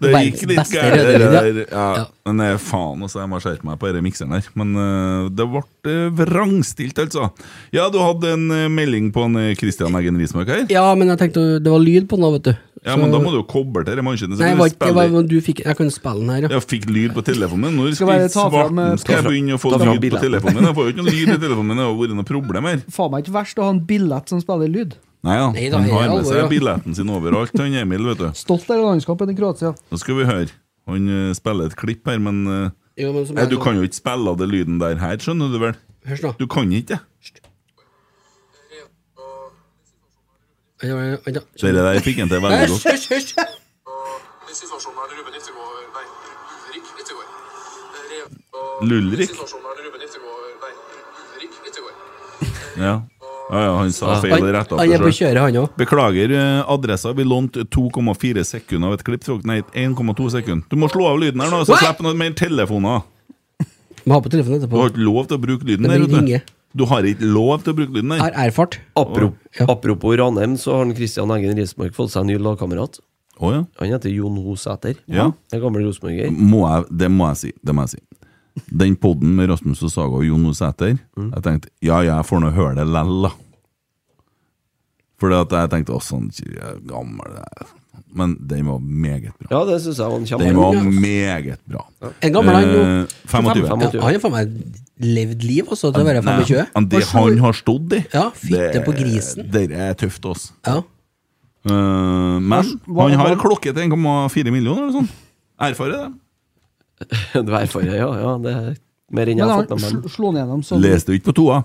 Det
Verdens
gikk litt
beste
gærent.
røde lyd, ja.
der. Ja. Men eh, faen, altså, jeg må skjerpe meg på denne mikseren her. Men eh, det ble vrangstilt, altså. Ja, du hadde en eh, melding på en eh, Christian Eggen Rismark her.
Ja, men jeg tenkte det var lyd på den, da, vet du.
Ja, men da må du jo koble til denne maskinen. så
Nei,
kan
jeg,
du
var, ikke- jeg,
spille-
var, men du fikk, jeg kunne spille den her, ja.
jeg fikk lyd på telefonen min. Når
Skal
skal,
bare ta fram, eh,
svarten skal jeg
ta fram-
begynne å få
ta fram
lyd på
bilen.
telefonen min? Jeg får jo ikke noe lyd i telefonen min. Det har vært noe problem her.
Faen meg ikke verst å ha en billett som spiller lyd.
Nei ja,
Nei da,
han
her er
har med seg
alvor, ja.
billetten sin overalt, han Emil, vet du.
Stolt av landskapet i Kroatia.
Nå skal vi høre. Han eh, spiller et klipp her, men eh,
Jo, men som
Nei,
jeg
du
sa-
kan jo ikke spille av det lyden der her, skjønner du vel?
Hørs nå.
Du kan ikke det.
Ja, ja, ja, ja.
Det der fikk han til veldig
Hysj,
godt.
hysj, hysj!
Situasjonen er Ruben Yttergård Nei, Ulrik Yttergård. Eh,
Lulrik.
Situasjonen er Ruben Yttergård Nei, Ulrik Yttergård.
Ja. ja, ja, han sa feil
Ah. Han,
og retta
han er
på
på
sjøl.
kjøret, han òg.
Beklager eh, adressa. Vi lånte 2,4 sekunder av et klipp. Tror- Nei, 1,2 sekunder. Du må slå av lyden her nå, så
What?
slipper noen mer telefoner.
Må ha på telefonen
Du
etterpå.
har ikke lov til å bruke lyden
Det
der,
blir ringe.
vet du. Du har ikke lov til å bruke lyden der.
Er erfart.
Apropos,
Ja.
apropos Ranheim, så har han Christian Eggen Rismark fått seg en ny lagkamerat.
Å ja.
Han heter Jon Ho Sæter.
Ja.
En gammel rosenborger.
Må jeg, det må jeg si. Det må jeg si. Den podden med Rasmus og
Mm.
Saga og Jon Osæter Jeg tenkte ja, ja, jeg får nå høre det lell, da. Fordi at jeg tenkte å, sånn jeg er gammel jeg er». Men den var meget bra.
Ja, det syns jeg var en
Den
kjempe...
var meget bra.
En gammel han jo.
Eh, 25.
Ja, han har faen meg levd liv, altså, til å være
Nei,
25.
men Det han har stått i,
Ja, fitte på grisen.
Det er tøft, altså.
Ja.
Eh, men
hva-
han har
hva-
klokke til 1,4 millioner eller noe sånt. Erfarer det.
Dvergfarge, ja. ja det er mer enn jeg
Men
har
han
fått med meg.
sl- slo han gjennom som
Leste jo ikke på toa.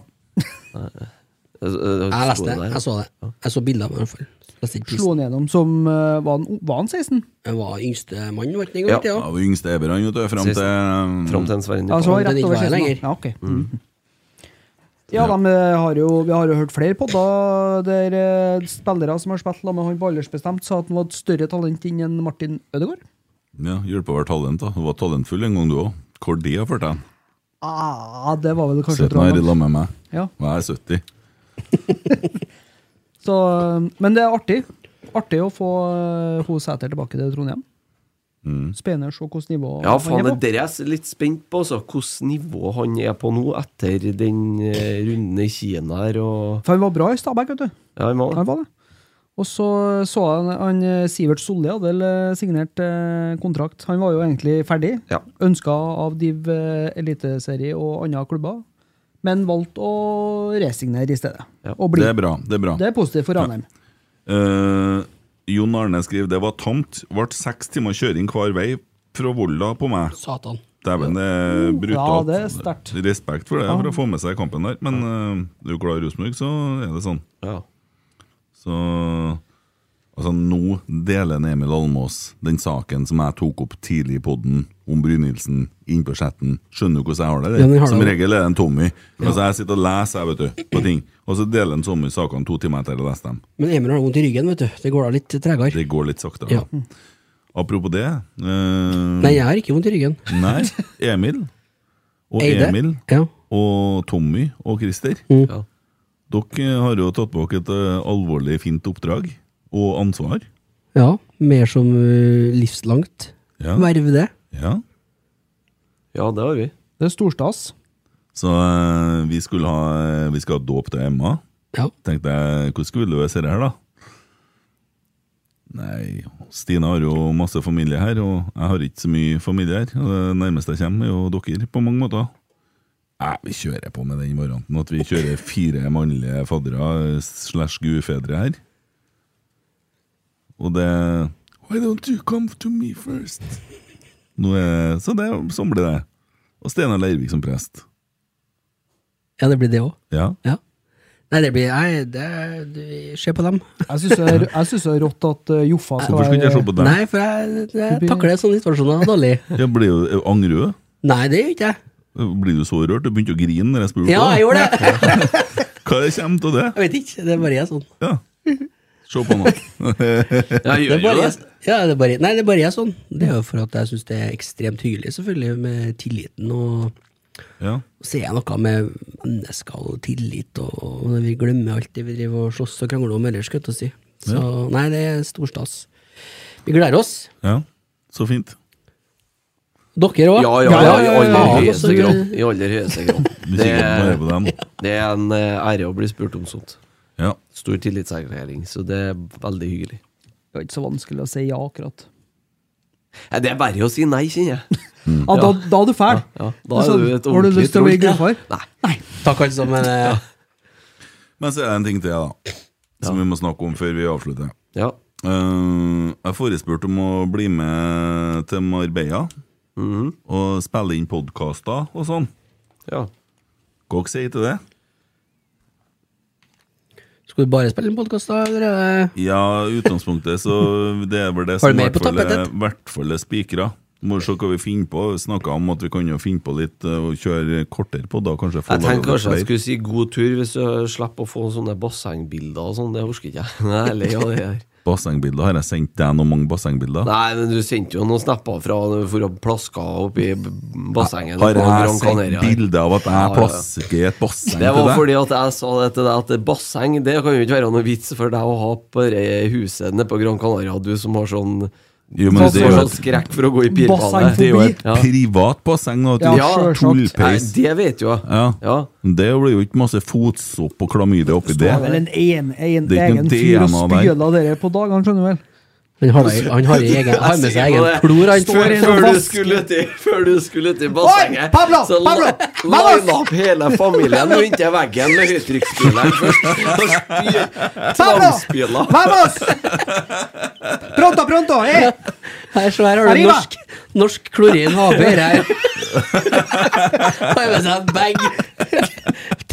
Jeg leste det. Jeg så det. Jeg så bilder av ham, i hvert fall. Leste ikke
Slo
prisen.
han gjennom som eh, Var han, var han 16?
Jeg var yngste mann, var ikke det?
Ja.
Ja. Ja.
Jeg var yngste ever, han, vet du. Fram til eh,
Fram til en Sverre
Ja, så
Nypan.
var han
den
rett
ikke
over 16
var
da.
lenger.
Ja, ok. Mhm. Ja, de eh, har jo, vi har jo hørt flere podder der eh, spillere som har spilt sammen med han på aldersbestemt, sa at han var et større talent enn en Martin Ødegaard.
Ja, hjelp å være talent, da. Du var talentfull en gang, du òg. Hvor de har ført deg?
Ah, det var vel kanskje å
Sitter
dra
her i
langt.
lag med meg.
Ja.
Og jeg er 70.
Så, eh, Men det er artig. Artig å få eh, Ho Sæter tilbake til Trondheim.
Mm.
Spennende å se hvilket nivå
Ja, faen,
han
det
er på.
der er jeg s- litt spent på, altså. Hvilket nivå han er på nå, etter den eh, runden i Kina her og
For han var bra i Stabæk, vet du.
Ja, han var
Han
det.
var det. Og så så han, han eh, Sivert Solli hadde vel eh, signert eh, kontrakt. Han var jo egentlig ferdig.
Ja.
Ønska av Div eh, Eliteserie og andre klubber. Men valgte å resignere i stedet.
Ja.
Og bli.
Det er bra. Det er bra.
Det er positivt for Ranheim.
Eh, Jon Arne skriver det var tamt. Ble seks timer kjøring hver vei fra Volda på meg.
Satan.
Dæven, det er brutalt.
Ja, det er sterkt.
Respekt for det, for å få med seg kampen der. Men eh, er du glad i Rosenborg, så er det sånn.
Ja.
Så Altså, nå deler en Emil Almås den saken som jeg tok opp tidlig i poden om Brynildsen inn på chatten. Skjønner du hvordan jeg har det?
Ja, den
det?
har
som
det.
regel er det en Tommy. Altså, jeg sitter og leser jeg, vet du, på ting, og så deler en Tommy sakene to timer etter jeg har lest dem.
Men Emil har vondt i ryggen, vet du. Det går da litt tregere.
Det går litt saktere.
Ja.
da. Apropos det eh,
Nei, jeg har ikke vondt i ryggen.
nei, Emil og
Eide. Mm.
Emil
Ja.
og Tommy og Christer.
Ja.
Dere har jo tatt bak et eh, alvorlig fint oppdrag og ansvar.
ja. Mer som ø, livslangt.
Ja.
Verv det.
ja.
ja, det har vi.
Det er storstas.
Så eh, vi, skulle ha, vi skal ha dåp til Emma.
Ja.
Tenkte jeg, hvordan skulle du løse det her, da? Nei, Stina har jo masse familie her, og jeg har ikke så mye familie her. Og det nærmeste jeg kommer, er jo dere, på mange måter. Nei, vi kjører på med den varianten at vi kjører fire mannlige faddere eh, slash gudfedre her. Og det Why don't you come to me first? Nå er, så det, sånn blir det. Og Steinar Leirvik som prest.
ja, det blir det òg.
Ja.
Ja. Nei, det blir Nei, det, det- se på dem.
Jeg syns det, er- jeg synes det er rått at eh, Joffa skal
Hvorfor skulle ikke jeg se på deg?
Nei, for jeg, jeg takler sånne situasjoner dårlig.
Jeg ble jo eh, angrer du?
Nei, det gjør ikke jeg.
Blir du så rørt? Du begynte å grine når jeg spurte
Ja,
deg.
jeg gjorde det!
Hva er det kommer til det?
Jeg vet ikke. Det er bare jeg sånn.
Ja. Se på nå.
Ja,
Det
gjør
er
jo
bare
det.
jeg, ja, det er bare, nei, det er bare jeg sånn. Det er jo for at jeg syns det er ekstremt hyggelig, selvfølgelig, med tilliten. Og
Ja.
så er jeg noe med mennesker og tillit, og, og når vi glemmer alt det vi driver og slåss og krangler om ellers, skal jeg til å si. Så nei, det er storstas. Vi gleder oss.
ja. Så fint.
Dere òg.
Ja, ja, ja, i aller
Ja,
høyeste
altså,
grad. I aller høyeste grad.
Vi
Det,
kikker bare på dem.
det er en eh, ære å bli spurt om sånt.
Ja.
Stor tillitserklæring, så det er veldig hyggelig.
Det er ikke så vanskelig å si ja, akkurat.
Ja, det er verre å si nei, kjenner jeg.
Ja, da, da er du fæl.
Mm. Ja, da er
Altså,
du et
har du lyst til å bli
ordentlig troll.
gudfar?
Nei.
Takk, alle sammen. eh,
Men så er det en ting til, da. Som vi må snakke om før vi avslutter.
Ja.
Eh, jeg forespurte om å bli med til Marbella og spille inn podkaster og sånn.
ja.
Hva dere sier til det?
Skal du bare spille inn podkast, da? Eller er det
Ja, i utgangspunktet så det er vel det
Har du
som i
mer
hvert
på
fall er-
tapetet?
i hvert fall er spikra. Må se hva vi finner på. Vi snakket om at vi kan jo finne på litt eh, og kjøre kortere på, da kanskje få
Jeg
laget
tenker kanskje jeg
flere.
skulle si god tur, hvis du slipper å få sånne bassengbilder og sånn. Det orker ikke jeg. Jeg er lei av det her.
Bassengbilder. Har jeg sendt deg noen mange bassengbilder?
Nei, men du sendte jo noen snapper fra for å plaske oppi bassenget.
Har
på
jeg
Gran
sendt
Canaria her.
bilde av at
Ja, ja,
jeg
ja.
plasker i et basseng
Det
til
var
deg?
fordi at jeg sa det til deg at basseng det kan jo ikke være noe vits for deg å ha på det huset nede på Gran Canaria, du som har sånn
Jo, men det er jo
får sånn
et
skrekk for å gå i pirballe.
Basseng
det er jo et
Ja.
privat basseng, da. Det er
Ja,
jo
selvsagt.
Nei,
tullpeis.
det vet jo jeg.
Ja.
Ja.
Det blir jo ikke masse fotsopp og klamydia oppi det.
Det er vel en, en, en
Det er ikke
egen
noe
fyr og
DNA der.
spyler dere på dag, han skjønner vel?
Han har, han har, egen, har med seg egen klor, han.
Før,
i en
før, du
vask.
skulle til, før du skulle til bassenget,
Oi, Pablo,
så
Pablo,
la line opp hele familien og inntil veggen med høytrykksspyleren først. Og spy-
Pablo!
Slamspyla.
Vamos! Pronto, pronto! Eh.
Her, så her har du
Arriba!
norsk, norsk klorin HB her. Har med seg en bag.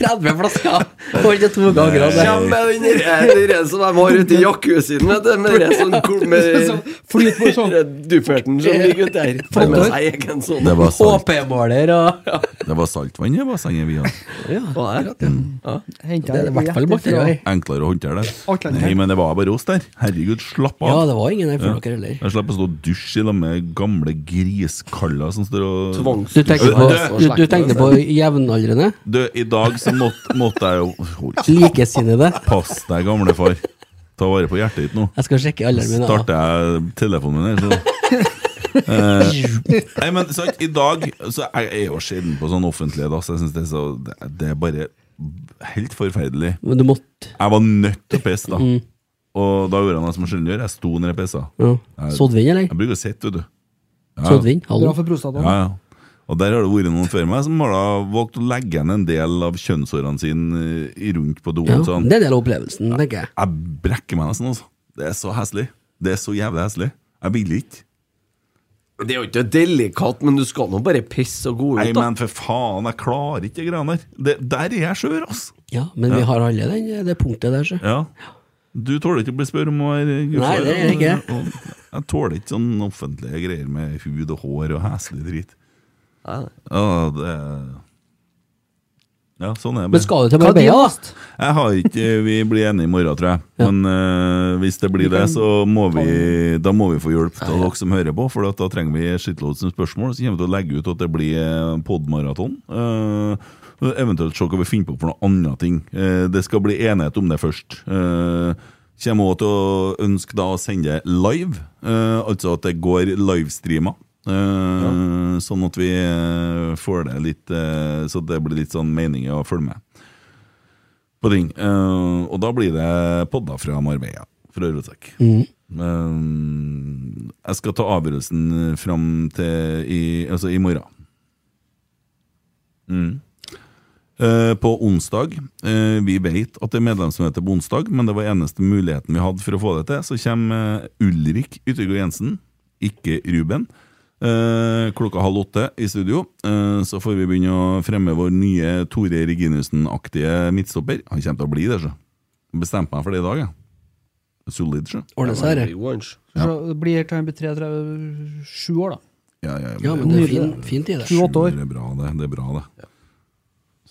30 flasker. Får ikke to ganger av det.
Kjem med den der- den der som de har ute i jacuzzien, vet du. Med den der sånn gul- med
Flyt på sånn.
den dufferten som ligger ute der. Får med seg egen sånn.
Det var, salt,
HP-måler og
det var saltvann i bassenget vi hadde.
Hva er det?
Henter
Det er i hvert fall borti der.
Enklere å håndtere det.
Outlander.
Nei, men det var bare oss der. Herregud, slapp
Ja,
av.
det var ingen der for
Ja.
dere heller.
Jeg slapp å stå og dusje i lag med gamle griskaller som står og
Du tenkte på, du, du tenkte på jevnaldrende?
Du, i dag så måtte, måtte jeg jo Hold
Likesinnede?
Pass deg, gamlefar. Ta vare på hjertet ditt nå.
Jeg skal sjekke alderen min. da.
Starter jeg telefonen min her, så eh, Nei, men sant, i dag Så jeg er jo sjelden på sånn offentlige dass. Jeg synes det, er så, det, det er bare helt forferdelig.
Men du måtte
Jeg var nødt til å pisse, da. Og da gjorde jeg noe som jeg sjelden gjør. Jeg sto ned og pissa.
ja. Sodvin, eller?
Jeg bruker å sitte, vet du.
Sodvin?
Bra
Hallo?
for prostataen.
Ja, ja. Og der har det vært noen før meg som har da valgt å legge igjen en del av kjønnshårene sine eh, i rundt på
Ja,
doen. Sånn.
det er en del av opplevelsen, tenker jeg.
Jeg brekker meg nesten, altså. Det er så heslig. Det er så jævlig heslig. Jeg vil ikke.
Det er jo ikke delikat, men du skal nå bare pisse og gå
Nei,
ut, da.
men for faen, jeg klarer ikke de greiene der. Det, der er jeg skjør, altså.
Ja, men vi har alle den, det punktet der, så.
Ja. Du tåler ikke å bli spurt om å være
Nei, det gjør jeg ikke.
Og, jeg tåler ikke sånn offentlige greier med hud og hår og heslig drit. Ja, det Ja, sånn er det.
Men skal du til Marbella, da?
Jeg har ikke, Vi blir enige i morgen, tror jeg. Men eh, hvis det blir det, så må vi, da må vi få hjelp av dere som hører på. For at da trenger vi shitloads med spørsmål. Så kommer vi til å legge ut at det blir eh, podmaraton. Uh, eventuelt se hva vi finner på for noen andre ting. Eh, det skal bli enighet om det først. Uh, kommer også til å ønske da å sende live, eh, altså at det går livestreamer. Eh, Sånn at vi eh, får det litt eh, Så det blir litt sånn mening i å følge med på ting. Eh, og da blir det podda fra Marbella, fra Rødsekk. Eh, jeg skal ta avgjørelsen fram til i, altså i morgen. Mm. Eh, på onsdag eh, Vi vet at det er medlemsmøte på onsdag, men det var eneste muligheten vi hadde for å få det til. Så kommer eh, Ulrik Yttergård Jensen, ikke Ruben. eh, klokka halv åtte i studio. Eh, så får vi begynne å fremme vår nye Tore Reginussen-aktige midtstopper. Han kommer til å bli det, så. Bestemte meg for det i dag, jeg. Solid, så.
Ordne seg, dette.
Jo, Ernst.
Så det Blir til han blir 37 år, da.
Ja, ja,
Ja, men det er fin, fint i det.
Sju, åtte år.
Det er bra, det. det, er bra, det.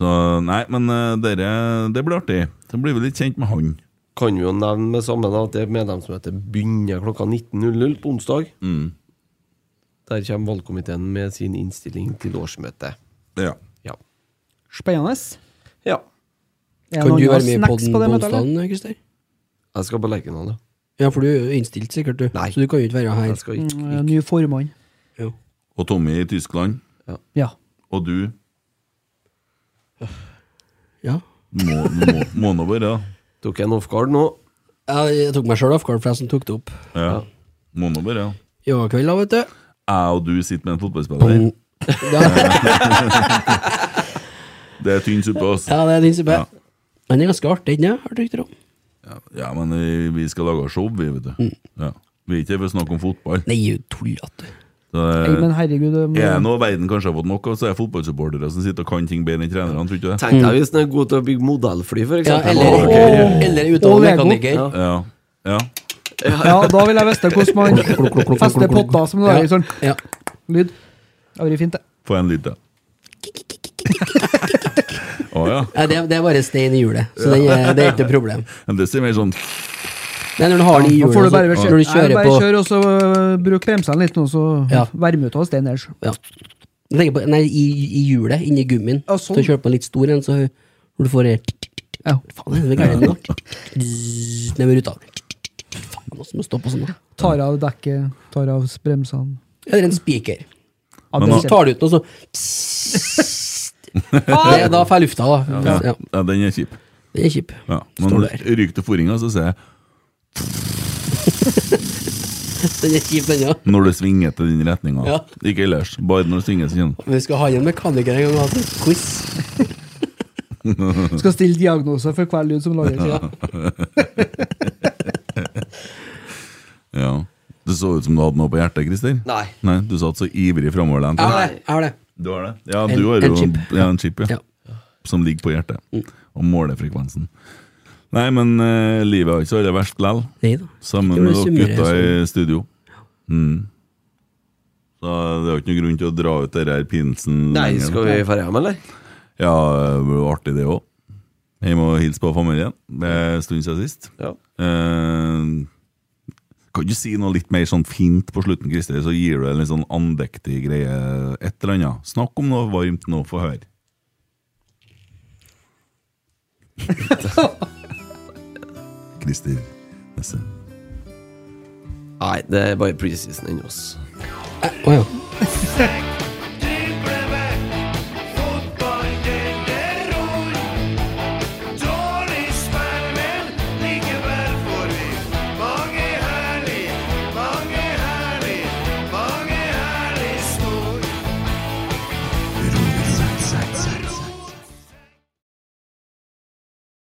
Så nei, men eh, dere, det blir artig. Så blir vi litt kjent med han.
Kan vi jo nevne med sammen at det medlemsmøtet begynner klokka 19.00 på onsdag. Der kommer valgkomiteen med sin innstilling til årsmøtet.
Ja.
Ja.
Spennende.
ja.
Er
Kan
noen
du
andre
være med i
snacks på
podden på
det møtet, eller?
onsdagen, Christer?
Jeg skal på Lerkendal, ja.
Ja, for du er jo innstilt sikkert, du.
Nei.
Så du kan jo ikke være her.
Jeg skal ikke,
Mm, ja,
ikke.
Ny formann.
Jo.
Og Tommy i Tyskland.
Ja.
Og du
Ja.
må, må, må nå være da.
Tok jeg en off-guard nå?
Jeg, jeg tok meg sjøl off guard, for jeg som tok det opp.
Ja. Må nå være da.
I går kveld, da, vet du.
Jeg og du sitter med en fotballspiller.
Ja,
Det er tynn suppe, altså.
ja det er din suppe.
Ja.
Den er ganske artig, den, ja, har du rykter om.
Ja, men eh, vi skal lage show, vi, vet du. Ja. Vi er ikke her for å snakke om fotball.
Nei, du tullete.
Så,
Nei,
eh,
men herregud det må-
er det noe verden kanskje har fått nok av, så er det fotballsupportere som sitter og kan ting bedre enn trenerne, tror du ikke det?
Tenk deg hvis den er god til å bygge modellfly,
Mm.
for
Ja,
eksempel.
eller,
Å,
eller
Og
utdannet
Lego.
mekaniker.
Ja. ja.
Ja, da vil jeg vite hvordan man fester potter som det er i sånn
Ja.
lyd. Det hadde vært fint, det.
Få en lyd til. Å ja.
Nei, det, det er bare stein i hjulet, så den er, det er ikke noe problem.
Men det ser mer sånn
Nei, når du har den i
Da
hjulet,
får du
så-
bare beskjed.
når du
Nei,
kjører
bare
på
kjør, og så øh, bruk bremsene litt nå, så
Ja.
varme ut av steinen ellers.
Ja. Jeg tenker på, nei, i, i hjulet, inni gummien.
Ja, sånn.
Så kjører du på en litt stor en, så når du får det
Ja.
Faen, det er gærent nå. Ned med ruta. Faen, så må du stoppe og sånn. da.
Tar av dekket, tar av bremsene.
Eller en spiker.
Ja,
Men
det
da-
Så
ser-
tar du ut noe, så Det er Da får jeg lufta, da. Ja,
Ja, ja, den er kjip.
Det er kjip.
Ja.
Står
Men
der.
ryk til fôringa, så sier jeg
Den er kjip, den òg.
når du svinger til den retninga.
Ja.
Ikke ellers. Bare når du svinger, så kjenner du
Vi skal ha inn en mekaniker en gang altså. og ha en quiz.
Skal stille diagnoser for hver lyd som
Da.
lages. Ja.
Ja. Det så ut som du hadde noe på hjertet, Christer.
Nei.
Nei, du satt så ivrig framoverlent.
Jeg har det. Jeg har det.
Du har det? Ja,
En-
du har jo
en chip.
Ja, en chip, ja.
Ja. Mm.
Som ligger på hjertet. Og måler frekvensen. Nei, men eh, livet har ikke vært verst lell.
Nei da.
Sammen
Jo,
med
det
dere
summerer
gutta i studio. Mm. Så det er jo ikke noen grunn til å dra ut denne her pinsen
Nei, skal vi dra hjem, eller?
Ja, det blir jo artig det òg. Jeg må hilse på familien. Det er en stund siden sist.
Ja.
Eh, kan du si noe litt mer sånn fint på slutten, Christer? Så gir du en litt sånn andektig greie. Et eller annet. Snakk om noe varmt nå, få høre. Christer Nesse.
Nei, det er bare preseason ennå, ass.
Å ja.